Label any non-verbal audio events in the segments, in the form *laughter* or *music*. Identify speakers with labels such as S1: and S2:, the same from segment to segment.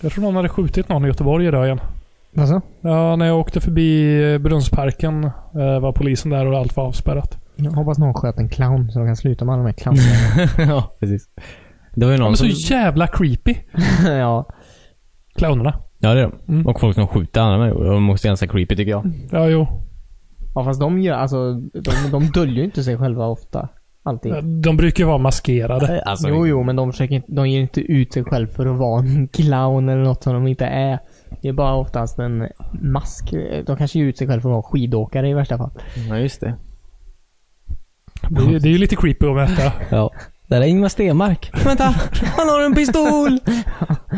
S1: Jag tror någon hade skjutit någon i Göteborg idag igen.
S2: Alltså?
S1: Ja, när jag åkte förbi eh, Brunnsparken eh, var polisen där och allt var avspärrat.
S2: Jag hoppas någon sköt en clown så de kan sluta med alla de här clownerna.
S3: *laughs* ja, precis. Det var ju
S1: Ja,
S3: någon
S1: men så
S3: som...
S1: jävla creepy.
S2: *laughs* ja.
S1: Clownerna.
S3: Ja, det är de.
S1: Mm.
S3: Och folk som skjuter andra människor. De måste ganska creepy tycker jag.
S1: Ja, jo.
S2: ja, fast de gör, alltså, de, de döljer ju inte sig själva ofta. Alltid.
S1: De brukar ju vara maskerade.
S3: Alltså,
S2: jo, jo, men de, försöker inte, de ger inte ut sig själv för att vara en clown eller något som de inte är. Det är bara oftast en mask. De kanske ger ut sig själv för att vara skidåkare i värsta fall.
S3: Ja, just det.
S1: Det är ju- det är ju lite creepy att mäta.
S3: Ja. Där är Ingmar Stenmark. Vänta! Han har en *laughs* pistol!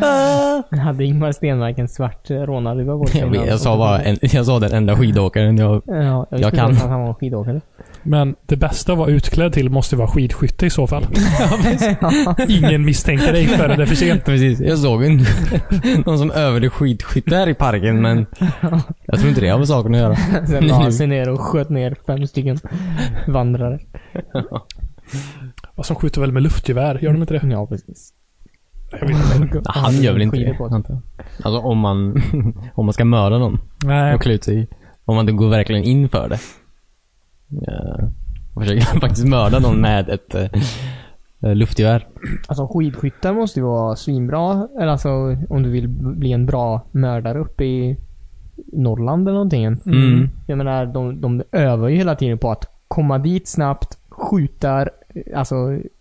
S3: Ah!
S2: Hade Ingmar Stenmark en svart eh, rånarluva på sig?
S3: jag,
S2: innan?
S3: vet, jag, sa bara en, jag sa den enda skidåkaren jag...
S2: Ja, jag, visste
S3: Jag
S2: inte
S3: kan.
S2: ens att han var
S3: *laughs*
S2: skidåkare.
S1: Men det bästa att vara utklädd till måste ju vara skidskytte i så *laughs* fall. Ingen misstänker dig förrän det är för sent.
S3: Precis. Jag såg en, *laughs* någon som övade skidskytte här i parken men jag tror inte det har med saken att göra.
S2: Sen la han sig ner och sköt ner fem stycken vandrare.
S1: Och som skjuter väl med luftgevär? Gör de inte det?
S2: Ja, precis.
S1: Jag vet inte.
S3: Han gör väl inte
S2: Skidor
S3: det?
S2: på sig.
S3: antar jag. Alltså om man, *laughs* om man ska mörda någon
S1: Nej.
S3: och klä ut sig. Om man inte går verkligen in för det. Ja. Och försöker *laughs* faktiskt mörda någon med ett eh, eh, luftgevär.
S2: Alltså skidskyttar måste ju vara svinbra. Eller alltså om du vill bli en bra mördare uppe i Norrland eller någonting.
S3: Mm.
S2: Jag menar, de, de övar ju hela tiden på att komma dit snabbt, skjuta alltså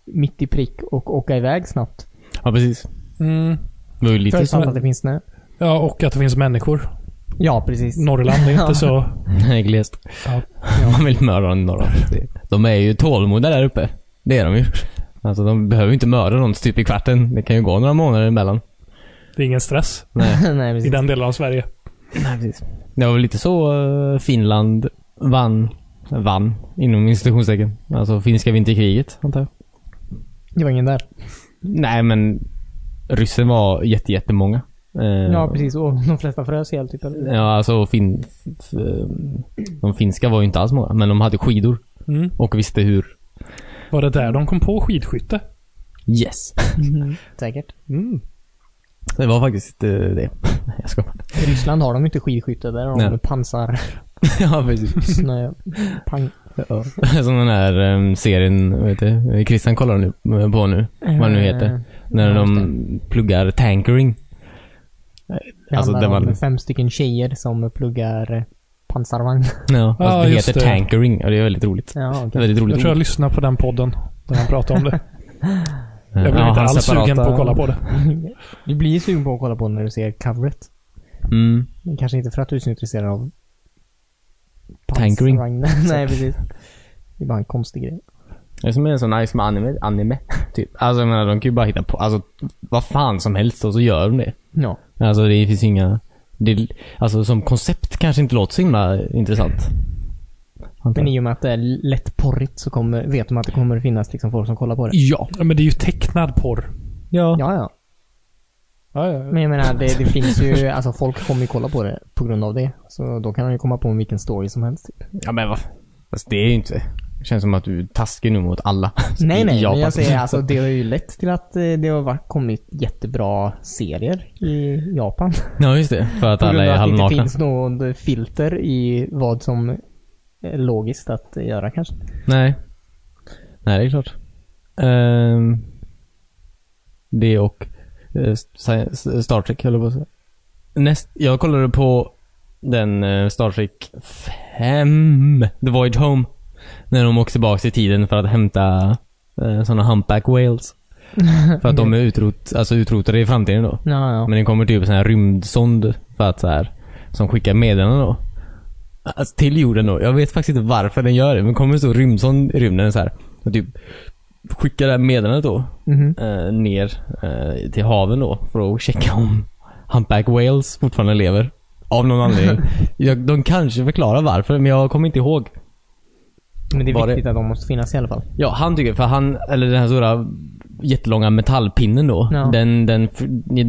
S2: mitt i prick och åka iväg snabbt.
S3: Ja precis.
S1: Mm.
S3: Det var ju lite
S2: Förutsatt
S1: som-
S2: att det finns snö.
S1: Ja, och att det finns människor.
S2: Ja, precis.
S1: Norrland är inte så...
S3: Nej, *laughs* glest.
S1: Ja.
S3: Man vill mörda dem några. De är ju tålmodiga där uppe. Det är de ju. Alltså de behöver ju inte mörda någon typ i kvarten. Det kan ju gå några månader emellan.
S1: Det är ingen stress
S2: *laughs*
S3: Nej,
S2: Nej,
S1: i
S2: precis.
S1: den delen av Sverige.
S3: nej precis. Det var väl lite så eh, Finland vann. Vann, inom institutionstecken. Alltså finska vinterkriget, antar jag.
S2: Det var ingen där.
S3: Nej men, ryssen var jätte, jättemånga. Eh,
S2: Ja, precis. Och de flesta frös ihjäl typ. eller?
S3: Ja, alltså fin, f, eh, de finska var ju inte alls många, men de hade skidor
S1: Mm.
S3: och visste hur.
S1: Var det där de kom på skidskytte?
S3: Yes. Mm-hmm.
S2: Säkert.
S1: Mm.
S3: *laughs* Det var faktiskt eh, det. *laughs* Jag skojar.
S1: *laughs*
S2: I Ryssland har de ju inte skidskytte. Där har
S3: Nej.
S2: de pansar,
S3: Ja, *laughs* precis.
S2: snö, pang.
S3: Som den här ehm, serien, vad heter det? Christian kollar nu, eh, på nu. Vad den nu
S2: Eh,
S3: heter. När
S2: ja,
S3: de pluggar tankering.
S2: Det
S3: Alltså,
S2: handlar
S3: det var-
S2: om fem stycken tjejer som pluggar eh, pansarvagn.
S3: Ja,
S1: Ja,
S3: fast det
S1: just
S3: heter
S1: det.
S3: tankering och det är väldigt roligt.
S2: Ja,
S3: Det är
S2: okej.
S3: väldigt roligt.
S1: Jag tror jag lyssnade på den podden. Där han pratade om det.
S3: Ja,
S1: Jag blev inte
S3: hans
S1: alls sugen på
S3: separata-
S1: att kolla på det.
S2: Du blir ju sugen på att kolla på när du ser coveret.
S3: Mm.
S2: Men kanske inte för att du är så intresserad av
S3: Tankering.
S2: pansarvagn. *laughs* Nej, precis. Det är bara en konstig grej.
S3: Det är som en sån nice med anime,
S2: *laughs*
S3: anime. Typ. Alltså jag menar, de kan ju bara hitta på, alltså vad fan som helst och så gör de det.
S2: Ja.
S3: Alltså det finns inga, det, alltså som koncept kanske inte låter så himla intressant.
S2: Men i och med att det är lättporrigt så kommer, vet de att det kommer finnas liksom folk som kollar på det.
S1: Ja. Men det är ju tecknad porr.
S3: Ja.
S2: Ja, ja.
S1: Ja, ja.
S2: Men jag menar, det, det finns ju, alltså folk kommer ju kolla på det på grund av det. Så då kan de ju komma på vilken story som helst. Typ.
S3: Ja men vad Fast det är ju inte... Det känns som att du är taskig nu mot alla.
S2: Nej, nej.
S3: *laughs* I Japan.
S2: Men jag säger alltså, det har ju lett till att eh, det har varit- kommit jättebra serier i Japan.
S3: Ja, just det. För
S2: *laughs*
S3: att
S2: På grund
S3: alla
S2: av
S3: är
S2: att det inte
S3: halvnakna.
S2: finns någon filter i vad som är logiskt att göra kanske.
S3: Nej. Nej, det är klart. Ehm, det och eh, sci- Star Trek, höll jag på att säga. Näst, jag kollade på den eh, Star Trek 5, The Voyage Home. När de åker tillbaka i tiden för att hämta eh, sådana humpback *laughs* whales. För att de är utrot, alltså utrotade i framtiden då.
S2: Ja, ja.
S3: Men det kommer typ en sån här rymdsond för att så här, som skickar meddelanden då. Alltså, till jorden då. Jag vet faktiskt inte varför den gör det, men det kommer en stor rymdsond i rymden så här. Och typ skickar det här meddelandet då
S2: Mhm.
S3: eh, ner eh, till haven då för att checka om humpback whales fortfarande lever. Av någon anledning. jag, de kanske förklarar varför, men jag kommer inte ihåg.
S2: Men det är
S3: Var det-
S2: viktigt att de måste finnas i alla fall.
S3: Ja, han tycker, för han, eller den här stora jättelånga metallpinnen då.
S2: Ja.
S3: Den, den,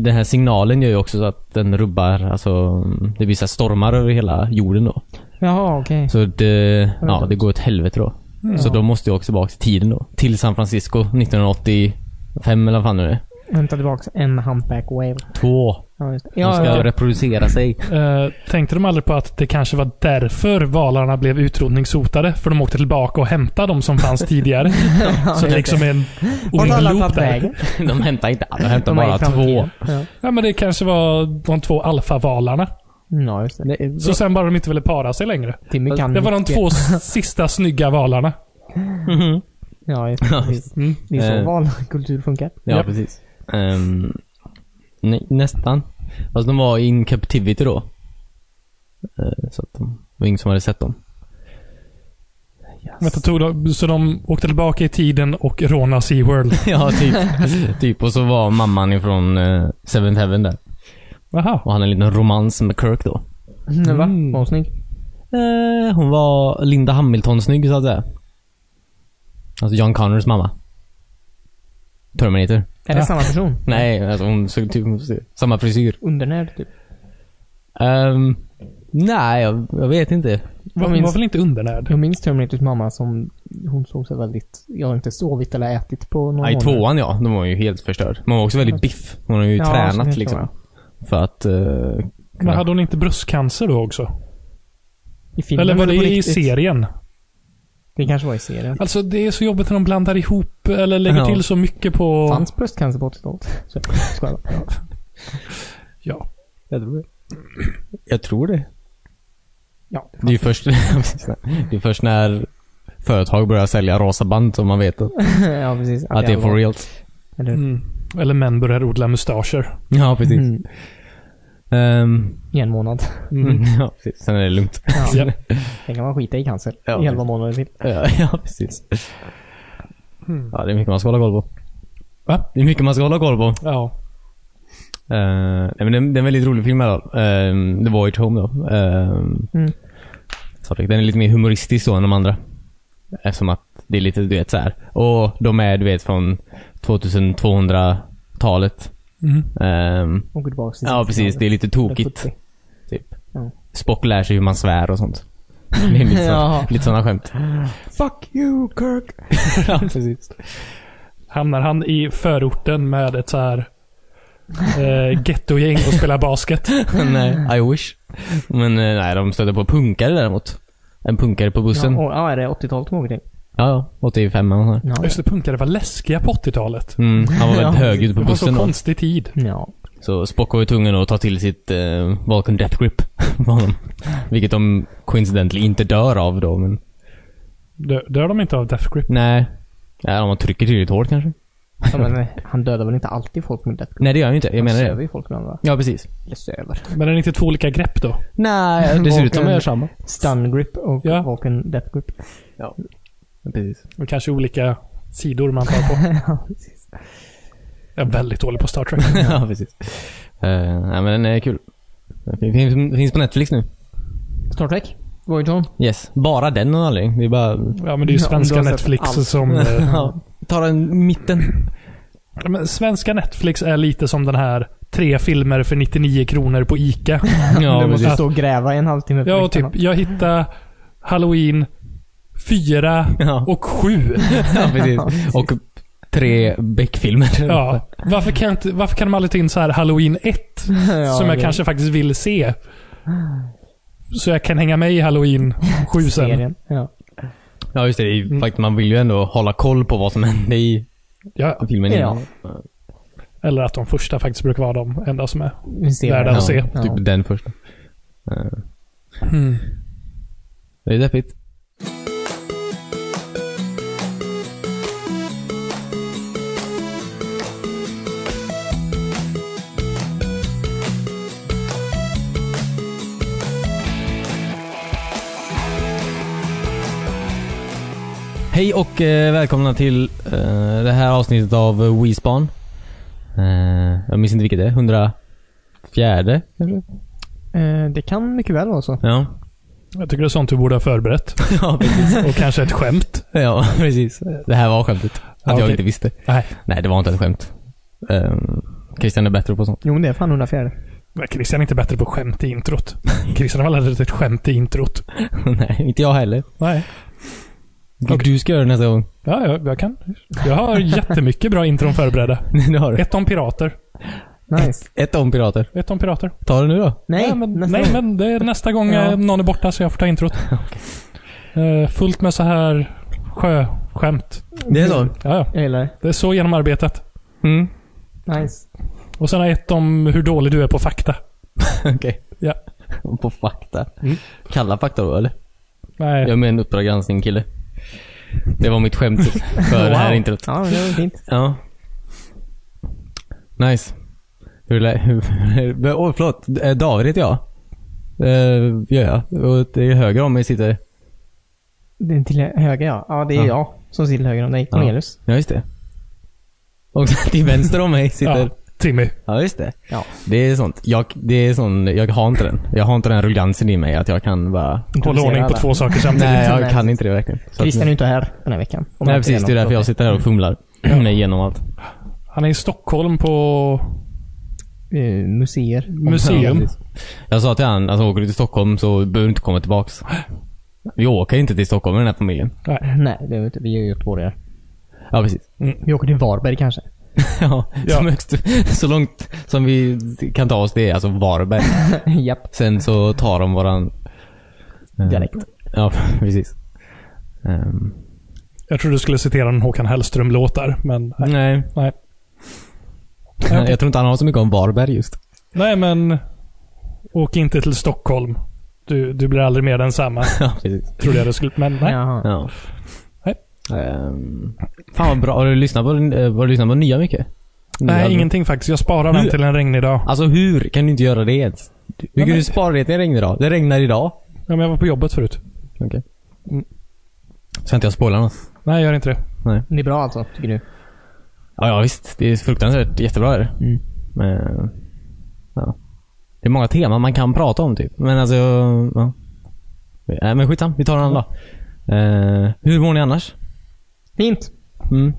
S3: den här signalen gör ju också så att den rubbar, alltså det blir så här stormar över hela jorden då.
S2: Jaha, okej.
S3: Så det, ja, det går åt helvete då.
S2: Mm.
S3: Så då måste jag också tillbaka till tiden då. Till San Francisco 1985 eller vad fan nu är.
S2: Hämta tillbaka en humpback whale.
S3: Två.
S2: Ja, just det.
S3: De ska
S2: Ja, *laughs* ja.
S3: reproducera sig.
S1: Eh, tänkte de aldrig på att det kanske var därför valarna blev utrotningshotade? För de åkte tillbaka och hämtade de som fanns tidigare. så det liksom är en
S2: Vart har
S1: ond
S2: alla
S1: loop
S2: tagit
S1: där.
S2: vägen?
S3: De hämtar inte alla, de hämtar
S2: De är i
S3: bara två.
S2: framtiden. Ja.
S1: Ja, men det kanske var de två alfavalarna.
S2: Ja, Mm, just det.
S1: Så sen bara de inte ville para sig längre.
S2: Timmy kan
S1: Det var de
S2: mycket.
S1: två sista snygga valarna.
S2: Ja, just det. Precis.
S1: Mm.
S2: Det är
S3: Eh.
S2: så valkultur funkar.
S3: Ja,
S1: Japp.
S3: precis. Ehm, nej, nästan. Fast de var in captivity då. Eh, så att de det var ingen som hade sett dem. *laughs*
S1: Vänta, tog de, så de åkte tillbaka i tiden och rånade SeaWorld.
S3: ja, typ. *laughs* typ. Och så var mamman ifrån eh, Seventh Heaven där.
S1: Jaha.
S3: Och hade en liten romans med Kirk då.
S2: Mm. Va?
S1: Mm.
S2: Var hon snygg?
S3: Eh, hon var Linda Hamilton-snygg så att säga. Alltså John Connors mamma. Terminator.
S2: Är det
S1: Ja.
S2: samma person?
S3: Nej, alltså hon såg typ samma frisyr.
S2: *laughs* Undernärd, typ.
S3: Ehm, nej, jag, jag vet inte.
S1: Var,
S2: minns-
S1: var väl inte undernärd?
S2: Jag minns Terminators mamma som, hon såg sig väldigt, jag har inte sovit eller ätit på några
S3: Ja, I
S2: månader.
S3: tvåan ja, de var ju helt förstörd. Men hon var också väldigt biff. Hon har ju
S2: Ja, så
S3: tränat
S2: mycket
S3: liksom.
S2: var.
S3: För att... eh,
S1: Men hade hon inte bröstcancer då också?
S2: I filmen
S1: Eller var det
S2: på
S1: i
S2: riktigt?
S1: serien?
S2: Det kanske var i serien.
S1: Alltså det är så jobbigt när de blandar ihop eller lägger
S3: Ja.
S1: till så mycket på...
S2: Fanns bröstcancer på 80-talet? Så, skojar bara.
S1: Ja.
S3: jag tror det. Jag tror det.
S2: Ja,
S3: Det är ju först, *laughs* det är först när företag börjar sälja rosa band som man vet att,
S2: ja, precis.
S3: att det är for real.
S2: Eller hur?
S1: Mm. Eller män börjar odla mustascher.
S3: Ja, precis.
S2: Mm.
S3: Ehm,
S2: I en månad.
S1: Mm.
S3: *laughs* ja, precis. *laughs* Sen är det lugnt.
S2: Ja.
S1: Ja.
S2: Sen kan man skita i cancer.
S3: Ja.
S2: I elva månader till.
S3: Ja, ja, precis.
S1: Mm.
S3: Ja, det är mycket man ska hålla koll på.
S1: Va?
S3: Det är mycket man ska hålla koll på.
S1: Ja.
S3: Eh, nej, men det, det är en väldigt rolig film i alla fall. Eh, The Voyage Home då. Ehm,
S2: Mm.
S3: så Den är lite mer humoristisk då än de andra. Eftersom att det är lite, du vet så här. Och de är, du vet, från 2200-talet.
S1: Mm.
S3: Ehm,
S2: Och går tillbaka till
S3: ja, precis. Det är lite tokigt.
S2: 70.
S3: Typ.
S2: Ja.
S3: Spock lär sig hur man svär och sånt. Det är lite, så,
S2: *laughs* Ja.
S3: lite sådana skämt. *laughs*
S2: Fuck you Kirk!
S3: ja, precis.
S1: Hamnar han i förorten med ett så här eh, gettogäng och spelar basket.
S3: nej, I wish. Men eh, nej, de stöter på punkare däremot. En punkare på bussen.
S2: Ja,
S3: Ja,
S2: och, ja, är det 80-talet de åker till?
S3: ja 85 eller nåt sånt där.
S2: Ja.
S1: Just det, punkare var läskiga på 80-talet.
S3: Mm,
S2: *laughs*
S3: han var väldigt
S2: Ja.
S3: högljudd på
S1: Det var
S3: bussen
S1: så
S3: då.
S1: konstig tid.
S2: ja.
S3: Så Spock var ju tvungen att ta till sitt eh, Vulcan Death Grip *laughs* på honom. Vilket de coincidentally inte dör av då, men
S1: Dö- Dör de inte av Death Grip?
S3: nej. Nej, om man trycker tillräckligt hårt kanske.
S2: ja men eh, han dödar väl inte alltid folk med death
S3: Nej, det gör han ju inte. Jag menar
S2: Han söver
S3: det.
S2: ju folk med andra.
S3: Ja, precis.
S2: Eller söver.
S1: Men är det inte två olika grepp då?
S3: Nej, det ser ut som
S2: Vulcan-
S3: de gör samma.
S2: Stun grip och
S1: Ja.
S2: Vulcan death grip.
S3: Precis. *laughs*
S1: Och kanske olika sidor man tar på.
S2: *laughs* Ja, precis.
S1: Jag är väldigt dålig på Star Trek.
S3: ja, precis. Eh, nej, men den är kul. Den finns, finns på Netflix nu.
S2: Star Trek? Voyage Home?
S3: Yes. Bara den och aldrig. Det är bara...
S1: Ja, men det är ju
S2: Ja, om du
S1: svenska
S2: har sett
S1: Netflix
S2: allt.
S1: som...
S3: *laughs*
S1: Eh,
S3: Ja, ta den mitten.
S1: Ja, Men svenska Netflix är lite som den här tre filmer för 99 kronor på Ica.
S2: du måste
S1: precis.
S2: stå och gräva i en halvtimme. för
S1: Ja,
S2: att
S1: och typ
S2: hitta *laughs* något.
S1: jag hittade Halloween 4
S3: Ja.
S1: *laughs* och 7.
S3: ja,
S1: *laughs*
S3: precis. Och tre Beck-filmer.
S1: Ja. Varför, kan jag inte, varför kan de aldrig ta in så här Halloween 1?
S2: Ja,
S1: som jag
S2: det-
S1: kanske faktiskt vill se. Så jag kan hänga med i Halloween 7 sen.
S2: serien. Ja.
S3: *laughs* Ja, just det. det. är
S1: Mm.
S3: ju Faktiskt, man vill ju ändå hålla koll på vad som hände i
S1: Ja.
S3: filmen
S2: Ja.
S3: innan.
S1: Eller att de första faktiskt brukar vara de enda som är.
S2: Vi ser
S1: Värda
S2: det.
S1: att se.
S2: Ja.
S3: Typ den första. Eh,
S1: Hmm.
S3: Det är deppigt. Hej och eh, välkomna till eh, det här avsnittet av WeSpan. Eh, jag minns inte vilket det är. 104 kanske?
S2: Eh, det kan mycket väl vara så.
S3: Ja.
S1: Jag tycker det är sånt du borde ha förberett.
S3: ja, precis.
S1: Och kanske ett skämt.
S3: Ja, *laughs* precis. Det här var skämtet. Att
S1: Ja,
S3: jag
S1: okej.
S3: inte visste.
S1: Nej,
S3: Nej, det var inte ett skämt. Um, Christian är bättre på sånt. *laughs*
S2: Jo, men det är fan 104.
S1: men Christian är inte bättre på skämt i introt. Christian har aldrig ett skämt i introt.
S3: Nej, inte jag heller.
S1: Nej.
S3: Du, du ska göra det nästa gång. *laughs*
S1: Ja, jag, jag kan. Jag har jättemycket bra intron förberedda.
S3: det har du.
S1: Ett om pirater.
S2: Nice.
S3: Ett om pirater.
S1: Ett om pirater.
S3: Ta det nu då.
S2: Nej,
S1: Ja, men,
S2: nästa
S1: nej,
S2: gång.
S1: men det är nästa gång
S2: Ja.
S1: eh, någon är borta så jag får ta introt. Eh, fullt med så här sjöskämt.
S3: Det är så?
S1: Ja, ja.
S2: Jag gillar det.
S1: Det är så genomarbetat.
S3: Mm. *laughs*
S2: Nice.
S1: Och sen har jag ett om hur dålig du är på fakta.
S3: Okej.
S1: Ja.
S3: *laughs* På fakta.
S1: Mm.
S3: Kalla fakta då eller?
S1: Nej.
S3: Jag är med en Uppdrag granskning-kille. Det var mitt skämt för det här
S1: Wow.
S3: introt.
S2: Ja, men det
S1: *laughs*
S2: var fint.
S3: Ja. Nice. Hur lä... hur- Åh, förlåt. Eh, David heter jag. Uh, ja, ja. Och till höger om mig sitter...
S2: Den till höger ja. Ja, det är
S3: Ja.
S2: jag som sitter höger om dig.
S3: Ja.
S2: Cornelius.
S3: Ja, just det. Och *laughs* till vänster om mig sitter...
S1: Ja, Timmy.
S3: Ja, just det.
S2: Ja.
S3: Det är sånt. Jag, det är sån, jag har inte den. Jag har inte den rulliansen i mig att jag kan bara...
S1: Håll
S2: Introducera
S1: ordning på
S2: alla.
S1: två saker samtidigt.
S3: Nej, jag
S2: Nej.
S3: kan inte det verkligen. Så att-
S2: Christian är ju inte här den här veckan. Om
S3: Nej,
S2: jag inte
S3: precis. Det är
S2: något
S3: därför jag
S2: tråkigt.
S3: sitter här och fumlar mig igenom allt.
S1: Han är i Stockholm på
S2: Eh, museer.
S1: museum.
S3: Ja, precis. Jag sa till han, alltså åker du till Stockholm så behöver du inte komma tillbaks. Vi åker inte till Stockholm i den här familjen.
S2: Nej, det är vi inte. Vi är ju göteborgare.
S3: Ja, precis.
S2: Vi åker till Varberg kanske. *laughs*
S3: *laughs* Ja,
S1: Ja.
S3: Som högst, så långt som vi kan ta oss det är alltså Varberg.
S2: Japp.
S3: Sen så tar de våran... eh,
S2: Dialekt.
S3: Ja, *laughs* precis. Ehm,
S1: Jag tror du skulle citera en Håkan Hellström-låt där, men nej.
S3: nej. *laughs*
S1: Nej.
S3: Jag tror inte han har så mycket om Varberg just. *laughs*
S1: nej, men åk inte till Stockholm. Du, du blir aldrig mer densamma,
S3: Ja, precis.
S1: trodde jag det skulle. Men nej.
S2: Jaha.
S3: Ja.
S1: Nej.
S3: Ehm, fan vad bra. Har du lyssnat på, den- eh, har du lyssnat på nya mycket?
S1: Nej,
S3: Nya-
S1: ingenting faktiskt. Jag sparar den
S3: Hur-
S1: till en regnig dag.
S3: Alltså hur kan du inte göra det ens? Hur
S1: Ja,
S3: kan
S1: men-
S3: du spara det till en regndag? Det regnar idag.
S1: Ja, men jag var på jobbet förut.
S3: Okej.
S1: Mm.
S3: Så inte jag spoilar något.
S1: Nej, gör inte det.
S2: Det är bra alltså, tycker du?
S3: Ja, ja visst. Det är fruktansvärt jättebra är det.
S2: Mm.
S3: Men, ja. Det är många teman man kan prata om typ. Men alltså, ja. Nej men skitsam. Vi tar en annan dag. Eh, hur mår ni annars?
S2: Fint.
S3: Mm.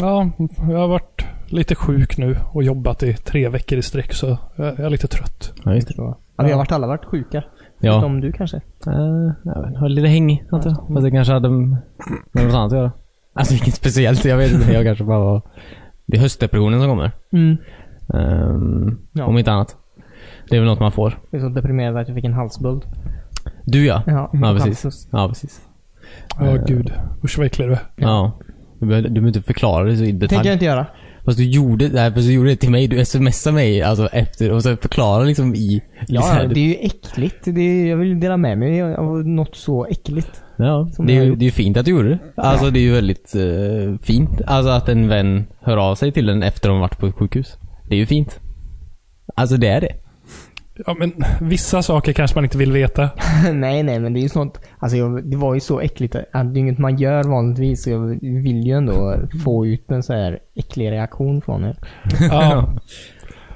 S1: Ja, jag har varit lite sjuk nu och jobbat i tre veckor i sträck, så jag jag är lite trött.
S3: Ja, just det.
S2: Tror jag. Ja, vi har varit alla varit sjuka.
S3: Ja.
S2: Utom du kanske.
S3: Eh, jag vet, har lite häng, antar jag. Fast det kanske hade med något annat att göra. Alltså inget speciellt. Jag vet inte. Jag kanske bara var... Det är höstdepressionen som kommer.
S2: Mm.
S3: Ehm,
S2: Ja.
S3: Om inte annat. Det är väl något man får.
S2: Jag är så deprimerad att jag fick en halsböld.
S3: Du ja.
S2: Ja,
S3: Ja, precis.
S2: halsfluss.
S3: Ja, precis.
S1: Ja, gud. Usch vad äcklig du är.
S3: Ja. Du behöver du behöver inte förklara det så i
S2: Det tänker jag
S3: detalj.
S2: inte göra.
S3: Fast du gjorde, nej, fast du gjorde det till mig. Du smsade mig alltså efter och så förklarade liksom i... så
S2: Ja,
S3: här-
S2: det är ju äckligt. Det är, jag vill ju dela med mig av något så äckligt.
S3: ja,
S2: som
S3: det, är
S2: jag
S3: ju,
S2: gjort.
S3: det är ju fint att du gjorde det. Alltså det är ju väldigt eh, fint. Alltså att en vän hör av sig till en efter de varit på ett sjukhus. Det är ju fint. Alltså det är det.
S1: Ja, men vissa saker kanske man inte vill veta.
S2: *laughs* nej, nej, men det är ju sånt. Alltså, jag, det var ju så äckligt. Att det är inget man gör vanligtvis. så Jag vill ju ändå få ut en så här äcklig reaktion från er.
S3: *laughs*
S1: Ja,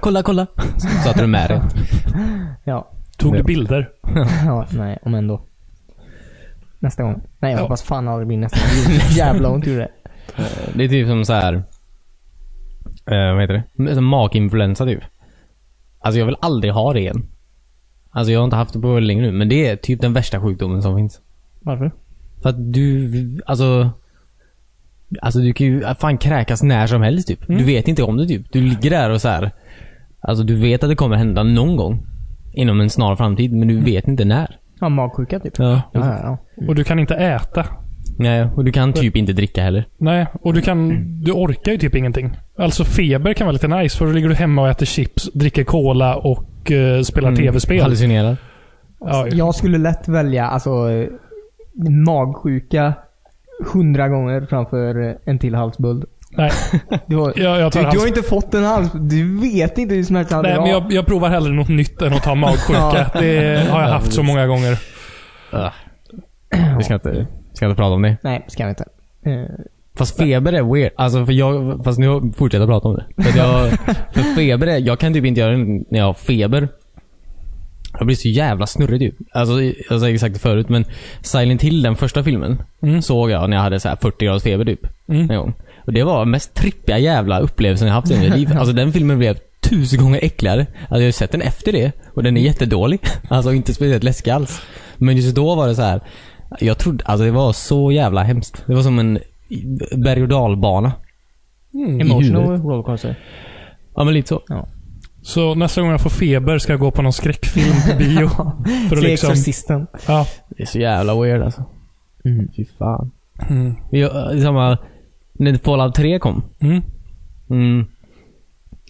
S3: Kolla, kolla. Så att du är med dig.
S2: Ja, *laughs*
S1: tog du bilder?
S2: ja nej, om ändå. Nästa gång. Nej, jag hoppas fan aldrig det blir nästa gång. Det är så Jävla ont gjorde det.
S3: Det är typ som så här. Eh, vad heter det? Som Maginfluensa typ. Alltså jag vill aldrig ha det igen. Alltså jag har inte haft det på väldigt länge nu, men det är typ den värsta sjukdomen som finns.
S2: Varför?
S3: För att du, alltså. Alltså du kan ju fan kräkas när som helst typ. Du vet inte om det typ. Du ligger där och så här. Alltså du vet att det kommer hända någon gång. Inom en snar framtid, men du vet inte när.
S2: Ja, magsjuka typ.
S3: Ja.
S2: Ja, ja, ja.
S1: Och du kan inte äta.
S3: Nej, och du kan typ inte dricka heller.
S1: Nej, och du kan...
S2: Mm.
S1: Du orkar ju typ ingenting. Alltså feber kan vara lite nice, för då ligger du hemma och äter chips, dricker cola och eh, spelar
S2: Mm.
S1: tv-spel.
S3: Mm.
S2: Alltså,
S3: Hallucinerar.
S1: Ja,
S2: Jag skulle lätt välja alltså eh, magsjuka hundra gånger framför eh, en till halsböld.
S1: nej.
S2: Du har,
S1: Jag, jag
S2: du,
S1: tar
S2: du har
S1: hans...
S2: inte fått en hals... Du vet inte hur smärtsamt det
S1: Nej, men jag, jag provar hellre något nytt än att ta magsjuka. Det har jag haft så många gånger.
S3: Ah. Vi ska inte, vi ska inte prata om det.
S2: Nej, ska vi inte. Eh,
S3: Fast feber är weird. Alltså för jag, fast nu fortsätter jag prata om det. För, att jag, *laughs* för feber är, jag kan typ inte göra det när jag har feber. Jag blir så jävla snurrig typ. Alltså jag har sagt det förut men Silent Hill, den första filmen, såg jag när jag hade så här 40 graders feber typ.
S1: Mm.
S3: En gång. Och det var den mest trippiga jävla upplevelsen jag haft i mitt liv. Alltså den filmen blev tusen gånger äckligare. Alltså jag har ju sett *laughs* den efter det och den är jättedålig. Alltså inte speciellt läskig alls. Men just då var det så här. Jag trodde, alltså det var så jävla hemskt. Det var som en berg och dalbana.
S1: Mm.
S2: Emotional rollercoaster.
S3: Ja men lite så.
S1: Så nästa gång jag får feber ska jag gå på någon skräckfilm på
S2: *laughs*
S1: bio. För att
S2: Se
S1: liksom...
S2: Exorcisten.
S1: Ja.
S3: Det är så jävla weird alltså.
S2: Mm.
S3: Fy fan.
S1: Mm.
S3: Jag, eh, samma, när Fallout 3 kom.
S1: Mm.
S3: Mm.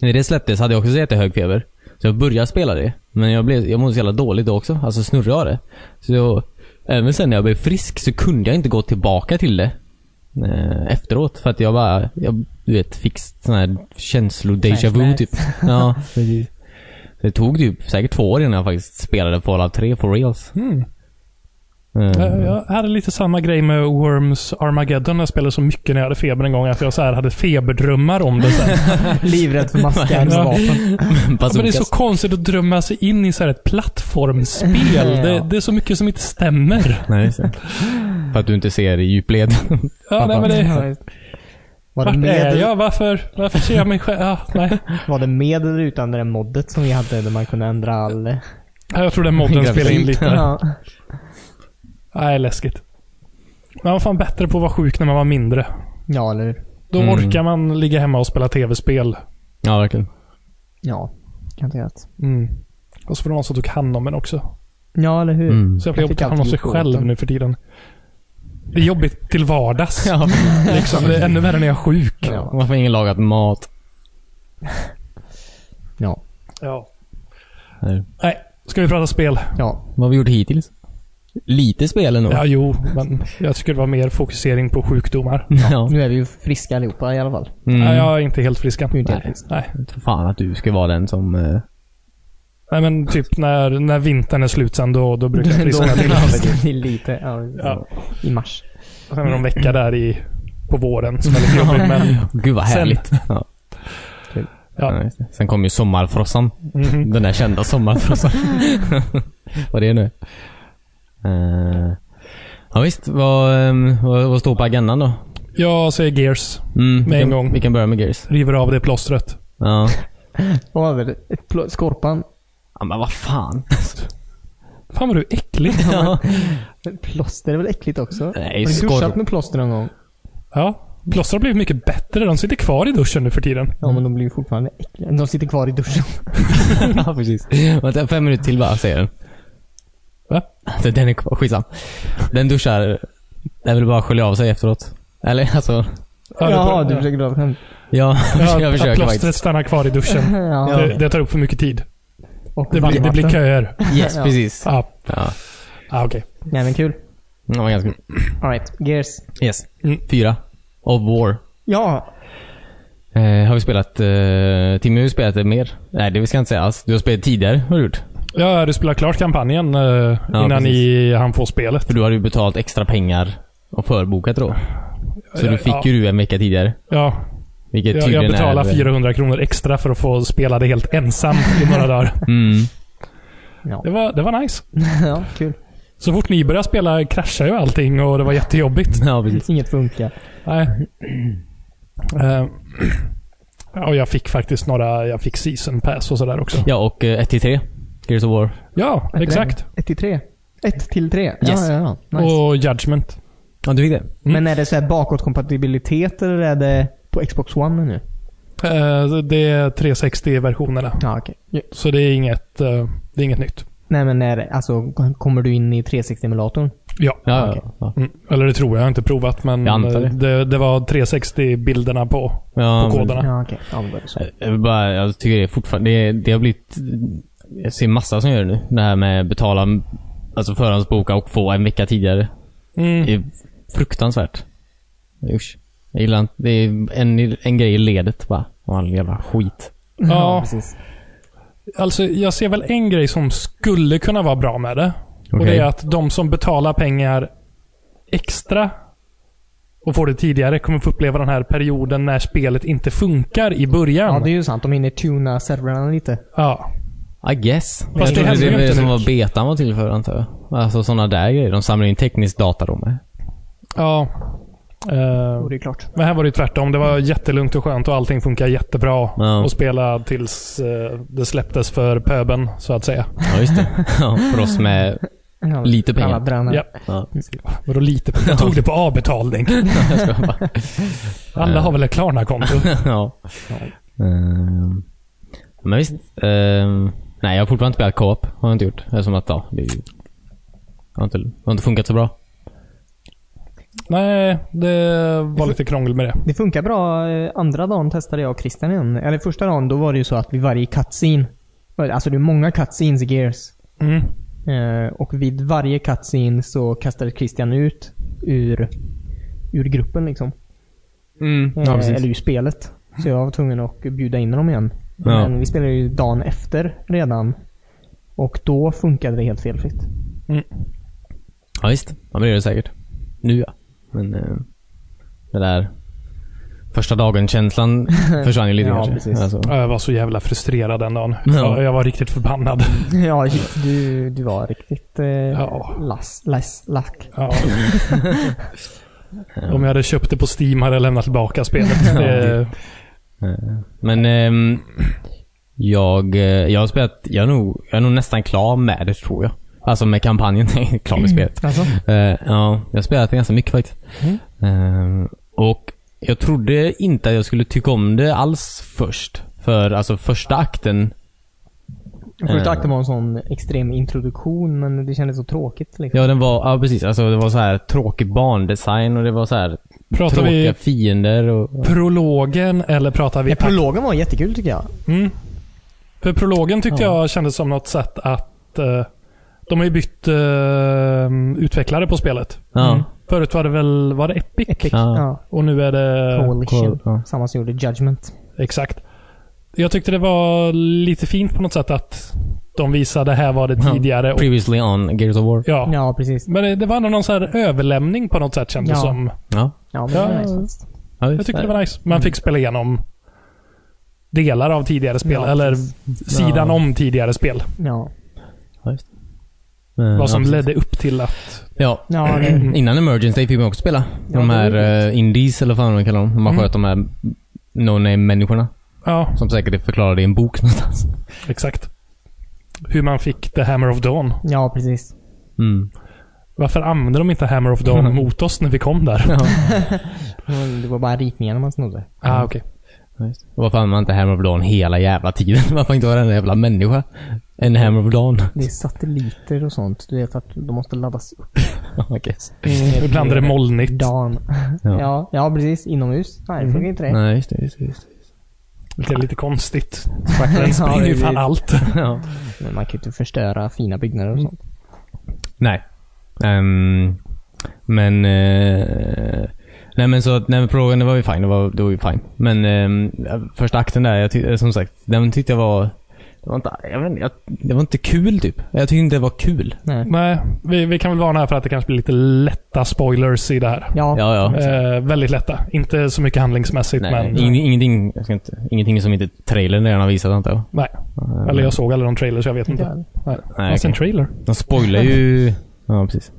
S3: När det släpptes hade jag också så jättehög feber. Så jag började spela det. Men jag, blev, jag mådde så jävla dåligt då också. Alltså snurrade av det. Så jag, även sen när jag blev frisk så kunde jag inte gå tillbaka till det. Eh, efteråt. För att jag bara, jag, du vet, fick sån här känslodejja
S1: *laughs*
S3: vu
S2: Flashbacks.
S3: typ. Ja, precis. Så det tog typ säkert två år innan jag faktiskt spelade Fallout 3 for reals.
S1: Mm.
S3: Eh,
S2: Mm.
S1: Jag,
S3: *laughs*
S1: jag hade lite samma grej med Worms Armageddon. Jag spelade så mycket när jag hade feber en gång att jag så här hade feberdrömmar om det sen.
S2: *laughs* Livrädd för maskar
S1: Ja.
S2: och vapen.
S1: Ja, men det är
S3: bazookas.
S1: så konstigt att drömma sig in i så här ett
S2: *laughs*
S1: plattformsspel. det, det är så mycket som inte stämmer.
S3: Nej,
S1: *laughs*
S3: just det. För att du inte ser i djupled. *laughs*
S1: Ja, nej, men det,
S2: Ja, just. Var det,
S1: vart är
S2: med,
S1: jag? Varför, varför ser jag mig själv? Ja, nej.
S2: var det med eller utan det där moddet som vi hade där man kunde ändra all...
S3: Mm,
S1: Ja, Jag tror den modden spelar in lite. Ja.
S2: Ja.
S1: Nej, läskigt. Man var fan bättre på att vara sjuk när man var mindre.
S2: ja, eller hur?
S1: Då
S3: Mm.
S1: orkar man ligga hemma och spela tv-spel.
S3: Ja, verkligen.
S2: Ja, garanterat.
S1: Mm. Och så var det någon som tog hand om en också.
S2: Ja, eller hur?
S3: Mm.
S1: Så jag
S2: Jag
S1: blev
S2: fick
S1: hand om
S2: alltid
S1: sig
S2: gjort åt
S1: själv
S2: den.
S1: nu för tiden. Det är jobbigt till vardags.
S3: *laughs* Ja.
S1: Liksom. Det är ännu värre när jag är sjuk.
S2: Ja.
S3: Varför ingen lagat mat?
S2: Ja.
S1: Ja.
S3: Nej.
S1: Nej, ska vi prata spel?
S2: ja.
S3: Vad har vi gjort hittills? Lite spel ändå.
S1: Ja, jo, men jag tycker det var mer fokusering på sjukdomar.
S3: *laughs* ja.
S2: Nu är vi ju friska allihopa i alla fall.
S3: Mm.
S1: Nej, jag är inte helt frisk än.
S2: Du är inte
S1: Nej.
S2: helt frisk.
S1: Nej.
S3: Jag tror fan att du ska vara den som... eh,
S1: Nej, men typ när, när vintern är slut sen, då, då
S2: *laughs*
S1: brukar jag friskna till.
S2: till lite. Ja,
S1: Ja.
S2: I mars.
S1: Sen är det en vecka där i, på våren som är lite jobbig, men...
S3: *laughs* Gud vad
S1: Sen.
S3: härligt. Ja.
S2: Kul.
S1: Ja.
S3: Ja, just det. Sen kom ju sommarfrossan.
S1: Mhm.
S3: Den där kända sommarfrossan. *laughs* vad det är nu. Eh, ja visst, vad, ehm, vad, vad står på agendan då?
S1: Jag säger Gears.
S3: Mm, vi
S1: en
S3: kan-
S1: gång.
S3: Vi kan börja med Gears.
S1: River av det plåstret.
S3: Ja.
S2: Vad var det? Mm. Ett plå- Skorpan?
S3: ja men vad fan.
S1: Fan vad du är äcklig.
S3: ja.
S2: Men Plåster är väl äckligt också?
S3: *laughs* Nej,
S2: Har du duschat
S3: skorp.
S2: med plåster någon gång?
S1: Ja. Plåster har blivit mycket bättre. De sitter kvar i duschen nu för tiden.
S2: Ja, men de blir ju fortfarande äckliga. De sitter kvar i duschen.
S3: *laughs* ja, precis. Vänta, fem minuter till bara, säger den.
S1: Va?
S3: Alltså, den är kvar. Skitsam. Den duschar. Den vill bara skölja av sig efteråt. Eller alltså.
S1: det är bra.
S2: Jaha, du försöker dra skämt.
S3: Ja, *laughs*
S1: Ja,
S3: jag
S1: att
S3: försöker
S1: plåstret
S3: faktiskt.
S1: stannar kvar i duschen.
S2: Ja.
S1: Det, det tar upp för mycket tid.
S2: Och
S1: Det blir, det blir
S2: varmvatten.
S1: köer.
S3: Yes,
S2: Ja.
S3: precis.
S1: Ja,
S3: Ja.
S1: ah, okej.
S2: Nej, men kul.
S3: Den var ganska
S2: Alright, Gears.
S3: Yes.
S1: Mm.
S3: Fyra. Of War.
S2: Ja, *laughs*
S3: Eh, har vi spelat... Eh, Timmy har ju spelat det mer. Nej, det ska jag inte säga alls. Du har spelat tidigare, har du gjort.
S1: Ja, du spelar klart kampanjen eh, innan
S3: precis.
S1: ni han får spelet.
S3: För du hade ju betalt extra pengar och förbokat då. Så
S1: Ja,
S3: du fick
S1: ja.
S3: ju du en vecka tidigare.
S1: Ja,
S3: Vilket
S1: jag,
S3: tydligen
S1: jag betalar
S3: är...
S1: 400 kronor extra för att få spela det helt ensam i några dagar.
S3: Mm. *laughs*
S2: Ja.
S1: Det var, det var nice.
S2: ja kul.
S1: Så fort ni började spela kraschade ju allting och det var jättejobbigt.
S3: Ja, precis.
S2: Inget funkar.
S1: Nej. Eh, ja, och jag fick faktiskt några, jag fick season pass och sådär också.
S3: Ja, och eh, 1-3. Gears of War.
S1: Ja,
S2: Vad heter
S1: exakt.
S2: 1 till 3. 1 till 3.
S3: Yes.
S2: Ja, ja, ja. Nice.
S1: Och mm. Judgment.
S3: Ja, du fick det?
S2: Men är det så här bakåtkompatibilitet eller är det på Xbox One nu?
S1: Eh, det är 360-versionerna.
S2: Ja, okej. Ja.
S1: Så det är inget, eh, det är inget nytt.
S2: Nej, men är det, alltså, kommer du in i 360-emulatorn?
S1: Ja.
S3: Ja,
S2: Okej.
S3: ja,
S1: Mm. Eller det tror jag, jag har inte provat. Men
S3: Jag antar
S1: eh, det, det var 360-bilderna på.
S3: ja. ja
S1: På
S3: men-
S1: koderna.
S2: Ja, okej. Ja, men då är det så.
S3: Jag vill bara, jag tycker det är fortfarande, det, det har blivit, jag ser massa som gör det nu. Det här med betala, alltså förhandsboka och få en vecka tidigare.
S1: Mm.
S3: Det är fruktansvärt. Usch. Jag gillar inte, det är en, en grej i ledet bara. Och all jävla skit.
S1: Ja.
S2: precis.
S1: Alltså, jag ser väl en grej som skulle kunna vara bra med det. Och
S3: Okej.
S1: Det är att de som betalar pengar extra och får det tidigare kommer få uppleva den här perioden när spelet inte funkar i början.
S2: Ja, det är ju sant. De hinner tuna servrarna lite.
S1: Ja.
S3: I guess.
S1: det
S3: jag trodde
S1: händer ju
S3: det var det
S1: inte
S3: som
S1: nu.
S3: var betan var till för antar jag. Alltså sådana där grejer. De samlar in teknisk data då med.
S1: ja. Eh,
S2: Och det är klart.
S1: men här var det ju tvärtom. Det var jättelugnt och skönt och allting funkar jättebra.
S3: Ja.
S1: Och spela tills eh, det släpptes för pöben, så att säga. *laughs*
S3: Ja, just det. ja, för oss med *laughs*
S2: Ja,
S3: Lite pengar.
S2: Alla Mm. drönare.
S1: Ja.
S3: Ja.
S1: Vadå lite? Jag tog det på avbetalning.
S3: Jag skojar bara.
S1: Alla har väl ett Klarna-konto?
S3: *laughs* ja. Ehm, men visst. ehm, nej, jag har fortfarande inte spelat co-op. Har jag inte gjort. Eftersom att, ja, det är ju- har inte, har inte funkat så bra.
S1: Nej, det var lite krångel med det.
S2: Det funkar bra. Eh, Andra dagen testade jag och Christian igen. Eller första dagen, då var det ju så att vid varje cutscene. Alltså det är många cutscenes i Gears.
S1: Mm.
S2: Eh, och vid varje cutscene så kastades Christian ut ur, ur gruppen liksom. Eh,
S3: Mm. Ja, precis.
S2: eller ur spelet. Så jag var tvungen att bjuda in honom igen.
S3: Ja.
S2: Men vi spelade ju dagen efter redan. Och då funkade det helt felfritt.
S3: Ja, visst. Ja, men det gör det säkert. Nu ja. Men eh, det där
S2: *laughs*
S3: första dagen-känslan försvann ju lite
S2: Ja,
S3: kanske.
S2: precis.
S3: Alltså,
S1: Ja, Jag var så jävla frustrerad den dagen.
S3: Ja.
S1: Ja. Jag var riktigt förbannad.
S2: ja, du, du var riktigt eh,
S1: Ja.
S2: lass, lass, lack.
S3: *laughs*
S1: Ja. Om jag hade köpt det på Steam hade jag lämnat tillbaka spelet. Det,
S3: eh, men ehm, jag, eh, jag har spelat, jag är, nog, jag är nog nästan klar med det tror jag. Alltså med kampanjen. *laughs* Nej, klar med spelet.
S2: Alltså?
S3: Eh, ja, jag har spelat det ganska mycket faktiskt.
S2: Mm.
S3: Eh, och jag trodde inte att jag skulle tycka om det alls först. För alltså första akten
S2: Första
S3: Eh.
S2: akten var en sån extrem introduktion, men det kändes så tråkigt. Liksom.
S3: Ja, den var, ja precis. Alltså det var så här tråkig barndesign och det var så här
S1: pratar
S3: tråkiga
S1: vi
S3: fiender och...
S1: prologen eller pratar vi...
S2: Ja, prologen var jättekul tycker jag.
S1: Mm. För prologen tyckte
S2: Ja.
S1: jag kändes som något sätt att... eh, de har ju bytt eh, utvecklare på spelet.
S3: Ja.
S2: Mm.
S1: Förut var det väl... Var det Epic?
S2: Epic.
S3: Ja.
S2: Ja.
S1: Och nu är det...
S2: Coalition.
S3: Ja.
S2: Samma som gjorde Judgment.
S1: Exakt. Jag tyckte det var lite fint på något sätt att de visade här var det
S3: Ja.
S1: tidigare. Och,
S3: Previously on Gears of War.
S1: ja.
S2: Ja, precis.
S1: Men det, det var ändå någon så här överlämning på något sätt kändes det
S2: Ja.
S1: som.
S3: Ja.
S2: Ja, men det var
S1: Ja.
S2: nice faktiskt.
S3: ja
S1: Jag tyckte det var nice. Man fick spela igenom delar av tidigare spel.
S2: Ja,
S1: eller
S2: precis.
S1: sidan
S3: Ja.
S1: om tidigare spel.
S2: Ja.
S1: Vad som
S3: Eh, ja, precis.
S1: ledde upp till att...
S3: Ja.
S2: Ja, det,
S1: Mm.
S3: Innan Emergence Day fick man också spela.
S2: Ja,
S3: de
S2: det
S3: här
S2: är
S3: eh, Indies eller vad fan de kallar dem. Man
S1: Mm.
S3: sköt de här no-name-människorna.
S1: Ja,
S3: Som säkert är förklarade i en bok någonstans.
S1: exakt. Hur man fick The Hammer of Dawn.
S2: ja, precis.
S3: Mm.
S1: Varför använde de inte Hammer of Dawn mot oss när vi kom där?
S3: Ja.
S2: Mm, Det var bara ritningarna man snodde.
S1: Ah, okej.
S3: just det. Varför använder man inte Hammer of Dawn hela jävla tiden? *laughs* Varför inte vara en jävla människa? En Hammer of *laughs* Dawn.
S2: Det är satelliter och sånt. Du vet att de måste laddas upp.
S3: Okej.
S1: Mm, Ibland är det molnigt.
S2: Dan.
S3: Ja.
S2: Ja, ja precis. Inomhus. Nej, det funkar inte det.
S3: Nej, just det. Just det, just det.
S1: Det är lite konstigt.
S2: Ja,
S1: Den springer ju
S2: det
S1: fan
S2: blir-
S1: allt.
S3: *laughs* Ja.
S2: Men man kan ju inte förstöra fina byggnader och sånt.
S3: Nej. Ehm, men... eh, nej men så att, nej men prologen, det var ju fine. Det var, det var ju fine. Men ehm, första akten där, jag tyck, som sagt, den tyckte jag var... Det var inte, jag vet inte, jag, det var inte kul typ. Jag tyckte inte det var kul.
S2: Nej.
S1: Nej, vi, vi kan väl varna här för att det kanske blir lite lätta spoilers i det här.
S2: Ja.
S3: Ja, ja.
S1: Eh, väldigt lätta. Inte så mycket handlingsmässigt,
S3: Nej,
S1: men...
S3: ing- ingenting, jag ska inte, ingenting som inte trailern redan har visat antar jag.
S1: Nej.
S3: Ehm,
S1: Eller Alltså, jag såg aldrig någon trailer, så jag vet inte.
S2: Inte
S1: Nej.
S3: Nej,
S1: Fanns det en
S3: okej.
S1: trailer?
S3: De spoilar ju... Ja, precis.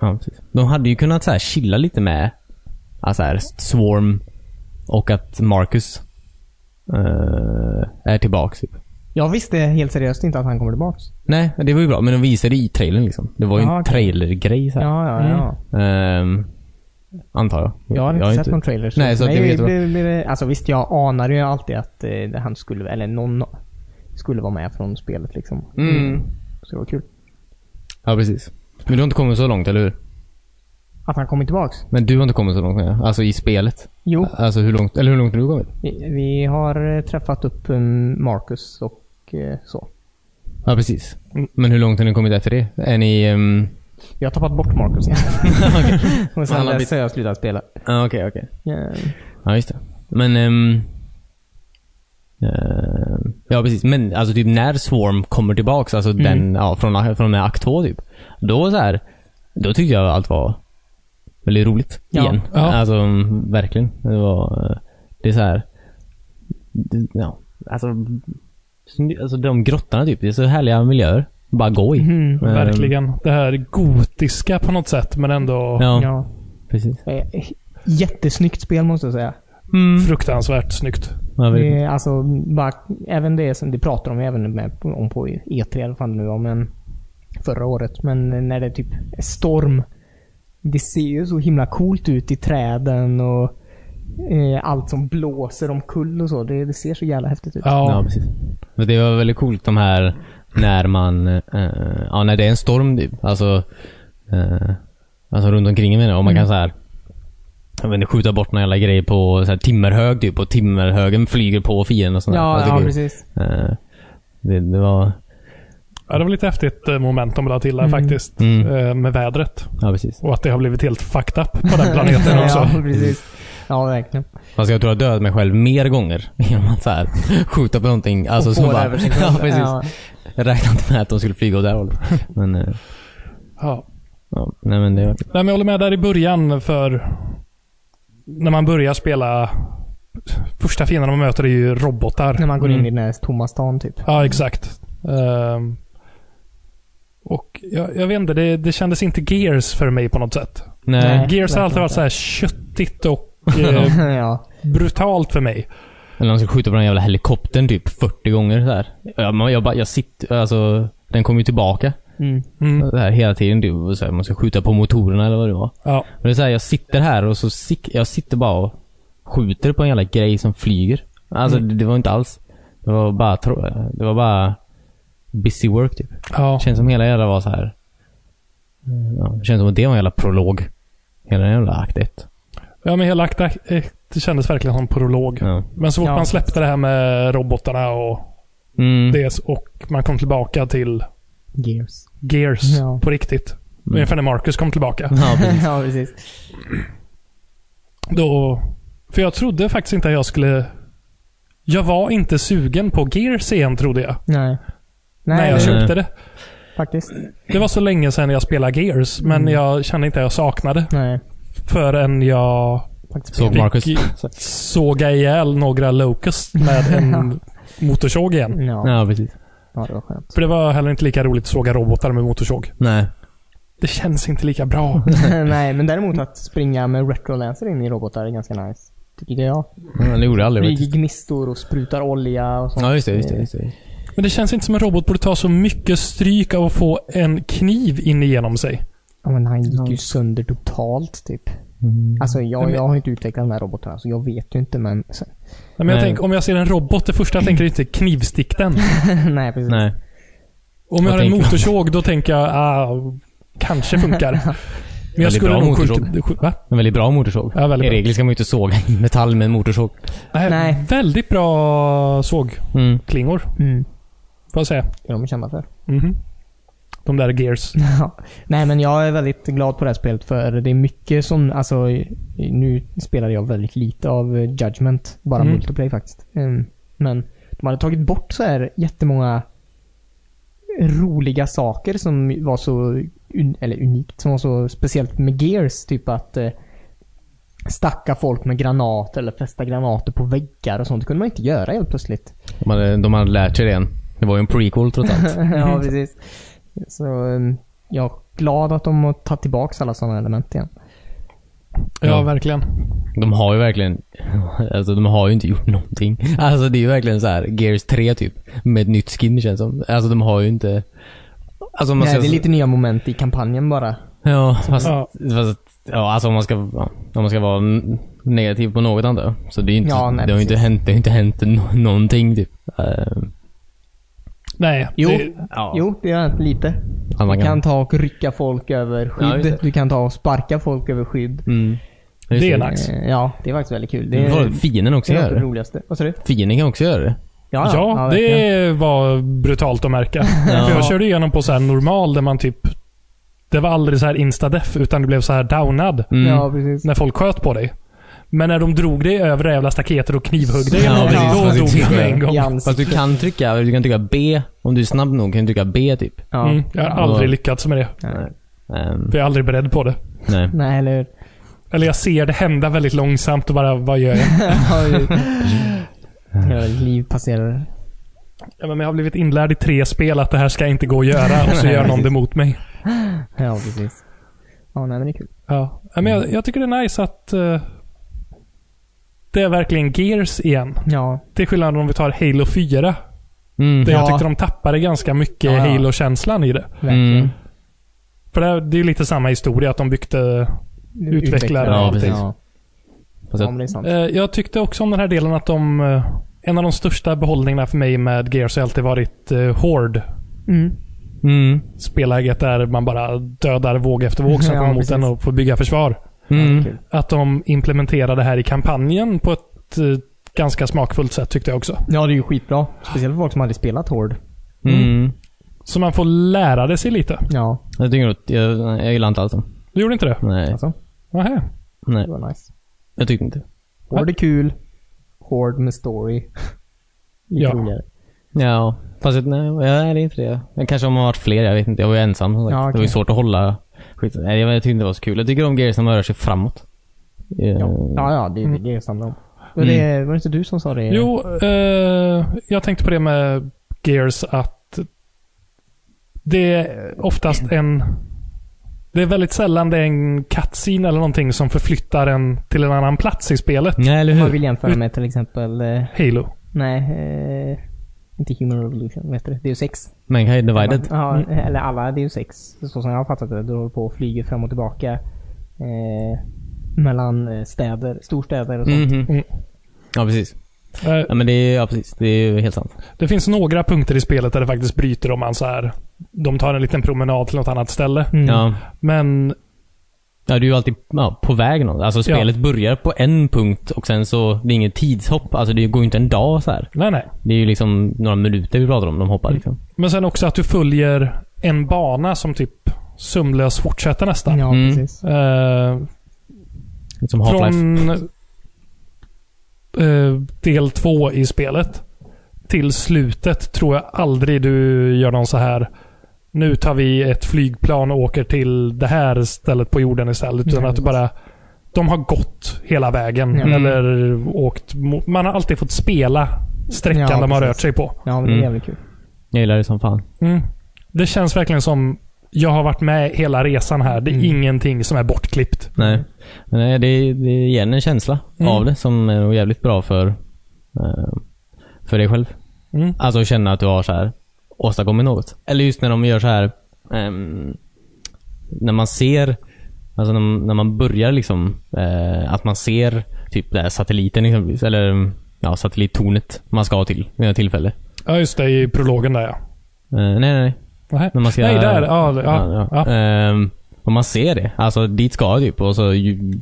S3: Ja, precis. De hade ju kunnat så här chilla lite med alltså här, Swarm och att Marcus eh, är tillbaks. Typ.
S2: Jag visste helt seriöst inte att han kommer tillbaks.
S3: Nej, det var ju bra. Men de visade i trailern liksom. Det var ju
S2: Ja,
S3: en
S2: okej.
S3: trailergrej så här.
S2: Ja, ja,
S1: Mm.
S2: ja.
S3: Ehm, antar jag.
S2: Jag har inte sett någon trailer.
S3: Nej, så att jag
S2: det
S3: vet vad-
S2: blir- blir det- Alltså visst, jag anar ju alltid att eh, han skulle, eller någon skulle vara med från spelet liksom.
S3: Mm.
S2: Så det var kul.
S3: Ja, precis. Men du har inte kommit så långt, eller hur?
S2: Att han kommer tillbaks.
S3: Men du har inte kommit så långt, menar jag. Alltså i spelet.
S2: Jo,
S3: Alltså hur långt, eller hur långt har du kommit?
S2: vi, vi har eh, träffat upp um, Marcus och eh, så.
S3: Ja, precis.
S1: Mm.
S3: Men hur långt har ni kommit efter det? Är ni... ehm,
S2: Jag har tappat bort Marcus
S3: *laughs*
S2: igen. *laughs* och sen
S3: Han har
S2: dess
S3: blivit-
S2: har jag slutat spela.
S3: Ja, okej, okej.
S2: Eh,
S3: Ja, just det. Men... ehm, ehm, ja, precis. Men alltså typ när Swarm kommer tillbaks, alltså den, ja, från, från med akt 2 typ. Då så här, Då tyckte jag allt var väldigt roligt.
S2: Ja.
S3: Igen.
S1: Ja.
S3: Alltså, mm, verkligen. Det var... eh, Det är så här. Det, ja. Alltså... sny- Alltså de grottorna typ. Det är så härliga miljöer. Bara gå i.
S2: Mm,
S3: Ehm,
S1: Verkligen. Det här gotiska på något sätt, men ändå
S3: Ja,
S2: ja.
S3: precis.
S2: Eh, Jättesnyggt spel måste jag säga.
S3: Mm.
S1: fruktansvärt snyggt.
S3: Ja, verkligen.
S2: Det är E alltså, bara, även det som det pratar om, även med, om på E3 eller vad fan det nu var, men förra året, men när det typ är storm. Det ser ju så himla coolt ut i träden och eh, allt som blåser omkull och så. Det, det ser så jävla häftigt ut.
S1: Ja.
S3: Ja, precis. Men det var väldigt coolt de här när man, eh, ja när det är en storm typ. Alltså, eh, alltså runt omkring en menar jag. Om man
S2: Mm.
S3: kan så här jag vet inte, skjuta bort några jävla grejer på så här, timmerhög typ och timmerhögen flyger på fienden och sånt där.
S2: Ja,
S3: Jag
S2: ja
S3: tycker-
S2: precis.
S3: eh, det, det var,
S1: ja, det var lite häftigt eh, moment de la till där
S2: Mm.
S1: faktiskt.
S3: Mm.
S1: Eh, Med vädret.
S3: ja precis.
S1: Och att det har blivit helt fucked up på den
S3: *laughs*
S1: planeten också.
S2: *laughs* ja, precis. Ja, verkligen.
S3: Fast jag tror jag har dödat mig själv mer gånger *laughs* genom att så här, skjuta på någonting. Alltså,
S2: Och
S3: så
S2: få det
S3: bara,
S2: över sin
S3: *laughs* ja,
S2: kropp.
S3: precis.
S2: Ja.
S3: Jag räknade inte med att de skulle flyga åt det här hållet. Men, eh,
S1: Ja.
S3: ja, nej men det var
S1: Nej, men jag håller med där i början för när man börjar spela första fienden man möter är ju robotar.
S2: När man går in
S3: Mm.
S2: i den här tomma stan typ.
S1: Ja, exakt. Ehm, och jag, jag vet inte, det, det kändes inte Gears för mig på något sätt.
S3: Nej.
S2: Nej.
S1: Gears har alltid
S2: verkligen
S1: varit så här köttigt och
S2: *laughs*
S1: eh,
S2: ja.
S1: brutalt för mig.
S3: Eller de ska skjuta på den jävla helikoptern typ 40 gånger så här. Jag, man- jag, bara- jag sitter, alltså, den kommer ju tillbaka
S2: Mm.
S1: Mm.
S3: så här, hela tiden. Du, och så här, man ska skjuta på motorerna eller vad det var.
S1: Ja.
S3: Men det är så här, jag sitter här och så sik- jag sitter bara och skjuter på en jävla grej som flyger. Alltså
S1: Mm.
S3: det, det var inte alls. Det var bara, tro- det var bara busy work typ.
S1: Ja.
S3: Känns som hela jävla var så här. Mm, Ja, känns som att det var en jävla prolog. Hela den jävla akt 1.
S1: ja, men hela akt akt- det kändes verkligen som en prolog.
S3: Ja.
S1: Men så fort
S2: Ja.
S1: man släppte det här med robotarna och
S3: Mm.
S1: det och man kom tillbaka till
S2: Gears.
S1: Gears
S2: Ja. Mm.
S1: på riktigt.
S3: Mm.
S1: Ungefär när Marcus kom tillbaka.
S3: Ja, precis.
S2: *laughs* ja, precis.
S1: Då, för jag trodde faktiskt inte att jag skulle... Jag var inte sugen på Gears igen trodde jag.
S2: Nej.
S1: när
S2: Nej,
S1: jag
S2: det-
S3: kör-
S1: köpte det.
S2: faktiskt.
S1: Det var så länge sedan jag spelade Gears, men
S2: Mm.
S1: jag kände inte att jag saknade.
S2: Nej.
S1: Förrän jag
S2: Faktiskt.
S3: Såg Marcus.
S1: fick såga ihjäl några Locust
S2: *laughs*
S1: med en motorsåg igen.
S2: Ja.
S3: Ja, precis.
S2: ja, det var skönt. *laughs*
S1: För det var heller inte lika roligt att såga robotar med motorsåg.
S3: Nej.
S1: Det känns inte lika bra.
S2: Nej, men däremot att springa med retrolancer in i robotar är ganska nice. Tycker jag.
S3: Men Mm, det gjorde jag aldrig faktiskt.
S2: Flyger gnistor och sprutar olja och sånt.
S3: Ja, just det. Just det, just det.
S1: Men det känns inte som en robot borde ta så mycket stryk av att få en kniv in igenom sig.
S2: Ja, men han gick ju sönder totalt typ. Alltså jag,
S1: Men-
S2: jag har inte utvecklat de här robotarna så jag vet ju inte men... *laughs*
S1: Nej, men jag
S3: Nej.
S1: tänker, om jag ser en robot, det första jag tänker är inte knivstick den.
S2: Nej, precis.
S3: Nej.
S1: Om jag
S3: Vad
S1: har en
S3: tänker man?
S1: motorsåg, då tänker jag ah,
S3: *laughs*
S1: kanske funkar. Men jag
S3: Väldigt
S1: skulle
S3: bra
S1: nog
S3: motorsåg.
S1: skjuta... skjuta- Va?
S3: En väldigt bra motorsåg.
S1: Ja, väldigt
S3: I
S1: bra.
S3: regel ska man ju inte såga i metall med en motorsåg.
S1: Nej,
S2: Nej.
S1: Väldigt bra sågklingor,
S3: Mm.
S2: Mm.
S1: får jag säga.
S2: Det är de kända för.
S1: Mhm. De där Gears.
S2: *laughs* Ja. Nej men jag är väldigt glad på det här spelet för det är mycket som, alltså nu spelade jag väldigt lite av eh, Judgment. Bara
S1: Mm.
S2: multiplayer faktiskt. Mm. Men de hade tagit bort så här jättemånga roliga saker som var så, un- eller unikt, som var så speciellt med Gears. Typ att eh, stacka folk med granater eller fästa granater på väggar och sånt. Det kunde man inte göra helt plötsligt.
S3: De, hade, de hade lärt sig det än. Det var ju en prequel trots allt.
S2: *laughs* ja, precis. Så eh, jag är glad att de har tagit tillbaka alla sådana element igen.
S1: Ja,
S3: Ja.
S1: verkligen.
S3: De har ju verkligen... Alltså de har ju inte gjort någonting. Alltså det är ju verkligen så här Gears 3 typ. Med ett nytt skin känns som. Alltså de har ju inte... Alltså om man
S2: Nej,
S3: ska...
S2: det är lite nya moment i kampanjen bara.
S3: Ja, fast...
S1: Ja.
S3: fast ja, alltså om man ska, ja, om man ska vara n- negativ på något antar jag. Så det är ju inte...
S2: Ja, nej,
S3: det har ju inte
S2: precis.
S3: hänt, det har ju inte hänt no- någonting typ. Eh,
S1: Nej.
S2: Jo.
S1: Det,
S3: ja.
S2: Jo, det är lite.
S3: Att man
S2: Du kan ta och rycka folk över
S3: Ja,
S2: skydd.
S3: just det.
S2: du kan ta och sparka folk över skydd.
S3: Mm. Just
S1: det är nice.
S2: Eh, Ja, det är faktiskt väldigt kul. Det
S3: Det
S2: är
S3: var fienden också
S2: det, är något av
S3: gör
S2: det
S3: det.
S2: roligaste. Vad sa du?
S3: Fienden kan också göra det.
S1: Ja,
S2: verkligen.
S1: det var brutalt att märka. För jag körde igenom på så här normal där man typ... Det var aldrig så här instadeff, utan det blev så här downad
S3: Mm.
S2: Ja, precis.
S1: när folk sköt på dig. Men när de drog dig över det jävla staketet och knivhögg dig,
S3: Ja,
S1: eller någonting, då
S3: precis. Fast
S1: dog
S3: det
S1: jag med en
S3: tycker
S1: gång.
S2: I
S1: Ja.
S2: ansiktet.
S3: Fast du kan trycka, du kan trycka B. Om du är snabb nog kan du trycka B typ.
S2: Ja.
S1: Mm, jag har aldrig lyckats med det.
S2: Nej.
S3: Ehm,
S1: För jag är aldrig beredd på det.
S3: nej.
S2: Nej, eller hur? *laughs*
S1: Eller jag ser det hända väldigt långsamt och bara, vad gör jag?
S2: *laughs* Ja, det- Hela ditt liv passerar.
S1: Ja, men jag har blivit inlärd i tre spel att det här ska inte gå att göra och så gör någon det mot mig.
S2: Ja, precis. Ja, nej men det är kul.
S1: Ja. Ja, men jag, jag tycker det är nice att eh, det är verkligen Gears igen.
S2: Ja,
S1: Till skillnad om vi tar Halo 4.
S3: Mm.
S1: Där Jag
S2: Ja.
S1: tyckte de tappade ganska mycket
S2: Ja, ja.
S1: Halo-känslan i det.
S2: Verkligen.
S3: Mm.
S1: För det, här- det är ju lite samma historia, att de byggde... Utvecklare.
S3: Ja,
S2: allting.
S3: precis.
S2: Ja.
S3: Fast
S2: Ja,
S3: jag,
S2: men det är sant.
S1: Eh, jag tyckte också om den här delen att de... Eh, en av de största behållningarna för mig med Gears har alltid varit eh, Horde.
S2: Mm.
S3: mm.
S1: Spelläget där man bara dödar våg efter våg som
S2: *laughs* Ja,
S1: kommer mot
S2: precis.
S1: en och får bygga försvar.
S2: Ja,
S3: Mm.
S2: kul.
S1: Att de implementerade det här i kampanjen på ett eh, ganska smakfullt sätt tyckte jag också.
S2: ja, det är ju skitbra. Speciellt för folk som aldrig spelat Horde.
S3: Mm.
S1: Så man får lära det sig lite.
S2: Ja,
S3: Jag tycker att jag, jag gillar inte alls dem.
S1: Du gjorde inte det?
S3: Nej.
S2: alltså.
S1: Nähä.
S3: Nej.
S2: Det var nice.
S3: Jag tyckte inte.
S2: Horde är kul. Horde med story. Lite
S1: Ja.
S2: roligare.
S3: Ja, fast jag, nej, nej, det är inte det. Men kanske om man varit fler, jag vet inte. Jag var ju ensam som sagt.
S2: Ja,
S3: Det var
S2: okej.
S3: ju svårt att hålla skit. Nej, jag, jag tyckte inte det var så kul. Jag tycker om grejer som rör sig framåt.
S2: Ja,
S3: Eh,
S2: ja, ja det är det det handlar om.
S3: Mm.
S2: Och det, var det inte du som sa det?
S1: Jo, eh, jag tänkte på det med Gears att det är oftast en... Det är väldigt sällan det är en cutscene eller någonting som förflyttar en till en annan plats i spelet.
S3: Nej, eller
S2: Vad
S3: hur?
S2: vill jämföra med till exempel... Eh,
S1: Halo.
S2: nej, eh, inte Human Revolution. Vet du det? Det är ju sex.
S3: Mankind divided.
S2: Ja, eller alla. Det är ju sex. Så som jag har fattat det. Du håller på och flyger fram och tillbaka. Eh, mellan eh, städer, storstäder och sånt.
S3: Mhm.
S1: Mm.
S3: Ja, precis.
S1: Eh,
S3: Ja, men det är, ja, precis. Det är ju helt sant.
S1: det finns några punkter i spelet där det faktiskt bryter om man så här... De tar en liten promenad till något annat ställe.
S2: Mm.
S3: Ja.
S1: Men
S3: ja, du är ju alltid ja, på väg någon. Alltså spelet börjar på en punkt och sen så, det är inget tidshopp. Alltså det går ju inte en dag så här.
S1: nej, nej.
S3: Det är ju liksom några minuter vi pratar om. De
S1: Mm.
S3: hoppar liksom.
S1: Men sen också att du följer en bana som typ sömlös fortsätter nästan.
S2: Ja,
S3: Mm.
S2: precis.
S1: Eh,
S3: Som Liksom Half-Life.
S1: Från eh, del två i spelet till slutet tror jag aldrig du gör någon så här. Nu tar vi ett flygplan och åker till det här stället på jorden istället. Utan
S2: Nej, Mm.
S1: att du bara... De har gått hela vägen.
S2: Ja.
S1: Eller åkt... mo- Man har alltid fått spela sträckan
S2: Ja,
S1: de har
S2: precis.
S1: rört sig på.
S2: Ja, men det är
S3: Mm.
S2: jävligt kul.
S3: Jag gillar det som fan.
S1: Mm. Det känns verkligen som... Jag har varit med hela resan här. Det är
S2: Mm.
S1: ingenting som är bortklippt.
S3: Nej. Men nej, det, det är igen en känsla
S1: Mm.
S3: av det som är nog jävligt bra för, eh, för dig själv.
S1: Mm.
S3: Alltså att känna att du har så här åstadkommit något. Eller just när de gör så här ehm, när man ser, alltså när, när man börjar liksom, eh, att man ser typ den här satelliten exempelvis, eller mm, ja, satellittornet man ska till vid något tillfälle.
S1: Ja, just det. I prologen där ja.
S3: Eh, nej, nej, nej.
S1: Nähä.
S3: När man ser,
S1: Nej, där. Ja, ja,
S3: Ja,
S1: ja.
S3: ja. Ehm, och man ser det. Alltså dit ska jag typ. Och så ju,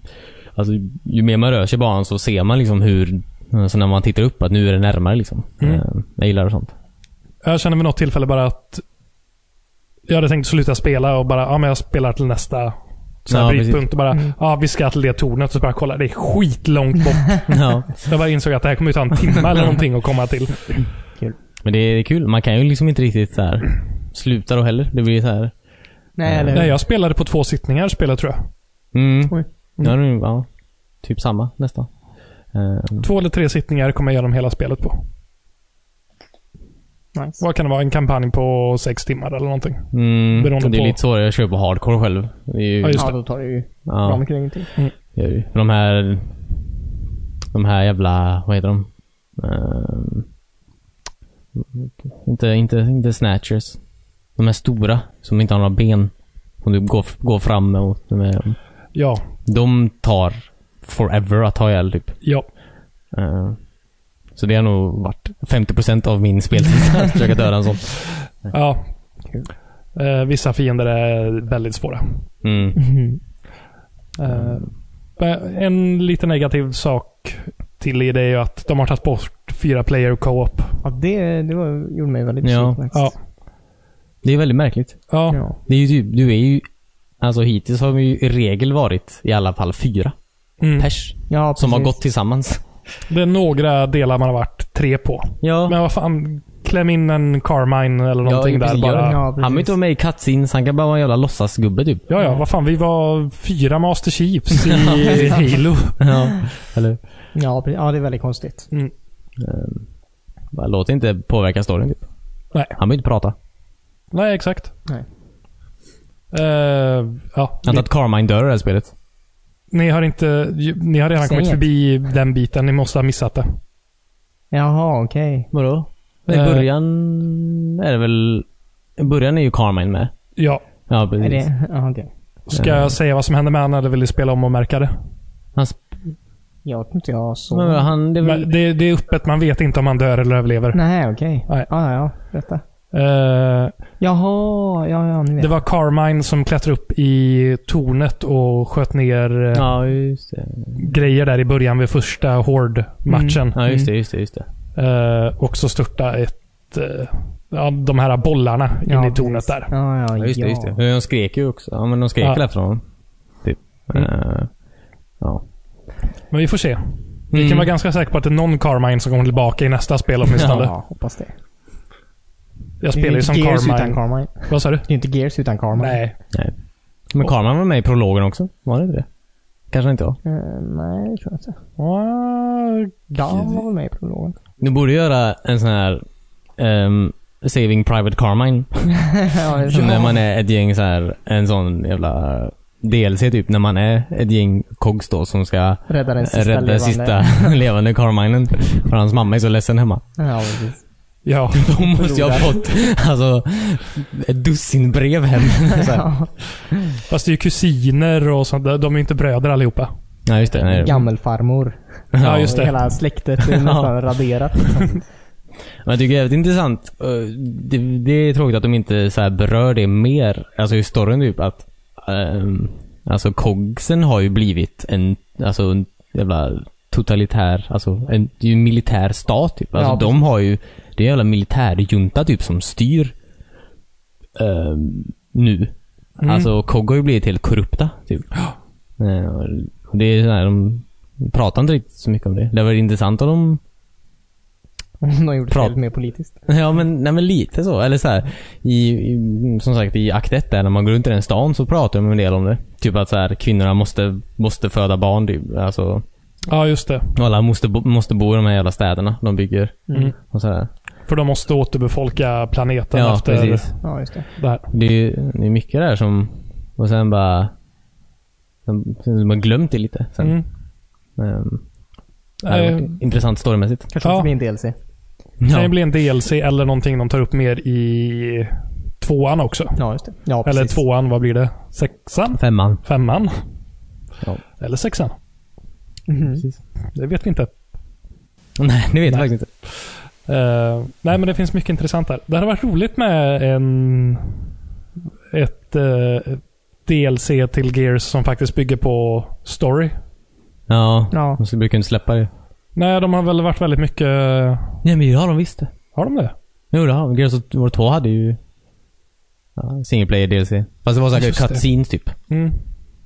S3: alltså, ju mer man rör sig i banan så ser man liksom hur, alltså när man tittar upp, att nu är det närmare liksom.
S1: Mm.
S3: Ehm, jag gillar det sånt. *laughs*
S1: Jag kände vid något tillfälle bara att jag hade tänkt sluta spela och bara, ja men jag spelar till nästa så här
S3: Ja,
S1: brytpunkt. Och bara,
S2: Mm.
S1: ja vi ska till det tornet. Och så bara kolla, det är skitlångt
S3: *laughs*
S1: bort.
S3: ja.
S1: jag bara insåg att det här kommer ju ta en timme eller någonting att komma till.
S3: Mm. Men det är kul. Man kan ju liksom inte riktigt så här sluta då heller. Det blir så här.
S2: Nej, eller
S1: Nej, jag spelade på två sittningar spelet tror jag.
S3: Mm.
S2: Oj.
S3: Ja, det är- ja, typ samma nästan. Ehm,
S1: Två eller tre sittningar kom jag igenom hela spelet på.
S2: Nice.
S1: Vad kan det vara? En kampanj på sex timmar eller någonting.
S3: mm,
S1: Beroende
S3: det är
S1: på-
S3: lite svårare att köra på hardcore själv. Det är ju,
S1: Ja, just
S2: Ja, då tar det ju
S3: ja.
S2: bra mycket längre
S3: *laughs*
S2: tid.
S3: gör ju. De här... De här jävla... Vad heter de? Ehm, inte, inte, inte snatchers. De här stora som inte har några ben. Som du går, går fram mot. De, är-
S1: Ja,
S3: de tar forever att ta ihjäl typ.
S1: ja.
S3: Ehm, så det har nog varit 50% av min speltid att försöka döda en sån. Mm.
S1: ja.
S2: Kul.
S1: Eh, vissa fiender är väldigt svåra.
S3: Mm.
S2: Mhm.
S1: Eh, en lite negativ sak till i det är ju att de har tagit bort fyra player co-op.
S2: Ja, det, det var, gjorde mig väldigt
S3: Ja.
S2: besviken
S1: Ja.
S2: faktiskt.
S3: Det är väldigt märkligt.
S1: Ja.
S2: Ja.
S3: Det är ju typ, du är ju... Alltså hittills har vi ju i regel varit i alla fall fyra
S1: Mm.
S3: pers.
S2: ja
S3: Som har
S2: precis.
S3: gått tillsammans.
S1: Det är några delar man har varit tre på.
S3: Ja.
S1: Men vad fan, kläm in en Carmine eller någonting där
S3: precis.
S1: bara. Ja.
S2: Ja,
S3: Han behöver
S2: precis.
S3: inte vara med i cutscenes, han kan bara vara en jävla låtsasgubbe typ.
S1: ja, vad fan. Vi var fyra Master Chiefs i Halo.
S3: Ja. Eller?
S2: Ja, pre- ja, det är väldigt konstigt.
S1: Mm.
S3: Ehm, Bara, låt inte påverka storyn typ.
S1: Nej.
S3: Han behöver inte prata.
S1: Nej, exakt.
S2: Nej.
S1: Eh, ja.
S3: Antar
S1: Ni,
S3: att Carmine dör i det här spelet.
S1: ni har inte... ju- Ni har redan
S2: Säg
S1: kommit
S2: inget.
S1: förbi den biten. Ni måste ha missat det.
S2: Jaha, okej.
S3: Vadå? I
S1: Eh,
S3: början är det väl... I början är ju Carmine med.
S1: Ja.
S3: Ja, precis.
S2: Är det? Ja, okej.
S1: Ska
S3: Eh.
S1: jag säga vad som hände med honom eller vill du spela om och märka det?
S3: Han, sp-
S2: Jag tror inte jag såg
S3: men han, det är väl,
S1: Men det, det är öppet. Man vet inte om han dör eller överlever.
S2: Nej, okej.
S1: Nej.
S2: Ja, ja, ja. Berätta.
S1: Eh,
S2: Jaha, ja, ja, nu vet
S1: det
S2: jag.
S1: var Carmine som klättrade upp i tornet och sköt ner eh,
S3: Ja, just det.
S1: grejer där i början vid första Horde-matchen.
S3: Mm. Ja, just det, just det, just det.
S1: Eh, och så störta ett... eh, ja, de här bollarna
S2: Ja,
S1: in i tornet
S2: precis.
S1: där.
S2: Ja, ja,
S3: Ja,
S2: ja.
S3: just det, just det. De skrek ju också. Ja, men de skrek
S1: Ja.
S3: väl efter honom. Typ. Eh, ja.
S1: Men vi får se. Vi
S3: Mm.
S1: kan vara ganska säkra på att det är någon Carmine som kommer tillbaka i nästa spel åtminstone.
S2: Ja, hoppas det.
S1: Jag spelar ju som
S2: Det är inte Gears
S1: Carmine.
S2: utan Carmine.
S1: Vad sa du?
S2: Det är inte Gears utan Carmine.
S1: Nej.
S3: Nej. Men Carman var med i prologen också. Var det inte det? Kanske inte jag.
S2: Eh, nej, det tror jag inte.
S1: Wow.
S2: Dan var väl med i prologen.
S3: Du borde göra en sån här ehm, Saving Private Carmine.
S2: ja, det är så.
S3: När man är ett gäng så här, en sån jävla DLC typ. När man är ett gäng kogs då som ska
S2: Rädda den sista
S3: rädda
S2: levande.
S3: sista *laughs* levande Carminen. För hans mamma är så ledsen hemma.
S2: Ja, precis.
S1: Ja.
S3: Då måste jag ha fått alltså, ett dussin brev hem. Så här.
S2: Ja,
S1: Fast det är ju kusiner och sånt. där. De är ju inte bröder allihopa.
S3: Nej, just det. Nej.
S2: Gammelfarmor.
S1: Ja, just det.
S2: Hela släktet är nästan raderat. liksom.
S3: Men jag tycker det är jävligt intressant. eh, Det, det är tråkigt att de inte så här berör det mer. Alltså i storyn typ att ehm, Alltså kogsen har ju blivit en, alltså en jävla totalitär, alltså en, det är ju en militär stat typ. Alltså
S2: Ja,
S3: de har ju, det är en jävla militärjunta typ som styr ehm, nu.
S1: Mm.
S3: Alltså kog har ju blivit helt korrupta typ. Eh, och det är så här, de pratar inte riktigt så mycket om det. Det var intressant om de
S2: Om de gjorde
S3: Prat-
S2: spelet mer politiskt.
S3: *laughs* Ja men, nej, men lite så. Eller så här, i, i, som sagt i akt 1 där, när man går runt i den stan så pratar de en del om det. Typ att så här, kvinnorna måste, måste föda barn. Typ. Alltså,
S1: Ja, just det.
S3: och alla måste, bo- måste bo i de här jävla städerna de bygger.
S1: Mm.
S3: Och så här.
S1: För de måste återbefolka planeten
S3: Ja,
S1: efter
S3: precis.
S2: Ja, just det.
S1: det här.
S3: Det är, ju- det är mycket där som... Och sen bara... Sen, sen man har glömt det lite. Sen.
S1: Mm.
S3: Ehm, det hade varit
S1: Eh,
S3: intressant storymässigt.
S2: Kanske
S1: Ja.
S2: också blir en DLC.
S1: Kan ju
S3: Ja.
S1: bli en DLC eller någonting de tar upp mer i tvåan också.
S2: Ja, just det. Ja,
S1: eller
S2: precis.
S1: tvåan, vad blir det? Sexan?
S3: Femman.
S1: Femman?
S3: Ja.
S1: Eller sexan?
S2: Mhm.
S3: Precis.
S1: Det vet vi inte.
S3: Nej, det vet jag faktiskt inte.
S1: Eh, nej, men det finns mycket intressant där. Det hade varit roligt med en... Ett eh, DLC till Gears som faktiskt bygger på story.
S3: Ja.
S2: Ja.
S3: De brukar inte släppa det.
S1: Nej, de har väl varit väldigt mycket...
S3: Nej men det har de visst det.
S1: Har de det?
S3: Jo, det har Gears of War 2 hade ju ja, single player DLC. Fast det var säkert
S1: Just det.
S3: cutscenes typ.
S1: Mm.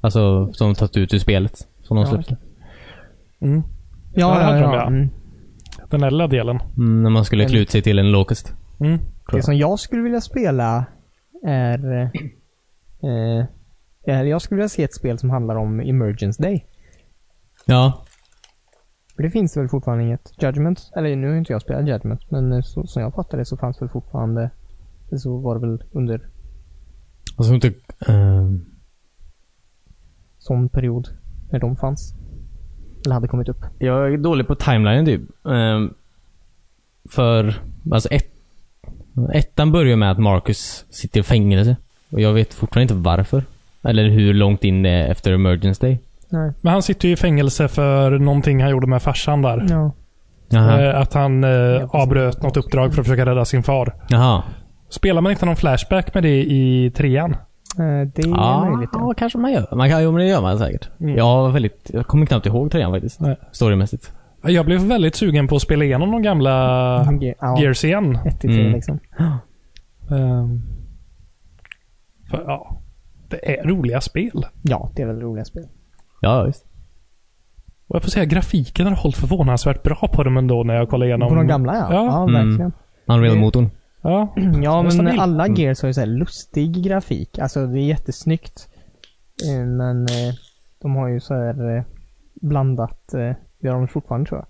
S3: Alltså som tagit ut ur spelet. Som de
S2: Ja,
S3: släppte.
S1: Mm. Ja,
S2: Ja,
S1: det
S2: ja,
S1: hade de,
S2: ja.
S1: ja.
S2: Mm.
S1: Den lilla delen.
S3: Mm, när man skulle klä ut sig till en locust.
S1: Mm.
S2: Det som jag skulle vilja spela är... Eh, eh, jag skulle vilja se ett spel som handlar om Emergence Day.
S3: Ja.
S2: För det finns väl fortfarande inget. Judgment, eller nu har inte jag spelat Judgment, men eh, så, som jag fattar det så fanns väl fortfarande... Så var det väl under
S3: Och så Alltså, inte... ehm,
S2: sån period när de fanns. Eller hade kommit upp.
S3: jag är dålig på timelineen typ. Ehm, för... Alltså ett, ettan börjar med att Marcus sitter i fängelse. Och jag vet fortfarande inte varför. Eller hur långt in det är efter Emergence Day.
S2: Nej.
S1: Men han sitter ju i fängelse för någonting han gjorde med farsan där.
S2: Ja.
S3: Jaha.
S1: Eh, Att han eh, avbröt något uppdrag för att försöka rädda sin far.
S3: Jaha.
S1: Spelar man inte någon flashback med det i trean?
S2: Eh, det är möjligt. Ja.
S3: ja, kanske man gör. Man kan, jo, men det gör man säkert.
S1: Mm.
S3: Jag, var väldigt, jag kommer knappt ihåg trean faktiskt.
S1: Nej.
S3: Storymässigt.
S1: Jag blev väldigt sugen på att spela igenom de gamla Ah.
S2: Ge- Mm. ja.
S1: Gears igen.
S2: Ett till tre
S3: Mm.
S2: liksom.
S1: Ehm, För, ja, det är roliga spel.
S2: Ja, det är väl roliga spel.
S3: Ja, ja, visst.
S1: Och jag får säga, grafiken har hållit förvånansvärt bra på dem ändå när jag kollar igenom.
S2: På de gamla ja.
S1: Ja.
S2: ja
S3: Mm.
S2: verkligen.
S3: Unreal-motorn.
S1: Ja,
S2: *clears throat* Ja,
S1: Den är
S2: men
S1: stabil.
S2: alla
S3: Mm.
S2: Gears har ju så här lustig grafik. Alltså det är jättesnyggt. Eh, Men eh, de har ju så här eh, blandat, eh, det har de fortfarande tror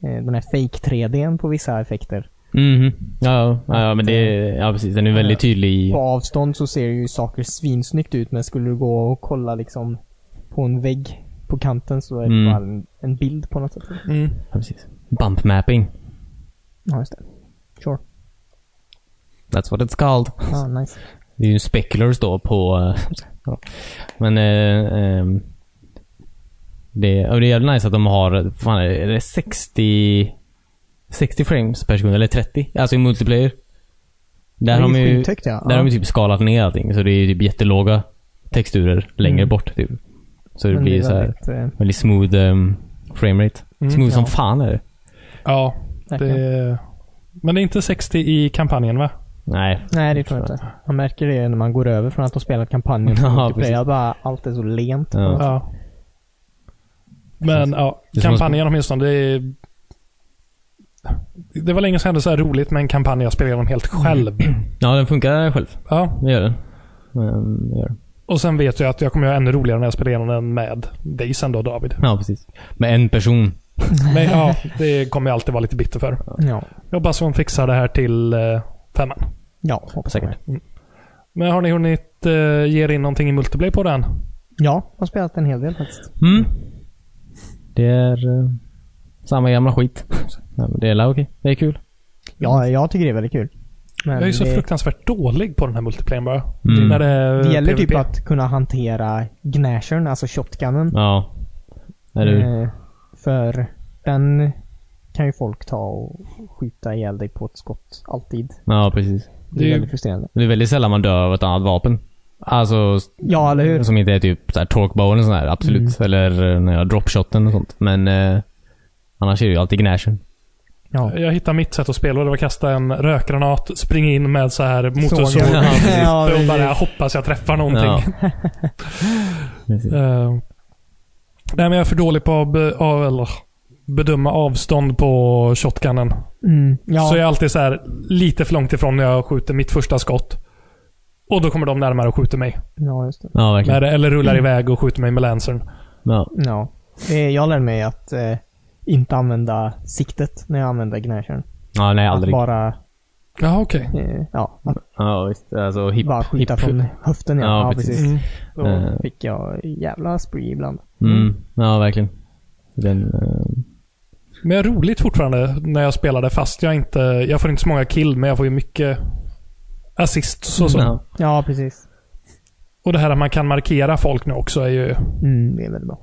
S2: jag. Eh, Den här fake 3Dn på vissa effekter.
S3: Mhm. Ja, ja, ja, men det Ja, precis. Den är väldigt tydlig i...
S2: På avstånd så ser ju saker svinsnyggt ut men skulle du gå och kolla liksom på en vägg på kanten så är det
S3: Mm.
S2: bara en, en bild på något sätt.
S1: mm.
S3: Ja, precis. Bump mapping.
S2: Ja, just det. Sure.
S3: That's what it's called.
S2: Ah, nice.
S3: Det är ju en speculars då på... *laughs* eh, ja. Men... Eh, ehm, det, och det är jävligt nice att de har... Fan, är det 60... 60 frames per sekund? Eller 30? Alltså i multiplayer. Där har de
S2: Det är
S3: ju...
S2: skithögt, ja.
S3: Där har
S2: Ja.
S3: de typ skalat ner allting. Så det är ju typ jättelåga texturer längre
S2: Mm.
S3: bort. Typ. Så det
S2: Men
S3: blir
S2: är
S3: så här
S2: väldigt, eh,
S3: väldigt smooth um, framerate.
S1: Mm,
S3: smooth som
S2: ja.
S3: fan är det.
S1: Ja,
S2: verkligen.
S1: det, men det är inte 60 i kampanjen va?
S3: Nej.
S2: Nej, det tror jag inte. Man märker det när man går över från att ha spelat
S3: *laughs*
S2: kampanjen till
S3: Ja,
S2: multiplayer.
S3: precis.
S2: Jag bara, allt är så lent.
S3: Ja.
S1: Ja. Men ja,
S3: Det är som att-
S1: kampanjen åtminstone. Det, är, det var länge sedan jag hade så här roligt med en kampanj jag spelade igenom helt själv.
S3: Ja, den funkar själv.
S1: Ja.
S3: Det gör den. Ehm, det gör den.
S1: Och sen vet jag att jag kommer göra ännu roligare när jag spelar igenom den med dig sen då David.
S3: Ja, precis. Med en person.
S1: Men ja, det kommer jag alltid vara lite bitter för.
S2: Ja.
S1: Jag hoppas hon fixar det här till eh, femman.
S2: Ja, hoppas jag
S3: Säkert.
S2: med.
S1: Men har ni hunnit eh, ge er in någonting i multiplayer på den?
S2: Ja, jag har spelat en hel del faktiskt.
S3: Mm. Det är eh, samma gamla skit. Nej, men det är la okej. Det är kul.
S2: Ja,
S3: Mm.
S2: jag tycker det är väldigt kul. Men
S1: jag är ju så
S2: det,
S1: fruktansvärt dålig på den här multiplayern bara.
S3: Mm.
S1: När det, är
S2: det gäller typ
S1: PvP.
S2: att kunna hantera gnashern, alltså shotgunnen.
S3: Ja. Eller hur?
S2: Eh, För den kan ju folk ta och skjuta ihjäl dig på ett skott. Alltid.
S3: Ja, precis.
S2: Det är
S1: Det-
S2: väldigt frustrerande.
S3: Det är väldigt sällan man dör av ett annat vapen. Alltså,
S2: Ja, eller
S1: Mm.
S2: hur?
S3: som inte är typ såhär torkbow eller sån här, absolut. Eller eh, när jag dropshotten och sånt. Men eh, annars är det ju alltid gnashen.
S2: Ja.
S1: Eh, Jag hittade mitt sätt att spela och det var att kasta en rökgranat, springa in med så här motorsåg
S3: *laughs*
S2: Såg jag. *laughs* Ja,
S1: och
S2: precis.
S1: bara hoppas jag träffar någonting.
S3: Ja.
S1: *laughs*
S3: Precis.
S1: Eh, nej, men jag är för dålig på att be, av, eller, bedöma avstånd på shotgunnen.
S2: Mm. Ja.
S1: Så jag är alltid så här lite för långt ifrån när jag skjuter mitt första skott. Och då kommer de närmare och skjuter mig.
S2: ja, just det.
S3: Ja, verkligen.
S1: Med, eller rullar
S2: Mm.
S1: iväg och skjuter mig med lancern.
S3: Ja.
S2: Ja. Eh, Jag lärde mig att eh, inte använda siktet när jag använder gnashern.
S3: ja, nej
S2: Att
S3: aldrig.
S2: bara,
S1: Ja, okej.
S2: eh, ja, att
S3: Ja, visst. Alltså hip.
S2: bara skjuta
S3: hip.
S2: från höften. Ja,
S3: Ja,
S2: ja
S3: precis.
S2: precis.
S1: Mm.
S2: Då
S3: Eh.
S2: fick jag jävla spree ibland.
S3: Mm. Ja, verkligen. Den, eh,
S1: Men jag är roligt fortfarande när jag spelade fast jag inte... Jag får inte så många kill, men jag får ju mycket assist och så. så.
S3: ja.
S2: Ja, precis.
S1: Och det här att man kan markera folk nu också är ju...
S2: Mm, det är väldigt bra.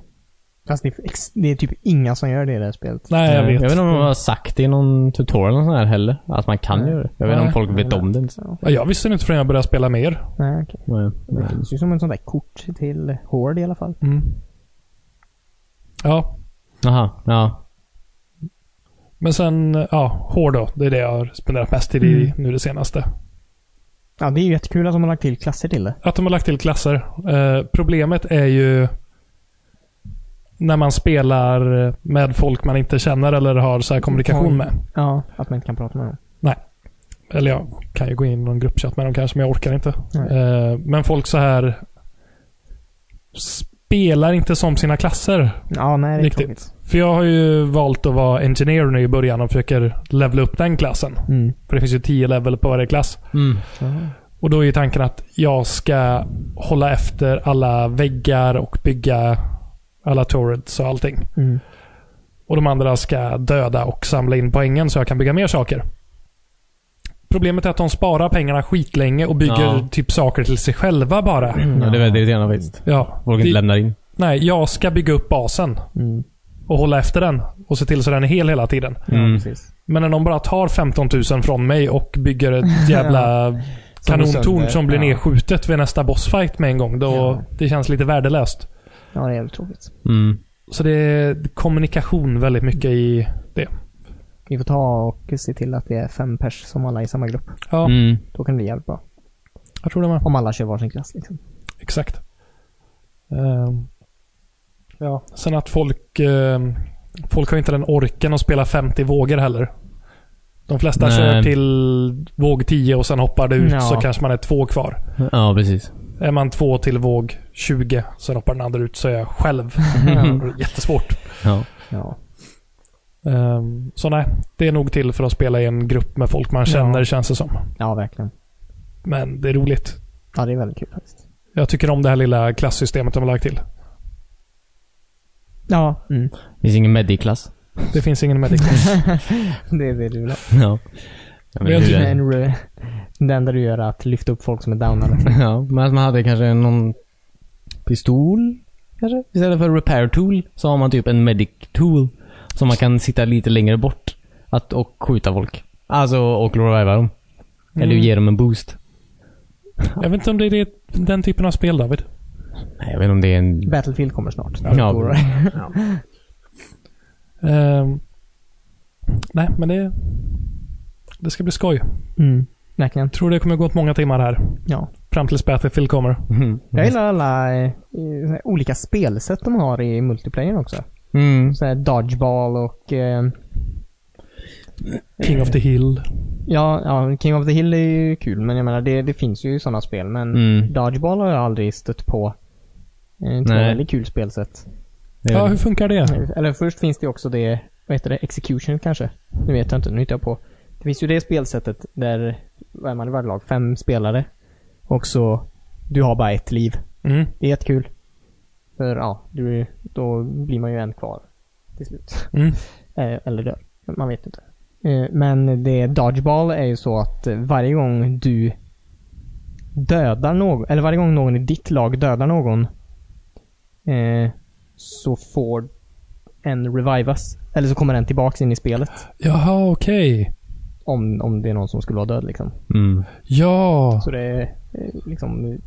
S2: Fast det är, ex- det är typ inga som gör det i det här spelet.
S1: Nej, jag vet.
S3: Mm. Jag vet inte om de har sagt det i någon tutorial eller sån här heller. Att man kan
S2: Nej.
S3: göra det. Jag vet inte om
S1: Nej.
S3: folk vet
S2: Nej.
S3: om det. ens.
S2: Så.
S1: Ja, jag visste det inte förrän jag började spela med er.
S2: Nej, okej.
S3: Nej.
S2: Det finns ju som en sån där kort till Horde i alla fall.
S1: Mm. Ja,
S3: Aha, ja.
S1: men sen... Ja, hår då. Det är det jag har spenderat mest tid
S3: Mm.
S1: i nu det senaste.
S2: Ja, det är ju jättekul att de har lagt till klasser till det.
S1: Att de har lagt till klasser. Eh, problemet är ju när man spelar med folk man inte känner eller har så här kommunikation med.
S2: Ja, att man inte kan prata med dem.
S1: Eller jag kan ju gå in i någon gruppchatt med dem kanske, men jag orkar inte.
S2: Nej.
S1: Eh, men folk så här spelar inte som sina klasser.
S2: Ja, nej, det är
S1: Riktigt.
S2: tråkigt.
S1: För jag har ju valt att vara engineer nu i början och försöker levela upp den klassen.
S2: Mm.
S1: För det finns ju 10 level på varje klass.
S3: Mm.
S1: Och då är ju tanken att jag ska hålla efter alla väggar och bygga alla turrets och allting.
S2: Mm.
S1: Och de andra ska döda och samla in poängen så jag kan bygga mer saker. Problemet är att de sparar pengarna skitlänge och bygger
S3: Ja.
S1: typ saker till sig själva bara.
S3: ja. Det är väldigt irriterande faktiskt.
S1: Ja,
S3: Folk inte
S1: det,
S3: lämnar in.
S1: nej, jag ska bygga upp basen
S2: Mm.
S1: och hålla efter den och se till så den är hel hela tiden.
S2: Ja,
S3: Mm.
S2: precis.
S1: Men när de bara tar 15 000 från mig och bygger
S2: *laughs*
S1: ett jävla
S2: Som går
S1: kanontorn
S2: sönder.
S1: som blir
S2: Ja.
S1: nedskjutet vid nästa bossfight med en gång, då
S2: Ja.
S1: det känns lite värdelöst.
S2: Ja, det är jävligt tråkigt.
S3: Mm.
S1: Så det är kommunikation väldigt mycket i det.
S2: Vi får ta och se till att det är fem pers som alla är i samma grupp.
S1: Ja,
S3: Mm.
S2: Då kan det bli jävligt bra.
S1: jag tror det med.
S2: Om alla kör varsin klass liksom.
S1: Exakt. Ehm, ja. Sen att folk ehm, folk har ju inte den orken att spela 50 vågor heller. De flesta
S3: Nej.
S1: kör till våg 10 och sen hoppar det ut
S2: Ja.
S1: så kanske man är två kvar.
S3: Ja, precis.
S1: Är man två till våg 20 sen hoppar den andra ut så är jag själv.
S2: Ja.
S1: Jättesvårt.
S3: Ja.
S2: ja.
S1: Ehm, så nej, det är nog till för att spela i en grupp med folk man känner
S2: Ja.
S1: känns det som.
S2: ja, verkligen.
S1: Men det är roligt.
S2: Ja, det är väldigt kul faktiskt.
S1: Jag tycker om det här lilla klassystemet de har lagt till.
S2: Ja. Mm. *laughs*
S3: Det finns ingen mediklass.
S1: Det finns ingen medic.
S2: det är det du vill ha.
S3: Ja. Ja,
S1: Men jag
S3: hur
S1: tycker-
S3: är det?
S2: Men re- det enda du gör är att lyfta upp folk som är downade.
S3: Ja, men att man hade kanske någon pistol kanske? Istället för repair tool så har man typ en medic tool. Som man kan sitta lite längre bort att, och skjuta folk. Alltså och reviva dem. Eller
S1: Mm.
S3: ge dem en boost.
S1: Jag vet inte om det är det, den typen av spel, David.
S3: Nej, jag vet inte om det är en...
S2: Battlefield kommer snart.
S3: Ja.
S2: Går-
S1: Ehm, nej, men det... Det ska bli skoj.
S2: Mm. Verkligen.
S1: Tror det kommer gå åt många timmar här.
S2: Ja.
S1: Fram tills Battlefield kommer.
S3: Mm.
S2: Jag gillar alla eh, eh, olika spelsätt de har i multiplayer också.
S3: Mm.
S2: Så här dodgeball och... Eh,
S1: King of the Hill.
S2: ja, ja, King of the Hill är ju kul, men jag menar det, det finns ju sådana spel. Men
S3: Mm.
S2: dodgeball har jag aldrig stött på. Eh, Det är ett
S3: Nej.
S2: väldigt kul spelsätt.
S3: Det
S1: Ja,
S3: är-
S1: hur funkar det?
S2: Eller först finns det ju också det, vad heter det, execution kanske? Nu vet jag inte, nu hittar jag på. Det finns ju det spelsättet där, vad är man i varje lag? Fem spelare. Och så, du har bara ett liv.
S1: Mm.
S2: Det är jättekul. För ja, du, då blir man ju en kvar till slut.
S1: Mm.
S2: Eh, Eller dör. Man vet inte. Eh, Men det dodgeball är ju så att eh, varje gång du dödar någon, eller varje gång någon i ditt lag dödar någon eh, så får en revivas. Eller så kommer den tillbaks in i spelet.
S1: Jaha, okej.
S2: Om, om det är någon som skulle vara död liksom.
S3: Mm.
S1: Ja,
S2: Så det eh, liksom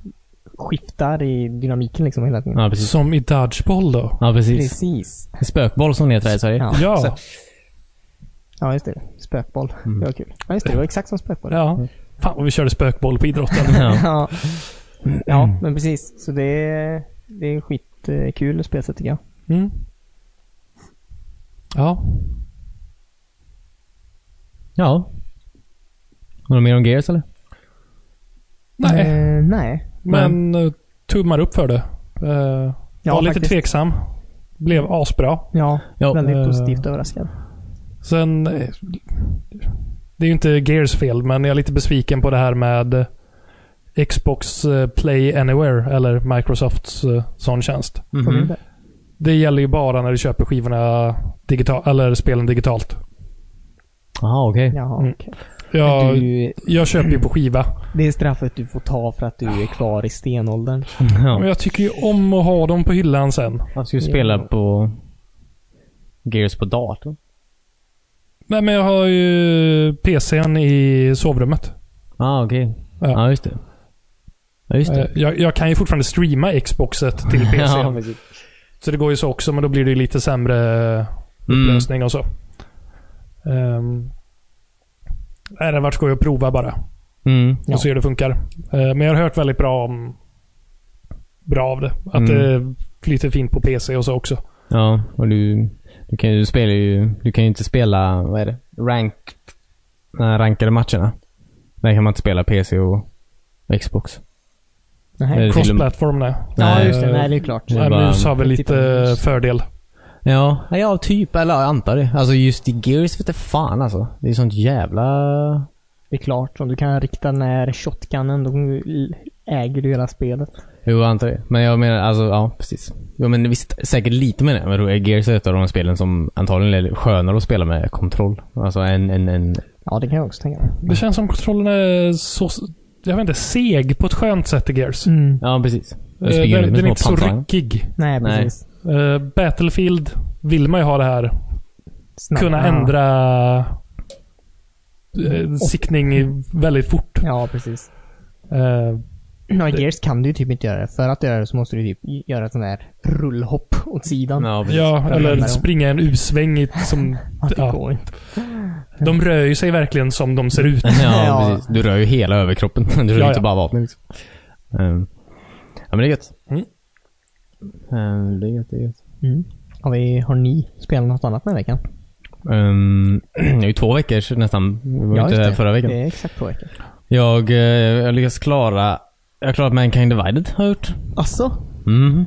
S2: skiftar i dynamiken liksom hela tiden.
S3: Ja, precis.
S1: som i Dodgeball då.
S3: Ja, precis.
S2: Precis.
S3: Spökboll som det heter här i Sverige.
S2: Ja.
S1: Ja.
S2: Ja, just det. Spökboll.
S3: Mm.
S2: Det var kul. Ja, just det. Det var exakt som spökboll.
S1: ja. Fan vad vi körde spökboll på idrotten.
S3: Ja.
S2: *laughs* Ja, ja men precis. Så det är, det är skitkul spelsätt tycker jag.
S1: Mm. Ja.
S3: ja. Har du mer om Gears eller?
S1: Nej,
S2: Eh, nej.
S1: men eh, tummar upp för det. Eh,
S2: Ja,
S1: var lite
S2: faktiskt.
S1: tveksam. Blev asbra.
S2: Ja,
S3: Ja.
S2: väldigt
S1: eh,
S2: positivt överraskad.
S1: Sen... eh, Det är ju inte Gears fel, men jag är lite besviken på det här med Xbox eh, Play Anywhere, eller Microsofts eh, sån tjänst.
S2: Vad
S3: Mhm.
S2: vill det?
S1: Det gäller ju bara när du köper skivorna digital, eller spelen digitalt.
S3: Jaha, okej.
S2: Jaha,
S1: Mm.
S2: okej.
S1: Jag,
S2: Du,
S1: jag köper ju på skiva.
S2: det är straffet du får ta för att du är kvar i stenåldern.
S1: Men
S3: *laughs* Ja.
S1: jag tycker ju om att ha dem på hyllan sen.
S3: Jag ska ju spela på Gears på datorn.
S1: Nej, men jag har ju PCn i sovrummet.
S3: Ja, ah, okej.
S1: Ja.
S3: Ja, just det. Ja, just det.
S1: Eh, Jag, jag kan ju fortfarande streama Xboxet till
S3: *laughs*
S1: PCn.
S3: Ja,
S1: Så det går ju så också, men då blir det ju lite sämre
S3: Mm.
S1: upplösning och så. Um, det hade varit skoj att prova bara
S3: Mm.
S2: Ja.
S1: och se hur det funkar. Eh, men jag har hört väldigt bra om bra av det. Att
S3: Mm.
S1: det flyter fint på PC och så också.
S3: Ja, och du, du kan ju spela ju, du kan ju inte spela, vad är det? Rank, nej, rankade matcherna. Där kan man inte spela PC och Xbox.
S2: Nej.
S3: Eh, till och med-
S1: Cross-platform, nej.
S2: Ja,
S3: Nej.
S2: just det. Nej, det är klart. Typ
S3: Ja.
S1: Eh,
S3: bara-
S1: mus har väl
S2: Titta på
S1: lite
S2: mus.
S1: fördel.
S3: Ja, ja, typ. Eller jag antar det. Alltså just i Gears vete fan alltså. Det är sånt jävla...
S2: Det är klart. Om du kan rikta när shotgunnen, då äger du hela spelet.
S3: Jo, jag antar det. Men jag menar, alltså ja, precis. Jo, men visst, säkert lite med det. Men då är Gears ett av de spelen som antagligen är skönare att spela med kontroll. Alltså en, en, en...
S2: Ja, det kan jag också tänka mig.
S1: Det känns som kontrollen är så... Jag vet inte, seg på ett skönt sätt i Gears.
S2: Mm.
S3: Ja, precis. Du
S1: Eh,
S3: springer
S1: den,
S3: runt med
S1: den är
S3: små
S1: inte så
S3: pansarvagnar.
S1: ryckig.
S2: Nej,
S3: Nej.
S2: precis.
S1: Eh, Battlefield vill man ju ha det här.
S2: Snabbt.
S1: Kunna
S2: Ja.
S1: ändra eh, siktning i- väldigt fort.
S2: Ja, precis.
S1: Eh,
S2: Ja, i Gears kan du ju typ inte göra det. För att göra det så måste du typ göra ett sånt där rullhopp åt sidan.
S3: Ja, precis.
S1: ja, eller
S2: menar de?
S1: springa en U-sväng. i- Som,
S2: Ja, det
S1: ja.
S2: går inte.
S1: De rör ju sig verkligen som de ser ut.
S3: *laughs* Ja,
S2: Ja.
S3: precis. Du rör ju hela överkroppen. *laughs* Du rör
S1: Ja,
S3: inte
S1: ja.
S3: bara vapnet. Liksom. Ehm, ja, men det är gött.
S1: Mm.
S3: Ehm, det är gött, det är gött.
S2: Mm. Har, vi, har ni spelat något annat den här veckan?
S3: Ehm, *clears throat* det är ju två veckor sedan nästan. Vi var inte
S2: just
S3: här
S2: det.
S3: förra veckan.
S2: Det är exakt två veckor.
S3: Jag, eh, jag lyckas klara... Jag har klarat Mankind Divided, har jag gjort.
S2: Alltså,
S3: Mm.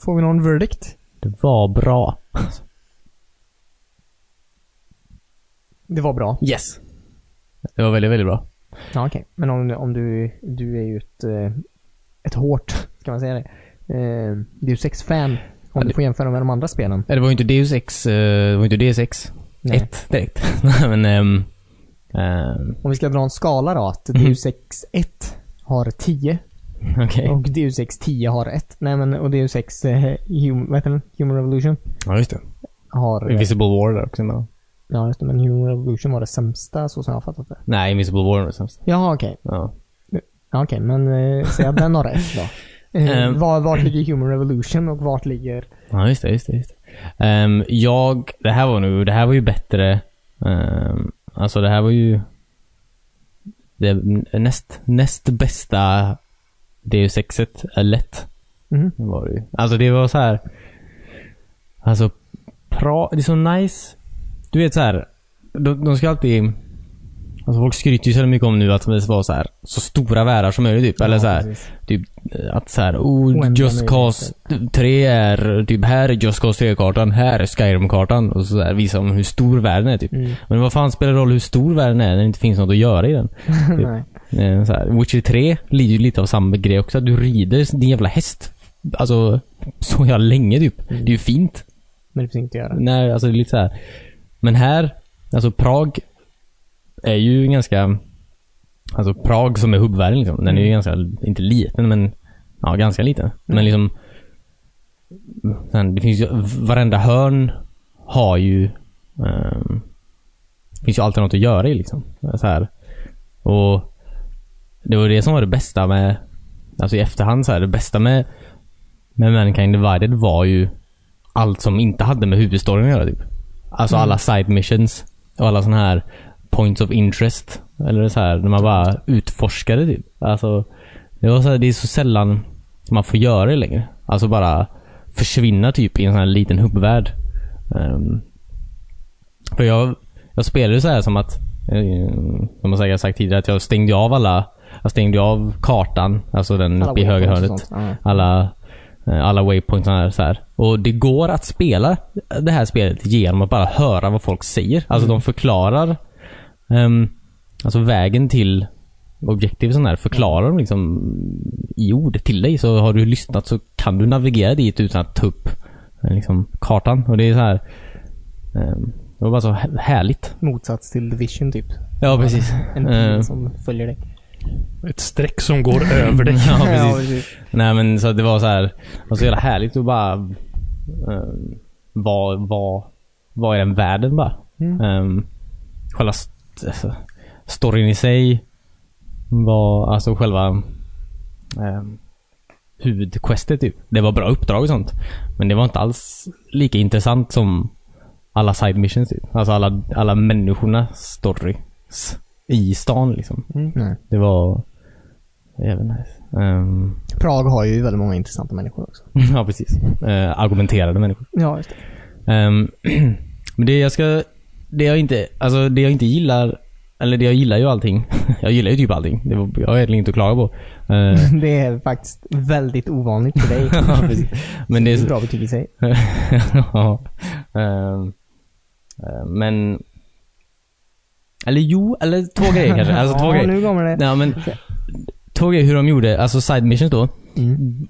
S2: Får vi någon verdict?
S3: Det var bra.
S2: Det var bra.
S3: Yes. Det var väldigt, väldigt bra.
S2: Ja, okej. Men om, om du, du är ju ett, eh, ett hårt, ska man säga det? Eh, Deus Ex-fan. Om du
S3: det-
S2: får jämföra med de andra spelen.
S3: Eh, Det var ju inte Deus Ex, eh, det var ju inte Deus Ex *laughs*
S2: Nej.
S3: 1 direkt. Nej, men ehm, Ehm,
S2: Om vi ska dra en skala då, att
S3: Mhm.
S2: Deus Ex 1 har 10
S3: Okej.
S2: och Deus Ex 10 har 1. Nej men, och Deus Ex eh, hum, vad heter den? Human Revolution
S3: Ja, just det.
S2: har... eh,
S3: Invisible War där också emellan.
S2: Ja, just det, men Human Revolution var det sämsta, så som jag har fattat det.
S3: Nej, Invisible War var det sämst.
S2: Jaha, okej.
S3: Ja.
S2: Ja, okej, men eh, säg att den har 1
S3: *laughs*
S2: då. Eh,
S3: Ehm.
S2: var, vart ligger Human Revolution och vart ligger...
S3: ja, just det. Just det, just det. Ehm, jag, det här var nu, det här var ju bättre. ehm, alltså det här var ju det näst, näst bästa Deus Exet, eh, lätt.
S2: Mhm.
S3: Det var det ju. Alltså det var så här. Alltså, pra, det är så nice. Du vet så här. De, de ska alltid... Alltså folk skryter ju så jävla mycket om nu att det ska vara så här så stora världar som möjligt typ. Eller
S2: Ja,
S3: så här,
S2: precis.
S3: Typ eh, att så här, oh,
S2: Oändliga
S3: Just Cause 3 är, typ här är Just Cause 3-kartan, här är Skyrim-kartan. Och så där visar de hur stor världen är typ.
S2: Mm. *laughs*
S3: Men vad fan spelar det roll hur stor världen är när det inte finns något att göra i den?
S2: Nej.
S3: Eh, Så här, Witcher 3 lider ju lite av samma grej också. Du rider din jävla häst. Alltså, så jävla länge typ. Det är ju fint.
S2: Men det finns inget att göra.
S3: Nej, alltså det är lite så här. Men här, alltså Prag är ju ganska... Alltså Prag som är hubbvärlden liksom. Den är ju ganska, inte liten men, ja ganska liten. Men liksom, sen, det finns ju, varenda hörn har ju, ehm, det finns ju alltid något att göra i liksom. Så här. Och det var det som var det bästa med, alltså i efterhand så här, det bästa med, med Mankind Divided var ju allt som inte hade med huvudstoryn att göra typ.
S2: Mm.
S3: Alltså alla side missions och alla sådana här points of interest. Eller så här, när man bara utforskade typ. Alltså, det, var så här, det är så sällan man får göra det längre. Alltså bara försvinna typ i en sån här liten hubbvärld. Ehm, för jag, jag spelade ju så här som att, eh, som jag säkert sagt tidigare, att jag stängde ju av alla, jag stängde ju av kartan, alltså den
S2: Alla
S3: uppe i högra
S2: weapons och
S3: hörnet
S2: sånt. Ja.
S3: alla, eh, alla waypoints här, så här. Och det går att spela det här spelet genom att bara höra vad folk säger. Alltså de förklarar ehm, alltså vägen till objektiv och sån här förklarar de liksom i ord till dig. Så har du lyssnat så kan du navigera dit utan att ta upp eh, liksom, kartan. Och det är så här ehm, Det var bara så här- härligt.
S2: Motsats till Division typ.
S3: Ja, precis.
S2: En bil
S3: Eh.
S2: som följer dig.
S1: Ett streck som går över dig.
S3: *laughs* Ja,
S2: *laughs*
S3: precis.
S2: precis.
S3: Nej men så att det var så här, det var så jävla härligt att bara eh, vara var, var i den världen bara.
S2: Mm.
S3: Eh, själva st- alltså, storyn i sig var, alltså själva eh, huvudquestet typ. Det var bra uppdrag och sånt. Men det var inte alls lika intressant som alla side missions typ. Alltså alla, alla människornas stories i stan liksom.
S2: Mm. Nej.
S3: Det var jävligt nice. Ehm,
S2: Prag har ju väldigt många intressanta människor också.
S3: Mm, *laughs* Ja, precis. Eh, argumenterade människor.
S2: Ja, just det.
S3: Ehm, *clears throat* men det jag ska... Det jag inte... Alltså det jag inte gillar... Eller det jag gillar ju allting. *laughs* jag gillar ju typ allting. Det var, jag har egentligen inte att klaga på.
S2: *laughs*
S3: Eh,
S2: *laughs* Det är faktiskt väldigt ovanligt för dig.
S3: *laughs* ja, precis. men
S2: det
S3: det är
S2: är
S3: så,
S2: ett bra betyg i sig.
S3: *laughs* ja. Ehm, eh, men... Eller jo, eller två
S2: *laughs*
S3: grejer kanske. Alltså två
S2: ja,
S3: grejer.
S2: nu kommer det.
S3: Ja, men, två grejer hur de gjorde. Alltså side missions då.
S2: Mm.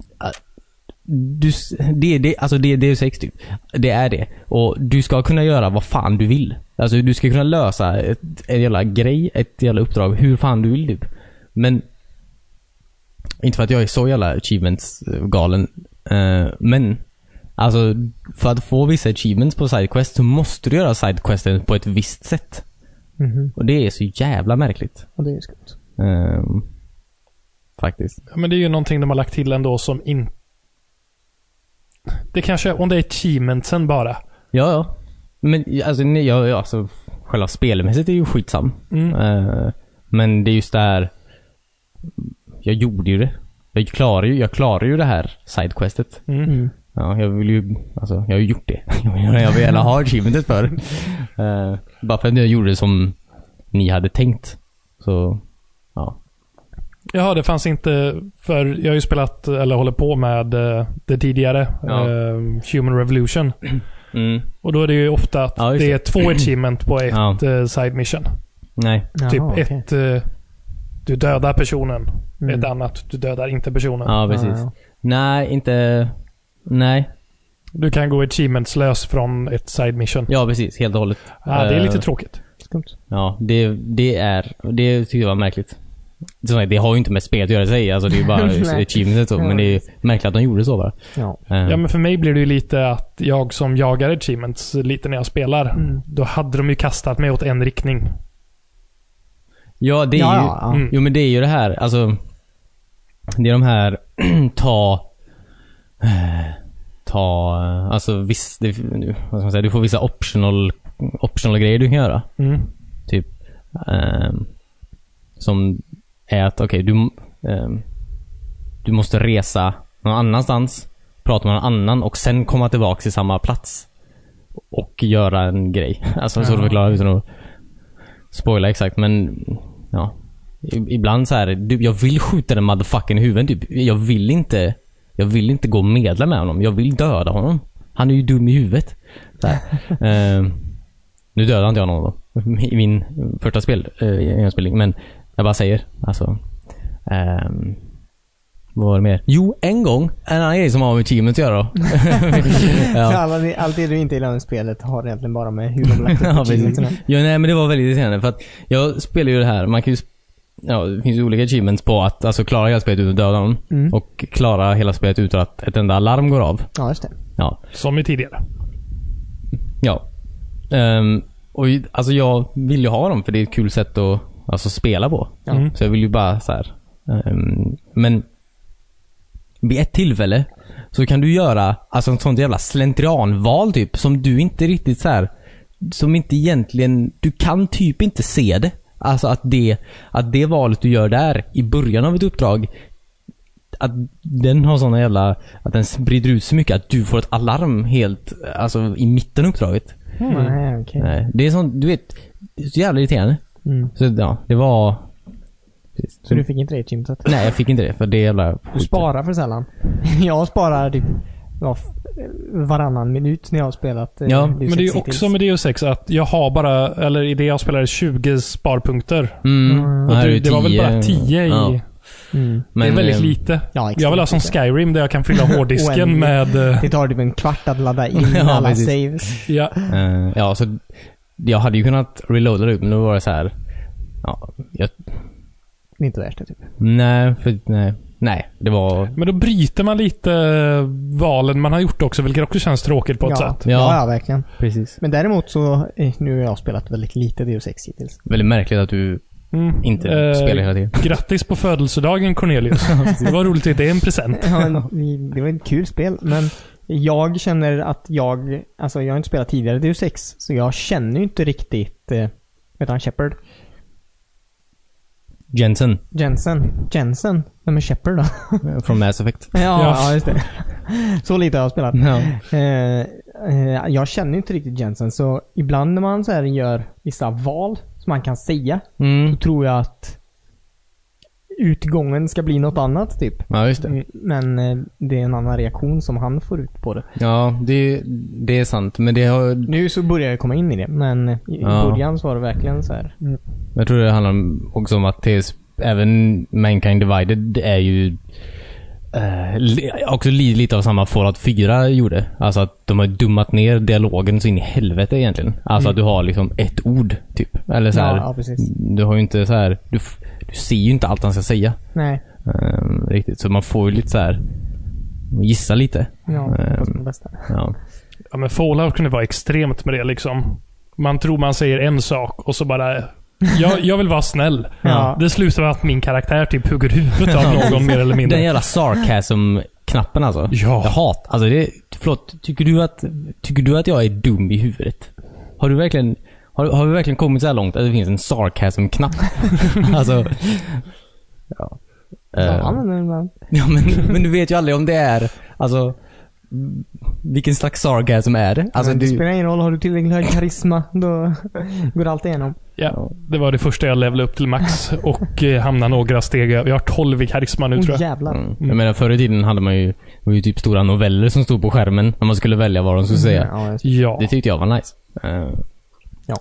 S3: du, det, det, alltså det, det är sex typ. Det är det. Och du ska kunna göra vad fan du vill. Alltså du ska kunna lösa ett, en jävla grej, ett jävla uppdrag, hur fan du vill typ. Men inte för att jag är så jävla achievements-galen. eh, men alltså för att få vissa achievements på sidequest så måste du göra sidequesten på ett visst sätt.
S2: Mhm.
S3: Och det är så jävla märkligt.
S2: Och det är ju skumt.
S3: Ehm, faktiskt.
S1: Ja, men det är ju någonting de har lagt till ändå som inte... Det kanske, om det är achievementsen bara.
S3: Ja, ja. Men alltså, nej, ja, ja, alltså själva spelmässigt är ju skitsam.
S1: Mm.
S3: Eh, men det är just det här. Jag gjorde ju det. Jag klarar ju, jag klarar ju det här sidequestet.
S1: Mm.
S2: Mm.
S3: Ja, jag vill ju, alltså jag har ju gjort det. *laughs* jag vill gärna ha achievementet för. Eh, bara för att jag gjorde det som ni hade tänkt. Så, ja.
S1: Jaha, det fanns inte... För jag har ju spelat, eller håller på med eh, det tidigare.
S3: Ja.
S1: eh, Human Revolution.
S3: Mm.
S1: Och då är det ju ofta att
S3: Ja, just
S1: det är
S3: det.
S1: två achievement på ett
S3: Ja.
S1: eh, side mission.
S3: Nej.
S1: typ
S2: Jaha, okej.
S1: ett... eh, du dödar personen.
S2: Mm.
S1: Ett annat, du dödar inte personen.
S3: Ja, precis.
S2: Ja,
S3: Nej, inte... Nej.
S1: Du kan gå achievementslös från ett side mission.
S3: Ja, precis. Helt och hållet.
S1: Ah, det är lite
S3: Eh,
S1: tråkigt.
S2: skumt.
S3: Ja, det, det är, det tycker jag var märkligt. Som sagt, Det har ju inte med spelet att göra i sig, alltså det är ju
S2: *laughs*
S3: bara
S2: Nej.
S3: achievementet så, men det är märkligt att de gjorde så bara.
S2: Ja.
S3: Eh,
S1: Ja, men för mig blir det ju lite att jag som jagar achievements lite när jag spelar,
S2: Mm.
S1: då hade de ju kastat mig åt en riktning.
S3: ja, det är
S2: ja,
S3: ju,
S2: ja, ja.
S1: Mm.
S3: Jo men det är ju det här, alltså. Det är de här, *clears throat* ta... eh, Ta, alltså visst, det, vad ska man säga, du får vissa optional, optional grejer du kan göra.
S1: Mm.
S3: Typ. ehm, som är att, okej, du, ehm, du måste resa någon annanstans, prata med någon annan och sen komma tillbaka till samma plats. Och göra en grej. *laughs* Alltså så
S1: Ja.
S3: att förklara utan att spoila exakt, men ja. I- Ibland så här, du, jag vill skjuta den motherfucking i huvudet typ. Jag vill inte, jag vill inte gå och medla med honom. Jag vill döda honom. Han är ju dum i huvudet. Så här. Ehm, nu dödade inte jag någon då. I min första spel, eh, genomspelning. Men jag bara säger. Alltså. ehm, vad var det mer? Jo, en gång. En annan grej som har med teamet att göra då. *laughs* Ja.
S2: Så alla, allt det du inte gillar med spelet har egentligen bara med hur de lagt upp
S3: *laughs*
S2: liksom.
S3: ja, precis.
S2: achievementerna.
S3: ja, nej men det var väldigt irriterande för att jag spelar ju det här, man kan ju sp- Ja, det finns ju olika achievements på att alltså, klara hela spelet utan att döda någon.
S2: Mm.
S3: Och klara hela spelet utan att ett enda alarm går av.
S2: Ja, just det.
S3: Ja.
S1: Som i tidigare.
S3: ja. Ehm, och ju- alltså jag vill ju ha dem för det är ett kul sätt att alltså, spela på.
S2: Ja.
S1: Mm.
S3: Så jag vill ju bara så här. ehm, men vid ett tillfälle så kan du göra alltså ett sånt jävla slentrianval typ som du inte riktigt så här som inte egentligen, du kan typ inte se det. Alltså att det, att det valet du gör där i början av ett uppdrag att den har såna jävla, att den sprider ut så mycket att du får ett alarm helt, alltså i mitten av uppdraget.
S2: Hmm. Nej, okej.
S3: Nej, det är sånt, du vet, det är så jävla irriterande.
S2: Mm.
S3: Så ja, det var... Precis.
S2: Så du fick inte det achievementet?
S3: Nej, jag fick inte det. För Mm. det jävla
S2: Du sparar för sällan. *laughs* jag sparar typ ja, f- varannan minut när jag har spelat eh,
S3: Ja,
S1: Men
S2: Deus
S1: det är
S2: Ex
S1: ju
S2: hittills.
S1: också med Deus 6 att jag har bara, eller i det jag spelar, 20 sparpunkter.
S3: Mm.
S2: Mm.
S1: Och
S3: här är
S1: det,
S3: ju
S1: det var väl bara 10 i...
S3: Ja,
S2: Mm.
S1: det
S3: men,
S1: är väldigt
S3: eh,
S1: lite.
S2: Ja,
S1: Jag vill ha som
S2: exakt. E.
S1: Skyrim där jag kan fylla hårddisken
S2: *laughs* Oändligt.
S1: med... eh,
S2: Det tar typ en kvart att ladda in
S3: Ja,
S2: alla
S3: precis.
S2: saves.
S1: Ja,
S3: eh, ja, så jag hade ju kunnat reloada det ut, men då var det så här... Ja, jag,
S2: Det är inte värt det typ.
S3: nej, för, nej, nej. Det var...
S1: men då bryter man lite eh, valen man har gjort också, vilket också känns tråkigt på ett
S2: ja.
S1: sätt.
S2: Ja. ja, verkligen.
S3: Precis.
S2: Men däremot så, eh, nu har jag spelat väldigt lite Deus Ex hittills.
S3: Väldigt märkligt att du
S1: Mm.
S3: inte
S1: Eh,
S3: spelar hela tiden.
S1: Grattis på födelsedagen
S2: *laughs*
S1: Cornelius. det var roligt att det är en present.
S2: Ja, men vi- det var ett kul spel, men jag känner att jag, alltså jag har inte spelat tidigare Deus Ex, så jag känner ju inte riktigt, eh, vet han Shepard?
S3: Jensen
S2: Jensen. Jensen? Vem är Shepard då?
S3: eh, från Mass Effect.
S2: Ja,
S1: Ja.
S2: *laughs* ja. just det. Så lite har jag spelat.
S3: Ja.
S2: Eh, eh, jag känner ju inte riktigt Jensen, så ibland när man så här gör vissa val som man kan säga,
S3: Mm.
S2: så tror jag att utgången ska bli något annat typ.
S3: Ja, just det.
S2: Men eh, det är en annan reaktion som han får ut på det.
S3: Ja, det, det är sant. Men det har...
S2: Nu så börjar jag komma in i det, men i i
S3: Ja.
S2: början så var det verkligen så här.
S1: Mm.
S3: Jag tror det handlar om- också om att TS, även Mankind Divided är ju eh, li- också li- lite av samma Fallout 4 gjorde. Alltså att de har dummat ner dialogen så in i helvete egentligen. Alltså att du har liksom ett ord, typ. Eller så här,
S2: Mm. Ja, ja, precis.
S3: Du har ju inte så här, du, f- du ser ju inte allt han ska säga.
S2: Nej.
S3: eh, riktigt. Så man får ju lite så här gissa lite.
S2: Ja, hoppas på
S3: Ehm.
S2: det bästa.
S3: Ja.
S1: Ja, men Fallout kunde vara extremt med det liksom. Man tror man säger en sak och så bara... Jag, jag vill vara snäll.
S2: Ja.
S1: Det slutar med att min karaktär typ hugger huvudet av någon mer eller
S3: Den
S1: mindre.
S3: jävla sarcasm-knappen alltså.
S1: Ja.
S3: Jag hatar, alltså det, förlåt, tycker du, att, tycker du att jag är dum i huvudet? Har du verkligen, har, har vi verkligen kommit så här långt att det finns en sarcasm-knapp? *laughs* alltså, ja. Eh,
S2: Ja, men, men, men.
S3: ja men, men du vet ju aldrig om det är, alltså, m- vilken slags sarcasm är det? Alltså,
S2: men det
S3: du,
S2: spelar ingen roll, har du tillräckligt hög karisma då *laughs* går allt igenom.
S1: Ja, det var det första jag levlade upp till max och eh, hamnade några steg över. Jag har 12 i karisma nu
S2: Åh
S1: tror jag.
S2: jävlar.
S3: Mm. Jag menar förr i tiden hade man ju, det var ju typ stora noveller som stod på skärmen när man skulle välja vad de skulle säga.
S2: Mm. Ja, just-
S1: Ja.
S3: Det tyckte jag var nice. Eh,
S2: Ja.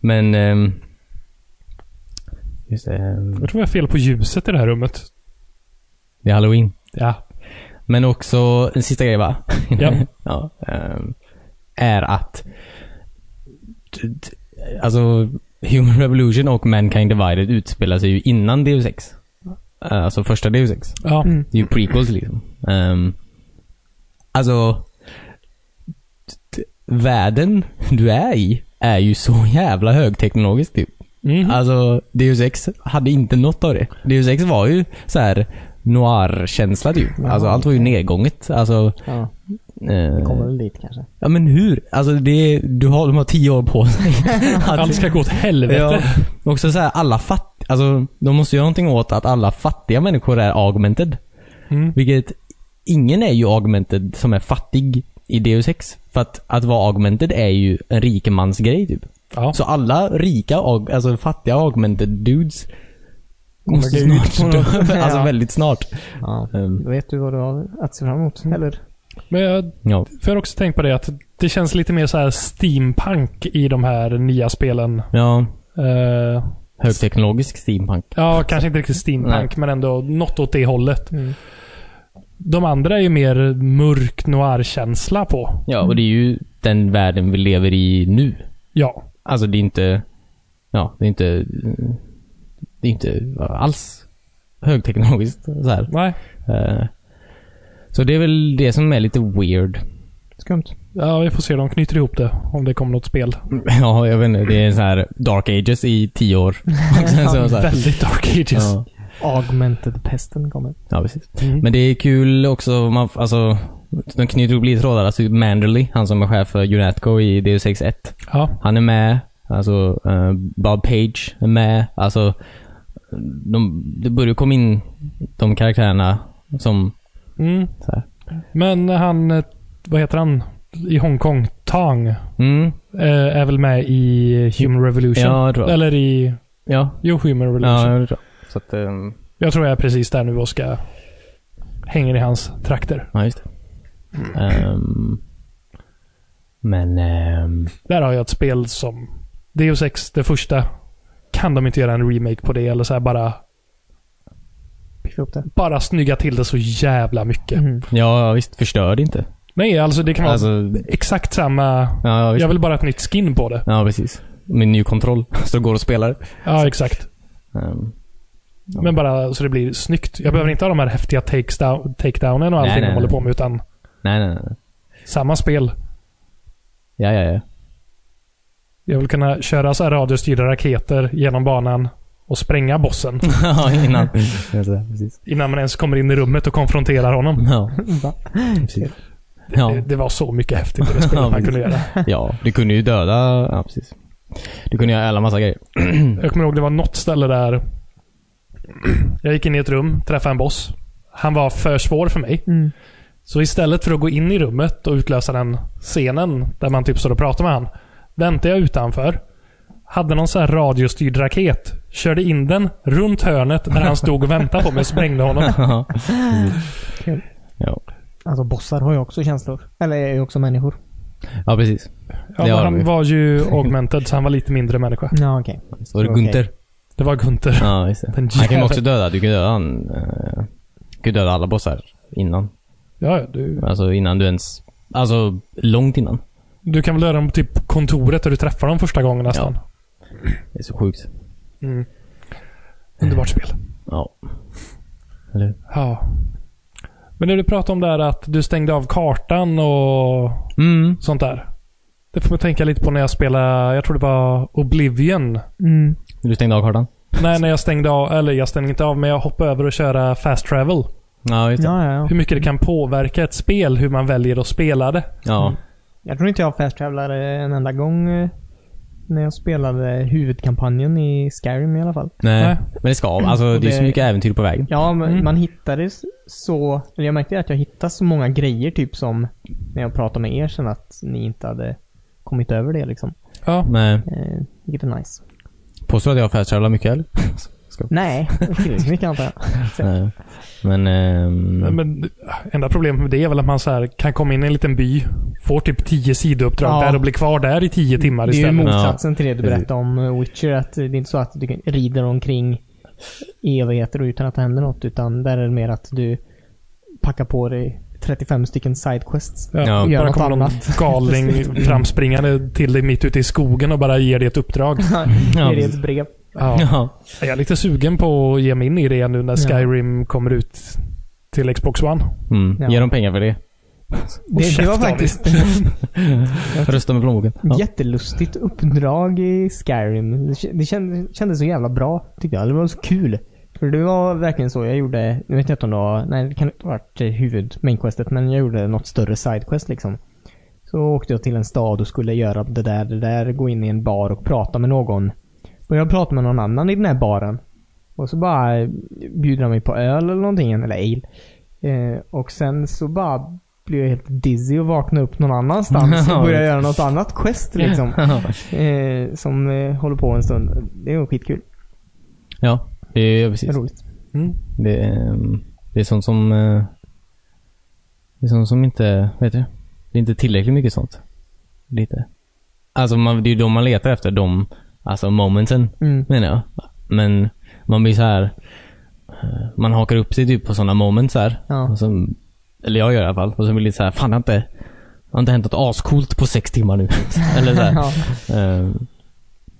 S3: Men... ehm, just det. ehm,
S1: Jag tror jag har fel på ljuset i det här rummet.
S3: Det är halloween.
S1: Ja.
S3: Men också, en sista grej va?
S1: Ja.
S3: *laughs* ja ehm, är att... Alltså, Human Revolution och Mankind Divided utspelar sig ju innan Deus Ex. Eh, Alltså första Deus Ex.
S1: Ja.
S2: Mm.
S3: Det är ju prequels liksom. Um, alltså... t- Världen du är i är ju så jävla högteknologisk typ.
S1: Mhm.
S3: Alltså, Deus Ex hade inte något av det. Deus Ex var ju så här noir-känsla typ. Alltså allt var ju nedgånget. Alltså...
S2: Ja,
S3: eh,
S2: kommer väl dit kanske.
S3: ja men hur? Alltså det, du har, de har tio år på
S1: *laughs*
S3: sig. Att-
S1: Allt ska gå åt
S3: Ja.
S1: helvete.
S3: Också så här, alla fatt... Alltså, de måste göra någonting åt att alla fattiga människor är augmented.
S1: Mm.
S3: Vilket, ingen är ju augmented som är fattig i Deus Ex. För att, att vara augmented är ju en rikemansgrej typ.
S1: Ja.
S3: Så alla rika, aug- alltså fattiga augmented dudes måste
S2: Kommer dö ut
S3: snart
S2: på
S3: dö.
S2: något.
S3: *laughs* Alltså
S2: Ja.
S3: väldigt snart.
S2: Ja.
S3: Ehm,
S2: Då vet du vad du har att se fram
S1: Mm.
S2: emot. Eller?
S1: Men jag,
S3: ja.
S1: för jag har också tänkt på det att det känns lite mer så här steampunk i de här nya spelen.
S3: ja.
S1: Eh,
S3: Högteknologisk steampunk.
S1: ja, kanske inte riktigt steampunk, men ändå något åt det hållet.
S2: Mm.
S1: De andra är ju mer mörk noir-känsla på.
S3: Ja, och det är ju den världen vi lever i nu.
S1: Ja.
S3: Alltså det är inte... Ja, det är inte... Det är inte alls högteknologiskt så här.
S1: Nej.
S3: Eh, Så det är väl det som är lite weird. *laughs*
S2: Skumt.
S1: Ja, vi får se. De knyter ihop det om det kommer något spel.
S3: Ja, jag vet inte. Det är så här dark ages i
S2: *laughs*
S3: tio år. Och sen så, så här.
S1: Väldigt dark ages.
S3: Ja,
S2: Augmented-pesten kommer.
S3: ja, precis.
S1: Mm.
S3: Men det är kul också, man, alltså, de knyter ihop lite trådar. Alltså Manderly, han som är chef för Unatco i Deus Ex 1.
S1: Ja.
S3: Han är med. Alltså, eh, Bob Page är med. Alltså, de, det börjar komma in de karaktärerna som...
S1: Mm.
S3: Så här.
S1: Men han, eh, vad heter han i Hongkong? Tang. eh,
S3: Mm,
S1: Är väl med i Human Revolution?
S3: ja, jag tror jag.
S1: Eller i...
S3: Ja,
S1: Jo, Human Revolution.
S3: ja, jag tror jag. Så att, ehm,
S1: Jag tror jag är precis där nu och ska... Hänger i hans trakter.
S3: ja, just det. Ehm, men, ehm,
S1: Där har jag ett spel som... Deus Ex, det första. Kan de inte göra en remake på det? Eller så här bara...
S2: Piffa upp det.
S1: Bara snygga till det så jävla mycket.
S2: Mm. *laughs*
S3: ja visst, förstör det inte.
S1: Nej, alltså det kan vara
S3: Alltså,
S1: exakt samma...
S3: ja, visst.
S1: Jag vill bara ha ett nytt skin på det.
S3: ja, precis. Med ny kontroll, *laughs* så går och spelar.
S1: Ja, exakt.
S3: Ehm, ja.
S1: Men bara så det blir snyggt. Jag behöver inte ha de här häftiga takes down- takedownen och
S3: Nej,
S1: allting
S3: nej,
S1: de
S3: nej.
S1: håller på med, utan
S3: Nej, nej, nej.
S1: samma spel.
S3: Ja, ja, *laughs* ja.
S1: Jag vill kunna köra så här radiostyrda raketer genom banan och spränga bossen
S3: Ja, innan. Ja, så här, precis.
S1: innan man ens kommer in i rummet och konfronterar honom.
S3: *laughs* Ja,
S2: Va?
S3: precis. Mm. Ja.
S1: *laughs* Det, det var så mycket häftigt i
S3: *laughs*
S1: det
S3: Ja,
S1: spelet man
S3: precis.
S1: kunde göra.
S3: Ja, du kunde ju döda... Ja, precis. Du kunde göra alla massa grejer.
S1: Jag kommer ihåg det var något ställe där jag gick in i ett rum, träffade en boss. Han var för svår för mig.
S2: Mm.
S1: Så istället för att gå in i rummet och utlösa den scenen där man typ står och pratar med han. Väntade jag utanför. Hade någon så här radiostyrd raket. Körde in den runt hörnet där han stod och väntade på mig och sprängde honom.
S3: *laughs* Ja.
S2: Kul.
S3: Ja.
S2: Alltså bossar har ju också känslor. Eller är ju också människor.
S3: ja, precis.
S1: Ja,
S3: Det
S1: men
S3: har vi.
S1: han var ju augmented så han var lite mindre människa.
S2: Ja, okej.
S3: Och
S2: Okej.
S3: Gunther.
S1: Det var Gunther.
S3: Ja, just det.
S1: Den
S3: Han kan ju
S1: jäveln.
S3: också döda. Du kan döda han. eh, Du kan döda alla bossar innan.
S1: Ja, du,
S3: Alltså innan du ens... Alltså långt innan.
S1: du kan väl göra dem på typ kontoret där du träffar dem första gången nästan.
S3: Det är så sjukt.
S1: Mm. Underbart spel.
S3: Ja. Eller
S1: Ja. Men det du pratade om där att du stängde av kartan och
S3: Mm.
S1: sånt där. Det får man tänka lite på när jag spelade, jag tror det var Oblivion.
S2: Mm.
S3: Du stängde av kartan?
S1: Nej, när jag stängde av, eller jag stängde inte av, men jag hoppade över och köra fast travel.
S3: Ja, just det.
S2: Ja, ja, ja.
S1: Hur mycket det kan påverka ett spel, hur man väljer att spela det.
S3: Ja.
S2: Jag tror inte jag fast-travelade en enda gång eh, när jag spelade huvudkampanjen i Skyrim i alla fall.
S3: Nej.
S1: Nej.
S3: Men det ska. Alltså
S2: Och
S3: det är så
S2: det-
S3: mycket äventyr på vägen.
S2: Ja, men
S1: Mm.
S2: man hittade s- så... Eller jag märkte att jag hittade så många grejer typ som när jag pratade med er sen att ni inte hade kommit över det liksom.
S1: Ja.
S3: Nej.
S2: Eh, vilket är nice.
S3: Påstår att jag fast mycket eller? Ska-
S1: *laughs*
S2: Nej, *laughs* det mycket antar jag.
S3: Nej. Men... ehm,
S1: Men enda problemet med det är väl att man så här kan komma in i en liten by, får typ 10 sidouppdrag
S2: Ja.
S1: där och blir kvar där i 10 timmar
S2: Det är ju
S1: istället.
S2: motsatsen till det du berättade om eh, Witcher. Att det är inte så att du kan- rider omkring i evigheter utan att det händer något. Utan där är det mer att du packar på dig 35 stycken sidequests.
S1: Ja.
S3: Ja.
S2: Och gör
S1: Bara
S2: något
S1: kommer någon
S2: annat.
S1: *laughs* galning framspringande till dig mitt ute i skogen och bara ger dig ett uppdrag.
S3: Ja,
S2: Ger dig ett
S3: precis.
S2: brev.
S1: Ja.
S3: *laughs* ja.
S1: Jag är lite sugen på att ge mig in i det nu när Skyrim kommer ut till Xbox One.
S3: Mm.
S2: Ja.
S3: Ge dem pengar för det.
S2: Det, det var
S1: käft,
S2: faktiskt
S3: *laughs* Rösta med plånboken. Ja.
S2: jättelustigt uppdrag i Skyrim. Det kä- Det kändes, kändes så jävla bra tyckte jag. Det var så kul. För det var verkligen så jag gjorde, nu vet jag inte om det var, nej det kan inte ha varit eh, huvud mainquestet men jag gjorde något större sidequest liksom. Så åkte jag till en stad och skulle göra det där, det där, gå in i en bar och prata med någon. Och jag pratade med någon annan i den här baren. Och så bara eh, bjuder han mig på öl eller någonting, eller ale. Eh, och sen så bara blev jag helt dizzy och vaknade upp någon annanstans och började göra något annat quest
S3: *laughs*
S2: liksom. Eh, som eh, håller på en stund. Det var skitkul.
S3: ja, det är precis.
S2: Roligt.
S1: Mm.
S3: Det är, ehm, det är sånt som... eh, Det är sånt som inte... Vad heter det? Det är inte tillräckligt mycket sånt. Lite. Alltså man, det är ju de man letar efter. De alltså momenten,
S2: Mm.
S3: menar jag. Men man blir så här... eh, Man hakar upp sig typ på sådana moments här.
S2: Ja.
S3: Och så, eller jag gör i alla fall. Och så blir det lite så här, fan det har inte... Det har inte hänt något ascoolt på sex
S2: *laughs*
S3: timmar nu. eller så här.
S2: Ja.
S3: Eh,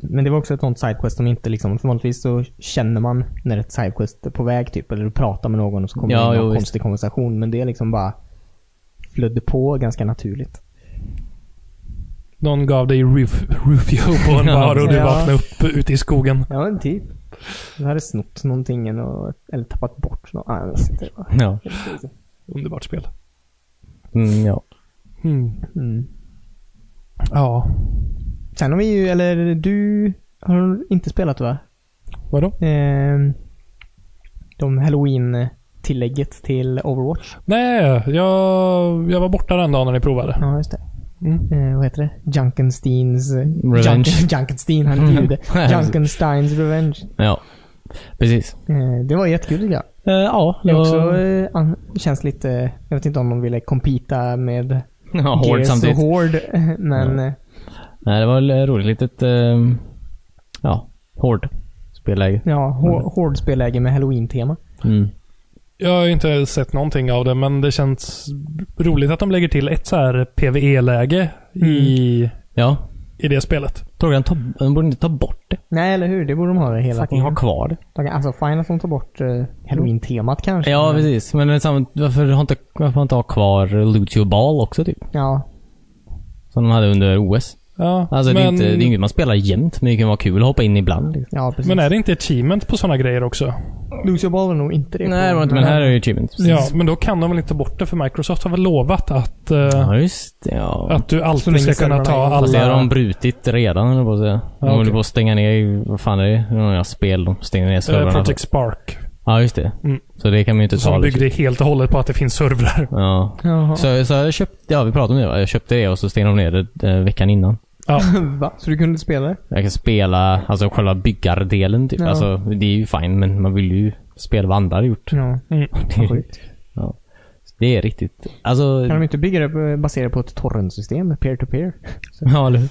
S2: Men det var också ett sånt sidequest som inte liksom, för vanligtvis så känner man när ett sidequest är på väg typ, eller du pratar med någon och så kommer det
S3: Ja,
S2: in
S3: jo,
S2: någon
S3: visst.
S2: konstig konversation. Men det är liksom bara flödde på ganska naturligt.
S1: Någon gav dig Ruf- Rufio på en
S3: Ja.
S1: bar och du
S2: Ja.
S1: vaknade upp ute i skogen.
S2: Ja, men typ. Jag hade snott någonting eller, eller tappat bort något. Ah, jag vet inte.
S3: ja.
S1: Underbart spel.
S3: Mm, ja.
S1: Mm.
S2: Mm.
S1: Ja,
S2: Sen har vi ju, eller du har inte spelat va?
S1: vadå?
S2: Eh, de halloween-tillägget till Overwatch.
S1: Nej, jag, jag var borta den dagen när ni provade.
S2: Ja, just det.
S1: Mm.
S2: eh, vad heter det? Junkensteins...
S3: Revenge.
S2: Junk, Junkenstein, han är
S3: *laughs*
S2: jude. Junkensteins Revenge.
S3: Ja. Precis.
S2: Eh, det var jättekul tycker jag.
S3: Eh, ja,
S2: Det är också, eh, an- känns lite... Jag vet inte om de ville kompita med
S3: *laughs* ja, hård
S2: Gears och
S3: samtidigt.
S2: Hård. eh, *laughs* Men... eh,
S3: Nej, det var väl roligt. Litet, ehm, ja, hård spelläge.
S2: Ja, hår, hårdspelläge med halloween-tema.
S3: Mm.
S1: Jag har ju inte sett någonting av det, men det känns roligt att de lägger till ett så här PVE-läge i,
S3: Ja,
S1: i det spelet.
S3: Torgan, ta, de borde inte ta bort det.
S2: Nej, eller hur? Det borde de ha det hela
S3: Fucking
S2: tiden.
S3: ha kvar det.
S2: De kan- Alltså, fine att de tar bort eh, halloween-temat kanske.
S3: Ja,
S2: men-
S3: precis. Men det är samma, varför, har inte, varför har inte ha kvar Lucio Ball också, typ?
S2: Ja.
S3: Som de hade under OS.
S1: Ja,
S3: Alltså, det, är
S1: men,
S3: inte, det är inget man spelar jämt, men det kan vara kul att hoppa in ibland. Liksom.
S2: Ja, precis.
S1: men är det inte achievement på sådana grejer också?
S2: Lucio Ball var nog inte det.
S3: Nej, det var inte, men här är ju achievement. precis.
S1: Ja, men då kan de väl inte ta bort det, för Microsoft har väl lovat att, eh,
S3: ja, just det. Ja.
S1: att du
S2: Så
S1: alltid
S2: länge
S1: ska kunna ta
S2: servrarna är-
S1: alla...
S3: Fast det har de brutit redan, eller på att säga. De
S1: Ja, okej.
S3: håller på att stänga ner, vad fan är det? Det är några spel de stänger ner
S1: eh,
S3: servrarna. för.
S1: Project Spark.
S3: Ja, just det.
S1: Mm.
S3: Så det kan man ju inte ta.
S1: Som
S3: Liksom.
S1: byggde helt och hållet på att det finns servrar.
S3: Ja.
S2: Jaha.
S3: Så, så jag köpte, ja vi pratade om det va? Jag köpte det och så stängde de ner det eh, veckan innan.
S1: Ja.
S2: *laughs* Va? Så du kunde inte spela det?
S3: Jag kan spela, alltså själva byggjardelen typ.
S2: Ja.
S3: Alltså det är ju fine men man vill ju spela vad andra har gjort.
S2: Ja.
S1: Mm.
S3: Det- ja. *laughs* Det är riktigt, alltså...
S2: Kan de inte bygga det på- baserat på ett torrentsystem? Peer-to-peer?
S3: Ja, eller hur?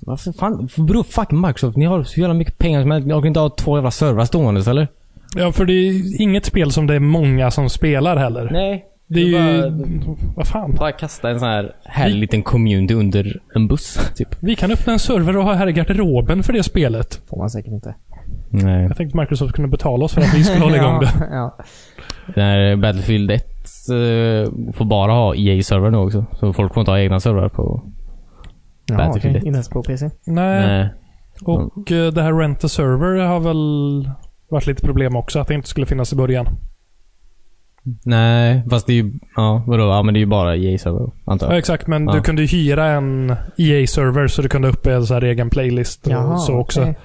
S3: Varför fan, bro, fucking Microsoft, ni har så jävla mycket pengar som helst. Ni orkar inte ha två jävla servrar stående eller?
S1: ja, för det är inget spel som det är många som spelar heller.
S3: Nej.
S1: det är ju... Vad fan.
S3: Bara kasta en sån här härlig liten community under en buss, *laughs* typ.
S1: Vi kan öppna en server och ha här i garderoben för det spelet.
S2: Får man säkert *laughs* inte.
S3: Nej.
S1: Jag tänkte Microsoft kunde betala oss för att vi skulle *laughs* hålla igång det.
S2: *laughs* ja, ja.
S3: När Battlefield 1 eh, får bara ha EA-servrar nu också. Så folk får inte ha egna servrar på...
S2: Jaha,
S1: typ
S2: okej.
S3: Battlefield ett.
S2: Inte ens på PC?
S1: Nej.
S3: Nej.
S1: Och eh, det här Rent a Server har väl varit lite problem också. Att det inte skulle finnas i början.
S3: Nej, fast det är ju... Ja, vadå? Ja, men det är ju bara EA-servrar, antar
S1: Ja,
S3: jag.
S1: exakt, men
S3: Ja.
S1: du kunde ju hyra en EA-server så du kunde ha uppe en så här egen playlist. och så också.
S2: okej.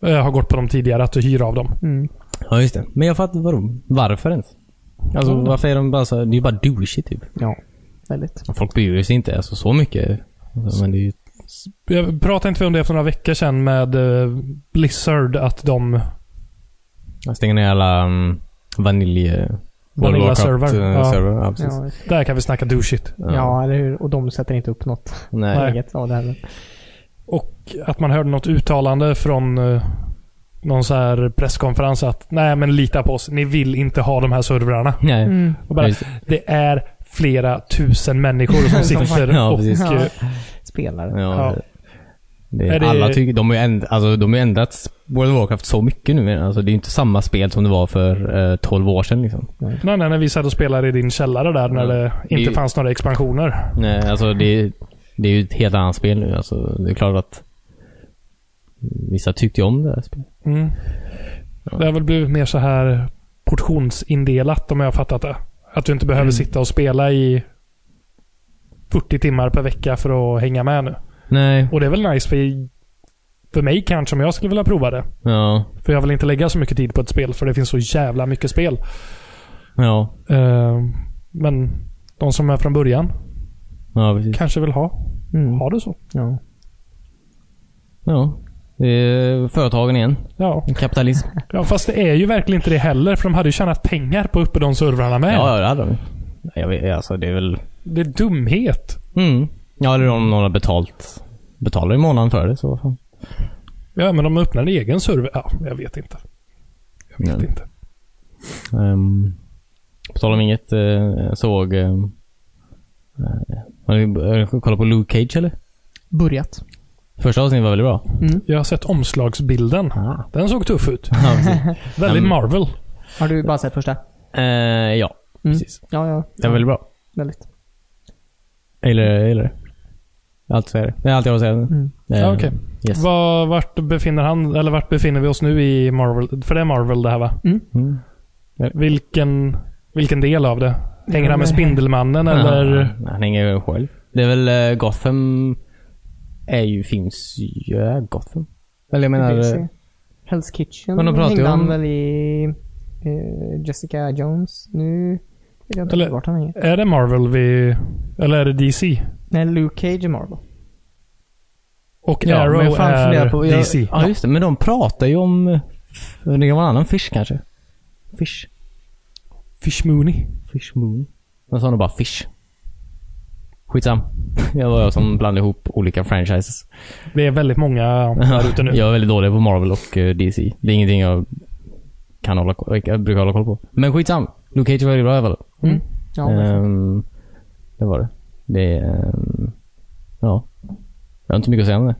S1: Jag har gått på dem tidigare, att du hyr av dem.
S2: Mm.
S3: Ja, just det. Men jag fattar vadå? Varför ens? Alltså,
S1: Mm.
S3: varför är de bara så... Det är ju bara douchey, typ.
S2: Ja. Väldigt.
S3: Folk bryr sig inte alltså, så mycket. Alltså, Men det är ju...
S1: Jag pratade inte om det för några veckor sedan med eh, Blizzard, att de...
S3: Jag stänger ner alla um, vanilj...
S1: Vanilla server. Ja.
S3: Ja. eh, server. Ja, precis.
S2: Ja, visst.
S1: Där kan vi snacka do shit.
S2: ja. eller hur? Och de sätter inte upp något
S3: Nej.
S1: Nej.
S2: eget av det heller.
S1: Och att man hörde något uttalande från eh, någon så här presskonferens att nej men lita på oss, ni vill inte ha de här servrarna.
S3: Nej.
S2: Mm.
S1: Och bara,
S3: Just
S1: det är flera tusen människor som sitter
S3: *laughs* Ja,
S1: och...
S3: precis.
S1: eh,
S2: Spelare.
S1: Ja.
S3: Ja. Det,
S1: Är det-
S3: Alla tycker, de har ju änd, alltså, de har ju ändrats World of Warcraft så mycket nu. men Alltså, det är ju inte samma spel som det var för eh, 12 år sedan. Liksom.
S1: Nej, nej, när vi satt och spelade i din källare där när
S3: Ja.
S1: det inte
S3: Det-
S1: fanns några expansioner.
S3: Nej, alltså, det, det är ju ett helt annat spel nu. Alltså, det är klart att vissa tyckte ju om det här spelet.
S1: Mm.
S3: Ja.
S1: Det har väl blivit mer så här portionsindelat om jag har fattat det. Att du inte behöver
S3: Mm.
S1: sitta och spela i 40 timmar per vecka för att hänga med nu.
S3: Nej,
S1: Och det är väl nice för, för mig kanske, om jag skulle vilja prova det.
S3: ja.
S1: För jag vill inte lägga så mycket tid på ett spel, för det finns så jävla mycket spel.
S3: Ja,
S1: Eh, men de som är från början
S3: ja precis.
S1: kanske vill ha,
S2: Mm.
S1: ha det så.
S2: Ja.
S3: Ja. Det är företagen igen.
S1: Ja.
S3: Kapitalism.
S1: ja, fast det är ju verkligen inte det heller, för de hade ju tjänat pengar på uppe de servrarna med.
S3: Ja, ja, det hade de. Nej, Jag vet, alltså det är väl...
S1: Det är dumhet.
S3: Mm. Ja, eller om någon har betalt. Betalar i månaden för det så vad fan.
S1: Ja, men de öppnar en egen server. Ja, jag vet inte. Jag vet
S3: Nej.
S1: inte.
S3: Um, på tal om inget, eh, jag såg... Um, har ni har ni kollat på Luke Cage eller?
S2: Börjat.
S3: Första avsnittet var väldigt bra.
S2: Mm.
S1: Jag har sett omslagsbilden.
S3: Ah.
S1: Den såg tuff ut.
S3: Ja, precis.
S1: Väldigt
S3: Mm.
S1: Marvel.
S2: Har du bara sett första?
S3: Eh, ja,
S2: Mm.
S3: precis.
S2: Ja, ja.
S3: Det var väldigt bra.
S2: Väldigt.
S3: Eller, eller. Allt så är det. Det är allt jag har att säga.
S2: Mm.
S1: Ja,
S3: Eh,
S1: okej.
S3: Yes.
S1: Var, vart, befinner han, eller vart befinner vi oss nu i Marvel? För det är Marvel det här va?
S3: Mm.
S1: Vilken, vilken del av det? Hänger han med Spindelmannen eller?
S3: Ja, han hänger ju själv. Det är väl eh, Gotham... Är ju, finns ju... Ja, Gotham. Eller jag menar...
S2: DC.
S3: eh,
S2: Hell's Kitchen
S3: Men de pratar ju
S2: hängde han
S3: om-
S2: väl i eh, Jessica Jones. Nu vet jag inte
S1: Eller-
S2: vart han hänger.
S1: Är det Marvel vi... Eller är det DC?
S2: Nej, Luke Cage i Marvel.
S1: Och
S3: Ja, men
S1: Arrow
S3: jag fan funderar
S1: är
S3: på, jag,
S1: DC.
S3: Ja, just det. Men de pratar ju om... eh, Det kan vara en annan fish kanske. Fish.
S1: Fish Mooney.
S3: Fish Moon. Men sa de bara fish. Skitsam. *laughs* Jag var jag som blandade ihop olika franchises.
S1: Det är väldigt många där ute nu.
S3: *laughs* Jag är väldigt dålig på Marvel och eh, DC. Det är ingenting jag kan hålla koll Jag brukar hålla koll på. Men skitsam. Luke Cage var ju bra i alla fall.
S2: Ja, verkligen.
S3: Ehm, det var det. Det... ehm, ja. Jag har inte mycket att säga om det.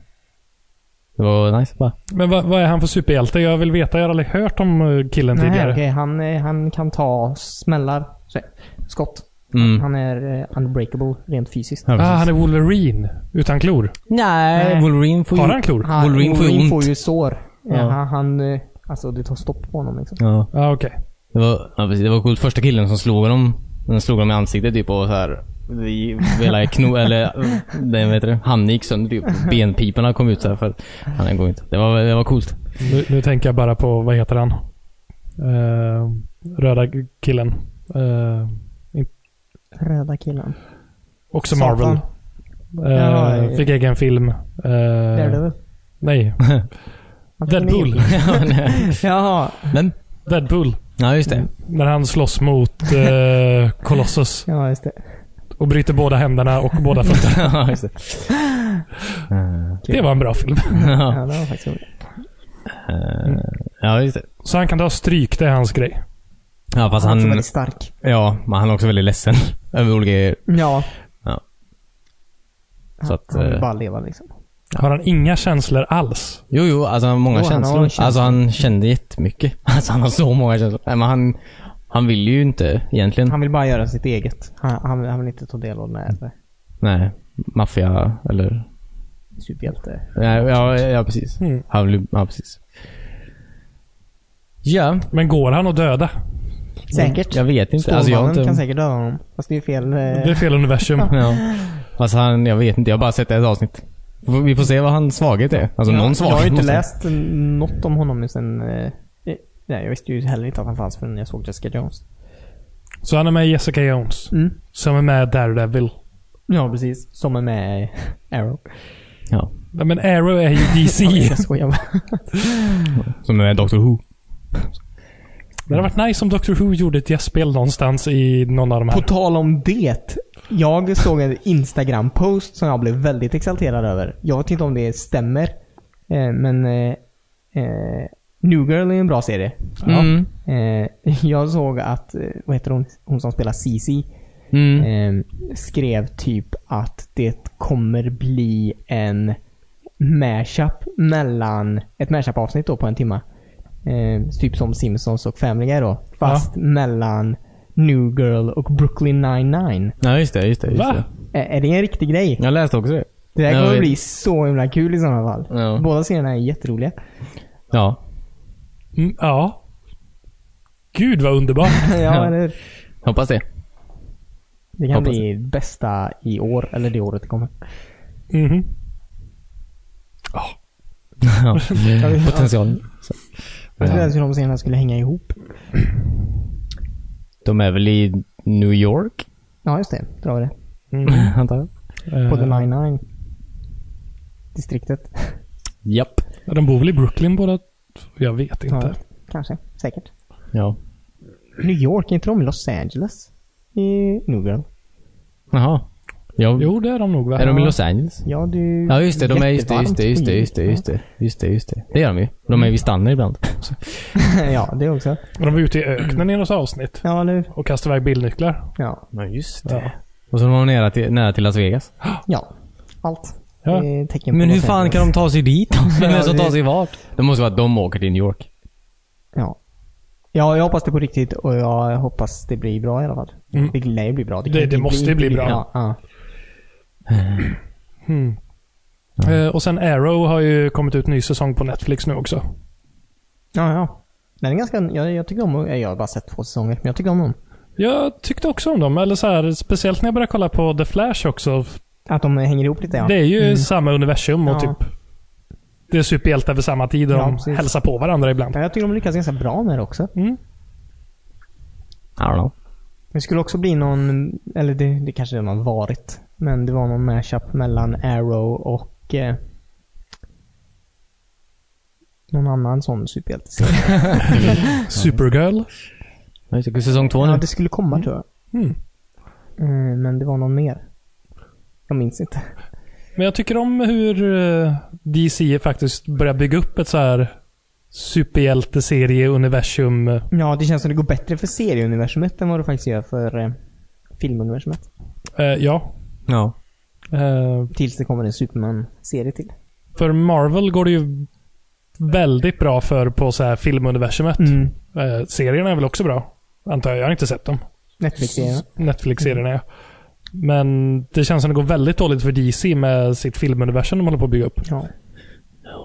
S3: Det var nice bara.
S1: Men vad, vad är han för superhjälte? Jag vill veta. Jag har aldrig hört om eh, killen
S2: Nej,
S1: tidigare.
S2: okej, han, eh, han kan ta smällar. Så, skott.
S3: Mm.
S2: Han är eh, unbreakable rent fysiskt.
S3: Ja,
S1: Ah,
S3: precis.
S1: han är Wolverine. Utan klor.
S3: Nej,
S2: Nej.
S3: Wolverine får ju...
S1: Har han klor?
S2: Han,
S3: Wolverine får ju ont.
S2: ju sår.
S3: Ja.
S2: Ja. Han, han, eh, alltså det tar stopp på honom liksom.
S3: Ja,
S1: Ja, Ah, okej.
S3: det var, ja, precis. Det var coolt. Första killen som slog honom, den slog honom i ansiktet typ och så här. Vi hela kno, eller *laughs* den vet du, han gick sönder typ. Benpiporna kom ut så här för han den går inte. Det var, det var coolt. *laughs*
S1: Nu, nu tänker jag bara på, vad heter han? Eh, röda killen. Eh,
S2: Röda killen.
S1: också
S2: Satan.
S1: Marvel. Eh,
S2: Ja, ja.
S1: fick egen film. Eh,
S2: Daredevil.
S1: nej.
S3: Eh,
S2: Han fick en
S1: Deadpool.
S3: Ja, nej.
S2: Jaha.
S3: Men,
S1: *laughs* Deadpool.
S3: ja just det. *laughs*
S1: När han slåss mot eh, Colossus
S2: Ja, just det.
S1: och bryter båda händerna och båda fötterna.
S3: Ja, just det. Eh,
S1: Det var en bra film.
S2: Ja,
S3: ja.
S2: det var faktiskt roligt.
S3: Eh, ja, just det.
S1: Så han kan ta stryk, det är hans grej.
S3: Ja, fast
S2: Han är också
S3: Alltså, han,
S2: väldigt stark.
S3: ja, men han är också väldigt ledsen *laughs* över olika grejer.
S2: Ja.
S3: Ja.
S2: Han-
S3: Så att,
S2: han vill
S3: eh,
S2: bara leva liksom.
S1: Har han inga känslor alls?
S3: Jo, jo, alltså han har många
S2: Jo, han har
S3: känslor.
S2: känslor.
S3: Alltså han kände jättemycket. *laughs* Alltså han har så många känslor. Nej, men han, han vill ju inte egentligen.
S2: Han vill bara göra sitt eget. Han, han, han vill inte ta del av den här
S3: Nej, maffia eller...
S2: superhjälte...
S3: Nej, ja, ja, precis.
S1: Mm.
S3: Han vill, ja, precis. Ja,
S1: Men går han att döda?
S2: Säkert.
S3: Mm. jag vet inte. Alltså, jag har
S2: Stålmannen
S3: inte...
S2: kan säkert döda honom. Fast det är ju fel... eh,
S1: Det är fel universum.
S3: Ja. Fast han, jag vet inte. Jag har bara sett ett avsnitt. Vi får se vad hans svaghet är. Alltså någon
S2: jag,
S3: svaghet
S2: jag har ju inte
S3: måste-
S2: läst något om honom nu sen... eh, eh, Nej, jag visste ju heller inte att han fanns förrän jag såg Jessica Jones.
S1: Så han är med i Jessica Jones.
S3: Mm.
S1: Som är med i Daredevil.
S2: Ja, precis. Som är med i Arrow.
S3: Ja.
S1: Ja, Men Arrow är ju
S3: *laughs*
S1: DC.
S2: *laughs* Jag skojar bara.
S3: Som är Dr. Who.
S1: Det hade varit nice om Doctor Who gjorde ett gästspel någonstans i någon av de
S2: På
S1: här.
S2: tal om det. Jag såg en Instagram-post som jag blev väldigt exalterad över. Jag vet inte om det stämmer. eh, Men... eh, eh, New Girl är en bra serie.
S1: Ja.
S3: Mm.
S2: Eh, jag såg att, eh, vad heter hon, hon som spelar Cici
S3: Mm.
S2: eh, skrev typ att det kommer bli en mashup mellan, ett mashup avsnitt då på en timma. Eh, typ som Simpsons och Family Guy då. Fast mellan New Girl och Brooklyn 99.
S3: Ja, just det. Just det, just
S1: Va?
S3: det.
S2: Är, är det en riktig grej?
S3: Jag läste också det.
S2: Det här
S3: Jag
S2: kommer
S3: vet.
S2: bli så himla kul i sådana fall.
S3: Ja.
S2: Båda serierna är jätteroliga. *laughs*
S3: Ja.
S1: Mm, ja. Gud vad underbart.
S2: ja, eller *laughs*
S3: Hoppas det.
S2: Det kan
S3: Hoppas
S2: bli bästa i år, eller det året det kommer.
S1: Mhm.
S3: Ja. Potentialen. Så.
S2: Jag trodde
S3: Ja.
S2: ens hur de senare skulle hänga ihop.
S3: De är väl i New York?
S2: Ja, just det. Dra det.
S1: Mm.
S3: Antar jag.
S2: På
S1: Eh,
S2: The 99. Distriktet.
S3: Japp.
S1: Ja, Eh, De bor väl i Brooklyn båda? Jag vet inte.
S2: Ja, Kanske. Säkert.
S3: Ja.
S2: New York, är inte de i Los Angeles? I New Girl.
S3: Jaha. Ja.
S1: Jo, det är de nog va?
S3: Är de i Los Angeles?
S2: Ja, du...
S3: Ja, just det. De är just det, just det, just det, just det, just det. Just det, just det. Det gör de ju. De är vid Stanner ibland. Så.
S2: det. *laughs* ja, det också.
S1: De var ute i öknen i något avsnitt
S2: Ja, eller hur?
S1: och kastade iväg bilnycklar.
S2: Ja.
S3: Ja, just
S1: Ja.
S3: Och så de var nära till, nära till Las Vegas.
S2: Ja. Allt.
S1: Ja.
S2: Det är tecken på
S3: Men hur
S2: Los
S3: fan
S2: Angeles.
S3: kan de ta sig *laughs* dit
S2: Ja,
S3: Vem är det som
S2: det-
S3: tar sig vart? Det måste vara att de åker till New York.
S2: Ja. Ja, jag hoppas det på riktigt och jag hoppas det blir bra i alla fall.
S1: Mm.
S2: Det lär ju bli bra. kan
S1: Det-
S2: ju inte
S1: det måste ju bli bra.
S2: Ja, ja.
S1: Hmm. Eh, och sen Arrow har ju kommit ut ny säsong på Netflix nu också.
S2: Ja, ja. Den är ganska, jag, jag tycker om Jag har bara sett två säsonger, men jag tycker om dem.
S1: Jag tyckte också om dem. Eller så här, speciellt när jag började kolla på The Flash också.
S2: Att de hänger ihop lite ja. Mm.
S1: Det är ju samma universum och
S2: Ja.
S1: typ... Det är superhjältar vid samma tid och
S2: Ja,
S1: de
S2: precis.
S1: hälsar på varandra ibland.
S2: Ja, Jag tycker de lyckas ganska bra med det också.
S1: Mm.
S3: I don't know.
S2: Det skulle också bli någon, eller det, det kanske redan har varit, men det var någon mashup mellan Arrow och eh, någon annan sån
S3: *laughs*
S2: superhjälteserie.
S1: Supergirl.
S3: Ja, just det. Säsong två nu.
S2: Ja, det skulle komma tror jag.
S1: Mm.
S2: Eh, Men det var någon mer. Jag minns inte.
S1: Men jag tycker om hur eh, DC faktiskt börjar bygga upp ett så här superhjälteserie-universum. Eh,
S2: Ja, det känns som det går bättre för serieuniversumet än vad det faktiskt gör för eh, filmuniversumet.
S1: Eh, ja.
S3: Ja.
S1: Eh,
S2: Tills det kommer en Superman-serie till.
S1: för Marvel går det ju väldigt bra för på så här filmuniversumet.
S2: Mm.
S3: Mm.
S1: Eh, serierna är väl också bra? Antar jag. Jag har inte sett dem.
S2: Netflix-serien.
S1: Netflix-serierna, ja. Men det känns som det går väldigt dåligt för DC med sitt filmuniversum de håller på att bygga upp.
S2: Ja.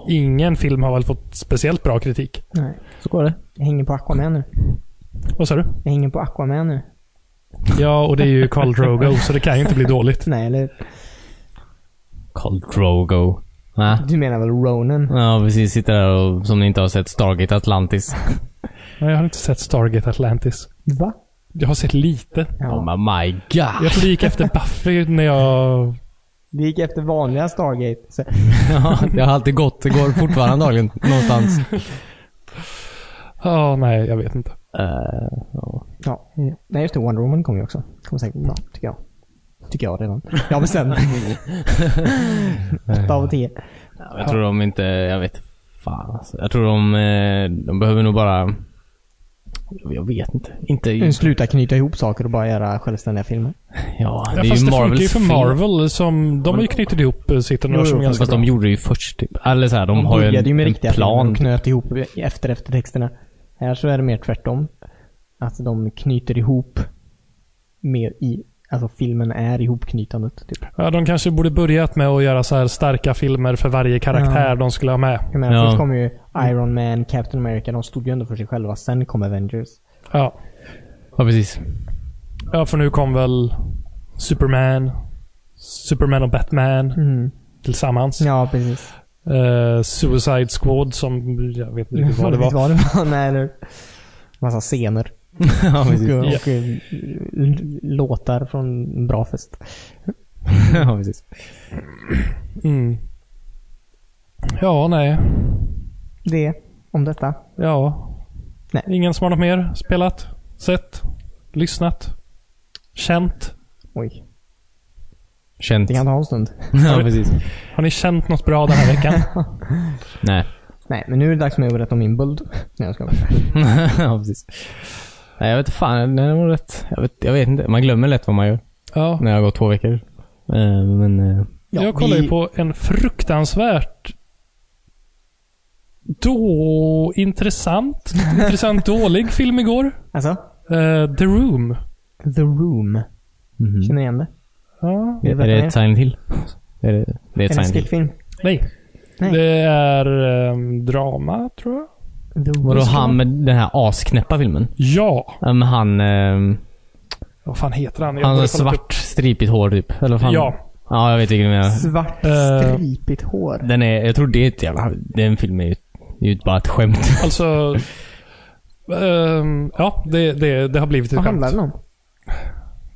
S1: Ingen film har väl fått speciellt bra kritik.
S2: Nej.
S3: Så går det.
S2: Jag hänger på Aquaman nu.
S1: Vad sa du?
S2: Jag hänger på Aquaman nu.
S1: Ja, och det är ju Carl Drogo, så det kan ju inte bli dåligt.
S2: Nej, eller
S3: Carl Drogo. Va?
S2: du menar väl Ronan?
S3: Ja, precis. Sitter där och som ni inte har sett Stargate Atlantis.
S1: Nej, jag har inte sett Stargate Atlantis.
S2: Va?
S1: Jag har sett lite.
S2: Ja.
S3: Oh my god.
S1: Jag tror det gick efter Buffy när jag...
S2: Det gick efter vanliga Stargate. Så,
S3: Ja, *laughs* det har alltid gått. Det går fortfarande dagligen någonstans.
S1: Ja, nej, jag vet inte.
S3: *laughs* Eh, ja.
S2: ja. eh, Nej, just det. Wonder Woman kommer ju också. Kommer säkert bli bra, tycker jag. Tycker jag redan. Jag har bestämt.
S3: *laughs*
S2: Åtta av tio.
S3: Jag tror de inte, jag vet fan alltså. Jag tror de, eh, de behöver nog bara, jag vet inte. Inte,
S2: Nu Sluta knyta ihop saker och bara göra självständiga filmer.
S3: ja det
S1: Ja,
S3: är
S1: fast
S3: ju
S1: det funkar ju
S3: Marvels
S1: för
S3: fel.
S1: Marvel som... De har ju knutit ihop eh, sitt universum ganska
S3: Fast
S1: bra.
S3: de gjorde det ju först typ. Eller såhär, de, har ju en,
S2: började ju med
S3: en
S2: riktiga filmer
S3: plan.
S2: och knöt ihop efter eftertexterna. Här så är det mer tvärtom. Att de knyter ihop mer i... Alltså filmen är ihopknytandet. Typ.
S1: Ja, de kanske borde börjat med att göra så här starka filmer för varje karaktär
S2: Ja.
S1: de skulle ha med.
S2: Jag menar,
S3: Ja.
S2: först kom ju Iron Man, Captain America, de stod ju ändå för sig själva. Sen kom Avengers.
S1: Ja. *laughs*
S3: Ja, precis. *laughs*
S1: ja, för nu kom väl Superman, Superman och Batman
S2: Mm.
S1: tillsammans.
S2: Ja, precis.
S1: Eh, Suicide Squad som... Jag vet inte riktigt vad det var.
S2: Vad det
S1: *laughs*
S2: var. Nej, eller Massa scener.
S3: ja, precis.
S2: och
S1: Ja.
S2: och eh, l- låtar från en bra fest.
S3: *laughs* ja, precis.
S1: Mm. Ja, nej.
S2: Det om detta.
S1: Ja.
S2: Nej.
S1: Ingen som har något mer spelat, sett, lyssnat, känt?
S2: Oj,
S3: Känt.
S2: det kan ta en stund.
S3: *laughs* Ja, precis.
S1: Har ni känt något bra den här
S2: *laughs*
S1: veckan?
S3: Nej. *laughs*
S2: Nej, men nu är det dags för mig att berätta om min buld. Nej, jag skojar.
S3: ja, precis. Nej, jag vet fan. Nej, det var rätt. Jag vet, jag vet inte. Man glömmer lätt vad man gör
S1: Ja.
S3: när det har gått två veckor. Eh, men
S2: Mm-hmm.
S3: eh,
S1: jag kollar ju på en fruktansvärt då intressant, intressant dålig film igår.
S2: Alltså?
S1: Eh, The Room.
S2: The Room. Känner igen det?
S1: Ja.
S2: Vill du
S3: Mm-hmm.
S2: veta
S3: är det
S2: mer?
S3: ett Silent Hill? *laughs* Är det, det är
S2: Är det
S3: ett
S2: en
S3: Silent Hill.
S2: skräckfilm?
S1: Nej.
S2: Nej.
S1: Det är ehm, drama, tror jag.
S2: The Room.
S3: Vadå han med den här asknäppa filmen?
S1: Ja.
S3: Ja, men han... Eh,
S1: Vad fan heter han? Jag
S3: han har
S1: borde kolla upp.
S3: svart stripigt hår typ. Eller vad fan?
S1: Ja.
S3: Ja, jag vet inte vad jag
S2: Svart
S1: Eh.
S2: stripigt hår.
S3: Den är... Jag tror det är ett jävla... Den filmen är ju, det är ju bara ett skämt. *laughs*
S1: Alltså... ehm, ja, det, det, det har blivit ett
S2: Vad handlar
S1: skämt.
S2: den om?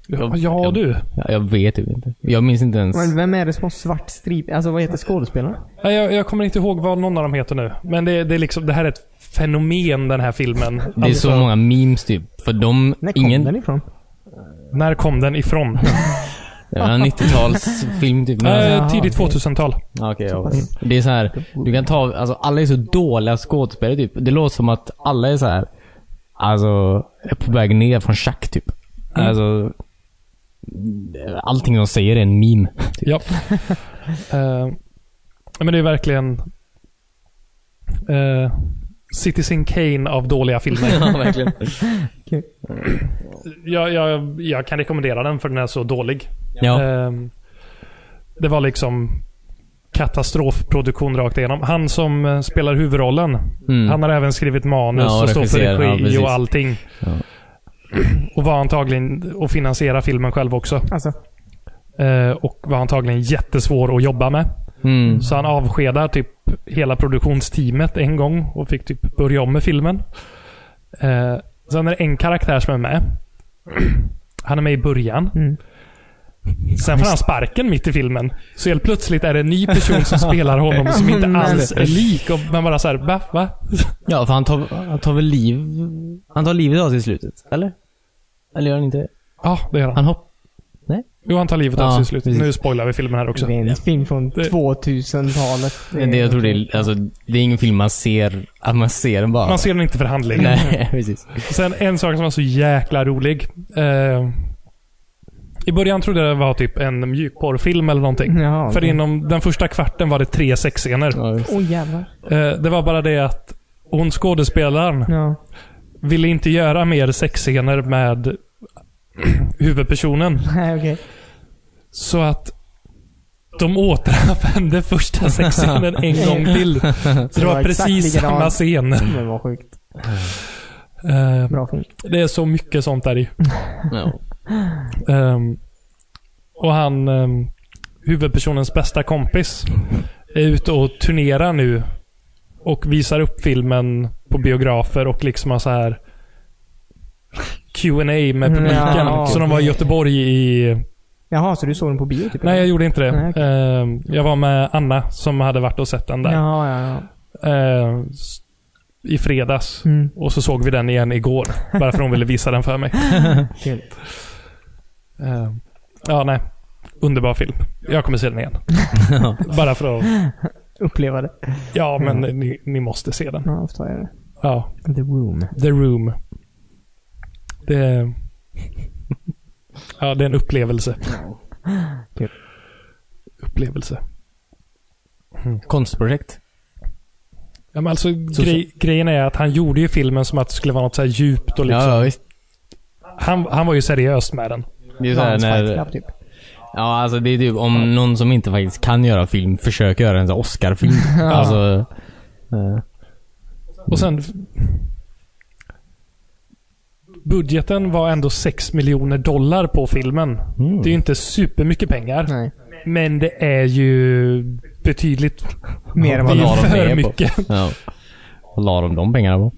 S1: Ja, ja, du.
S3: Ja, jag vet ju inte. Jag minns inte ens.
S2: Men vem är det som har svart strip? Alltså vad heter skådespelarna?
S1: Nej, jag, jag kommer inte ihåg vad någon av dem heter nu. Men det, det, är liksom, det här är ett fenomen, den här filmen.
S3: Det är
S1: Alltså,
S3: så många memes typ. För de...
S2: När kom
S3: Ingen...
S2: den ifrån?
S1: När kom den ifrån?
S2: *laughs*
S3: Det var en 90-talsfilm typ. Men,
S1: Eh,
S2: Jaha,
S1: tidigt
S2: okej.
S1: 2000-tal.
S3: Ja, okej, ja. Det är så här, du kan ta, alltså alla är så dåliga skådespelare typ. Det låter som att alla är så här, alltså är på väg ner från schack typ. Alltså, allting de säger är en meme.
S1: Ja.
S3: *laughs*
S1: Eh, men det är verkligen eh, Citizen Kane av dåliga
S3: *laughs*
S1: filmer.
S3: ja, verkligen.
S1: jag, jag, jag kan rekommendera den för den är så dålig.
S3: Ja,
S1: Ehm, det var liksom katastrofproduktion rakt igenom. Han som eh, spelar huvudrollen,
S3: mm.
S1: han har även skrivit manus
S3: Ja,
S1: och står för
S3: regisserar, ja,
S1: regi
S3: precis.
S1: och allting.
S3: Ja.
S1: *clears throat* Och var antagligen och finansiera filmen själv också.
S2: Alltså,
S1: Eh, och var antagligen jättesvår att jobba med.
S3: Mm.
S1: Så han avskedar typ hela produktionsteamet en gång och fick typ börja om med filmen. Eh, sen är det en karaktär som är med. *clears throat* Han är med i början.
S2: Mm.
S1: Sen får han sparken mitt i filmen. Så helt plötsligt är det en ny person som spelar honom som inte
S3: Mm.
S2: Men-
S1: alls är lik. Och man bara såhär, va? va? *laughs*
S3: ja för han tar, han tar väl liv, han tar livet av sig i slutet, eller? Eller gör han inte det?
S1: Ja, det gör han.
S3: Han hopp...
S1: Jo, han tar livet av
S3: Ja,
S1: sig i slutet.
S3: precis.
S1: Nu spoilar vi filmen här också.
S2: det är en film från
S1: Det-
S2: 2000-talet.
S3: Det, jag tror det är, alltså, det är ingen film man ser, att man ser den bara.
S1: Man ser den inte för handling.
S3: *laughs* Nej, precis.
S1: Sen en sak som var så jäkla rolig. Eh, I början trodde jag det var typ en mjukporrfilm eller någonting.
S2: Jaha,
S1: För
S2: okej.
S1: inom den första kvarten var det tre sexscener.
S3: Ja, visst.
S2: Åh oh, jävlar.
S1: Eh, det var bara det att hon skådespelaren
S2: Ja. *laughs*
S1: ville inte göra mer sexscener med *clears throat* huvudpersonen.
S2: Nej, okej.
S1: Så att de återanvände första sexscenen en gång till.
S2: *laughs*
S1: Så det
S2: Det var
S1: var
S2: exakt
S1: precis samma
S2: likadant.
S1: scen.
S2: Men vad sjukt.
S1: Eh,
S2: Bra film.
S1: det är så mycket sånt där i.
S3: Ja.
S1: Ehm, och han, ehm, huvudpersonens bästa kompis, är ute och turnerar nu. Och visar upp filmen på biografer och liksom har så här Q&A med publiken.
S2: Mm, Ja,
S1: så de var i
S2: okej.
S1: Göteborg i...
S2: Jaha, så du såg den på bio typ?
S1: Nej, jag gjorde inte det.
S2: Nej, okej.
S1: Ehm, jag var med Anna som hade varit och sett den där.
S2: Jaha, ja, ja.
S1: Ehm, s- I fredags.
S2: Mm.
S1: Och så såg vi den igen igår. Bara för hon ville visa den för mig.
S2: Kul.
S1: Ehm, ja, nej. Underbar film. Jag kommer se den
S3: *laughs*
S1: igen. Bara för att...
S2: Uppleva det.
S1: Ja, men ni, ni måste se den.
S2: Ja, då tar jag det.
S1: Ja.
S2: The Room.
S1: The Room. Det... Ja, det är en upplevelse.
S2: Kul.
S3: Typ.
S1: Upplevelse.
S3: Konstprojekt.
S1: Ja, men alltså,
S3: Så-
S1: grej, grejen är att han gjorde ju filmen som att det skulle vara något så här djupt och liksom.
S3: Ja, ja, visst.
S1: han, han var ju seriös med den.
S3: Det är så här
S2: Hans Fight
S3: när,
S2: Club typ.
S3: ja, alltså det är typ om någon som inte faktiskt kan göra film försöker göra en sån
S1: *laughs*
S3: här Oscar-film. Alltså, eh,
S1: Och sen... Budgeten var ändå 6 miljoner dollar på filmen. Mm. Det är ju inte supermycket pengar.
S2: Nej.
S1: Men det är ju betydligt
S2: Mer än vad
S1: det
S3: la
S1: är
S3: de
S1: för
S3: ner på?
S1: mycket.
S3: *laughs* ja. Vad la de de
S1: *laughs*
S3: pengarna på?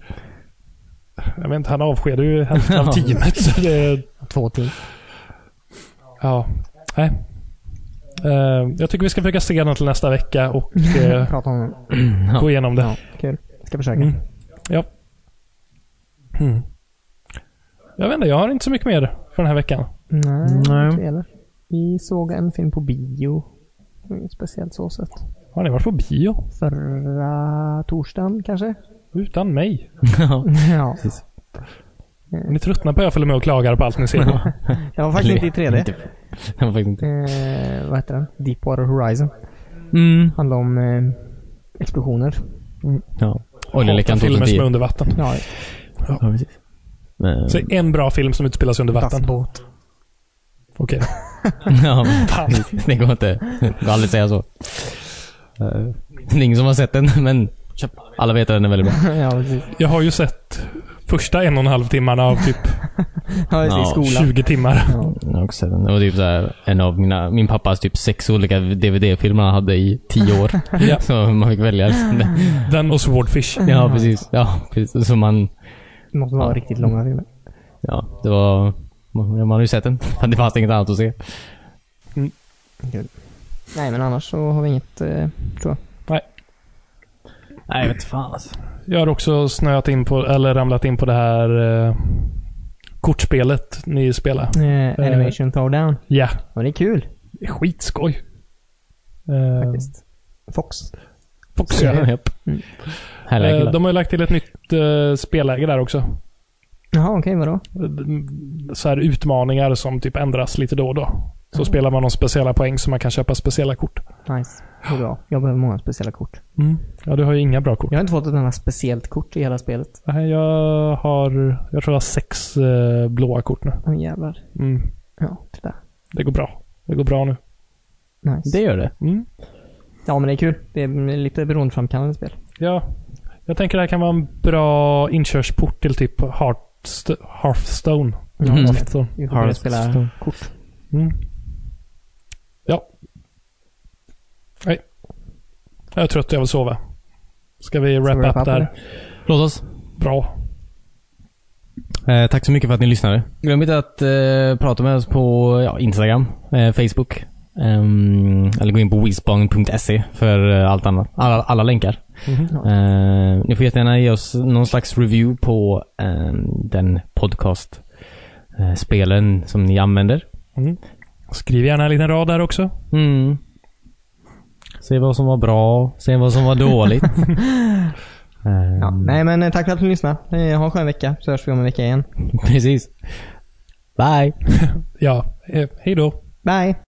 S1: Jag vet inte, han avskedar ju hälften
S2: *laughs*
S1: av teamet. Så det,
S2: Två till.
S1: ja. Nej. Eh, jag tycker vi ska försöka se den till nästa vecka
S2: *laughs*
S1: och eh,
S2: Prata om den.
S1: gå igenom det.
S2: Ja, kul. Ska försöka.
S1: Mm. Ja. Mm. Jag vet inte, jag har inte så mycket mer för den här veckan.
S2: Nej,
S3: Nej.
S2: inte heller. Vi såg en film på bio. Det var Inget speciellt så sett.
S1: Har ni varit på bio?
S2: Förra torsdagen kanske? *laughs*
S1: Utan mig?
S2: Ja.
S3: Precis.
S1: Om ni tröttnar på Öfel med och klagar på allt ni ser på.
S2: *laughs* Jag var faktiskt inte i 3D.
S3: *laughs* Inte- Den var faktiskt inte.
S2: Eh, vad heter den? Deepwater Horizon.
S3: Mm.
S2: Handlar om eh, explosioner.
S3: Ja. Oljeläckan
S1: Hatar filmer som är
S3: 2010.
S1: under vatten.
S2: Ja,
S3: Ja, precis. Men,
S1: Så en bra film som utspelar sig under vatten.
S2: *laughs* plastbåt.
S1: Okej.
S3: *laughs* ja,
S1: *laughs* Fan.
S3: det går inte. Det går aldrig att säga så.
S1: *laughs*
S3: Eh, Det är ingen som har sett den, men köp. alla vet att den är väldigt bra.
S2: ja, precis.
S1: Jag har ju sett första en och en halv timmarna av typ
S2: Ja, just det, i *laughs*
S3: Ja,
S2: skolan.
S1: 20 timmar.
S2: Ja.
S3: Jag har också sett den. Det var typ så här, en av mina, min pappas typ sex olika DVD-filmer han hade i tio *laughs* år.
S1: Ja.
S3: Så man fick *laughs* välja. liksom det.
S1: Den och Swordfish.
S3: Ja, precis. Ja, precis. Så man,
S2: Det måste vara
S3: Ja.
S2: riktigt långa filmer.
S3: ja, det var... Man, man har ju sett den. *laughs* Men det fanns inget annat att se.
S2: Nej, men annars så har vi inget, eh, tror jag.
S3: Nej, jag vet fan alltså.
S1: Jag har också snöat in på, eller ramlat in på det här eh, kortspelet ni spelar.
S2: Eh, animation Throwdown. Eh,
S1: Ja,
S2: Ja, det är kul
S1: det är skitskoj. Eh,
S2: faktiskt. Fox.
S1: Fox, ja.
S3: *laughs* Ja, japp.
S2: Mm.
S3: Härliga
S1: Eh,
S3: killar.
S1: De har ju lagt till ett nytt eh, spelläge där också.
S2: Jaha, okej, vadå?
S1: så här utmaningar som typ ändras lite då och då. Så
S2: Mm.
S1: spelar man någon speciella poäng så man kan köpa speciella kort.
S2: Nice. Det är bra. Jag behöver många speciella kort.
S1: Ja, du har ju inga bra kort.
S2: Jag har inte fått ett enda speciellt kort i hela spelet.
S1: Nej, jag har, jag tror jag har sex eh, blåa kort nu. Mm.
S2: Åh jävlar. Ja, titta.
S1: Det går bra. Det går bra nu.
S2: Nice.
S3: Det gör det.
S1: Mm.
S2: Ja, men det är kul. Det är lite beroendeframkallande spel.
S1: Ja. Jag tänker det här kan vara en bra inkörsport till typ Hearthst- Hearthstone.
S2: Ja,
S3: Mm.
S1: Hearthstone.
S2: Vi får börja spela
S3: Hearthstone.
S2: kort.
S1: Mm. Ja. Nej. Jag är trött jag vill sova. Ska vi wrap,
S2: Ska vi wrap
S1: up
S2: up,
S1: där?
S2: eller?
S3: Låt oss.
S1: Bra.
S3: Eh, tack så mycket för att ni lyssnade. Glöm inte att eh, prata med oss på ja, Instagram, eh, Facebook. ehm, eller gå in på wispong.se för eh, allt annat. Alla, alla länkar. Eh, ni får jättegärna ge oss någon slags review på ehm, den podcast eh, spelen som ni använder.
S1: Skriv gärna en liten rad där också.
S3: Mm. Se vad som var bra, se vad som var *laughs* dåligt. Ehm,
S2: Ja. Nej, men eh, tack för att ni lyssnade. Eh, Ha en skön vecka, så hörs vi om en vecka igen.
S3: Precis. Bye!
S1: Ja, eh, hej då.
S2: Bye!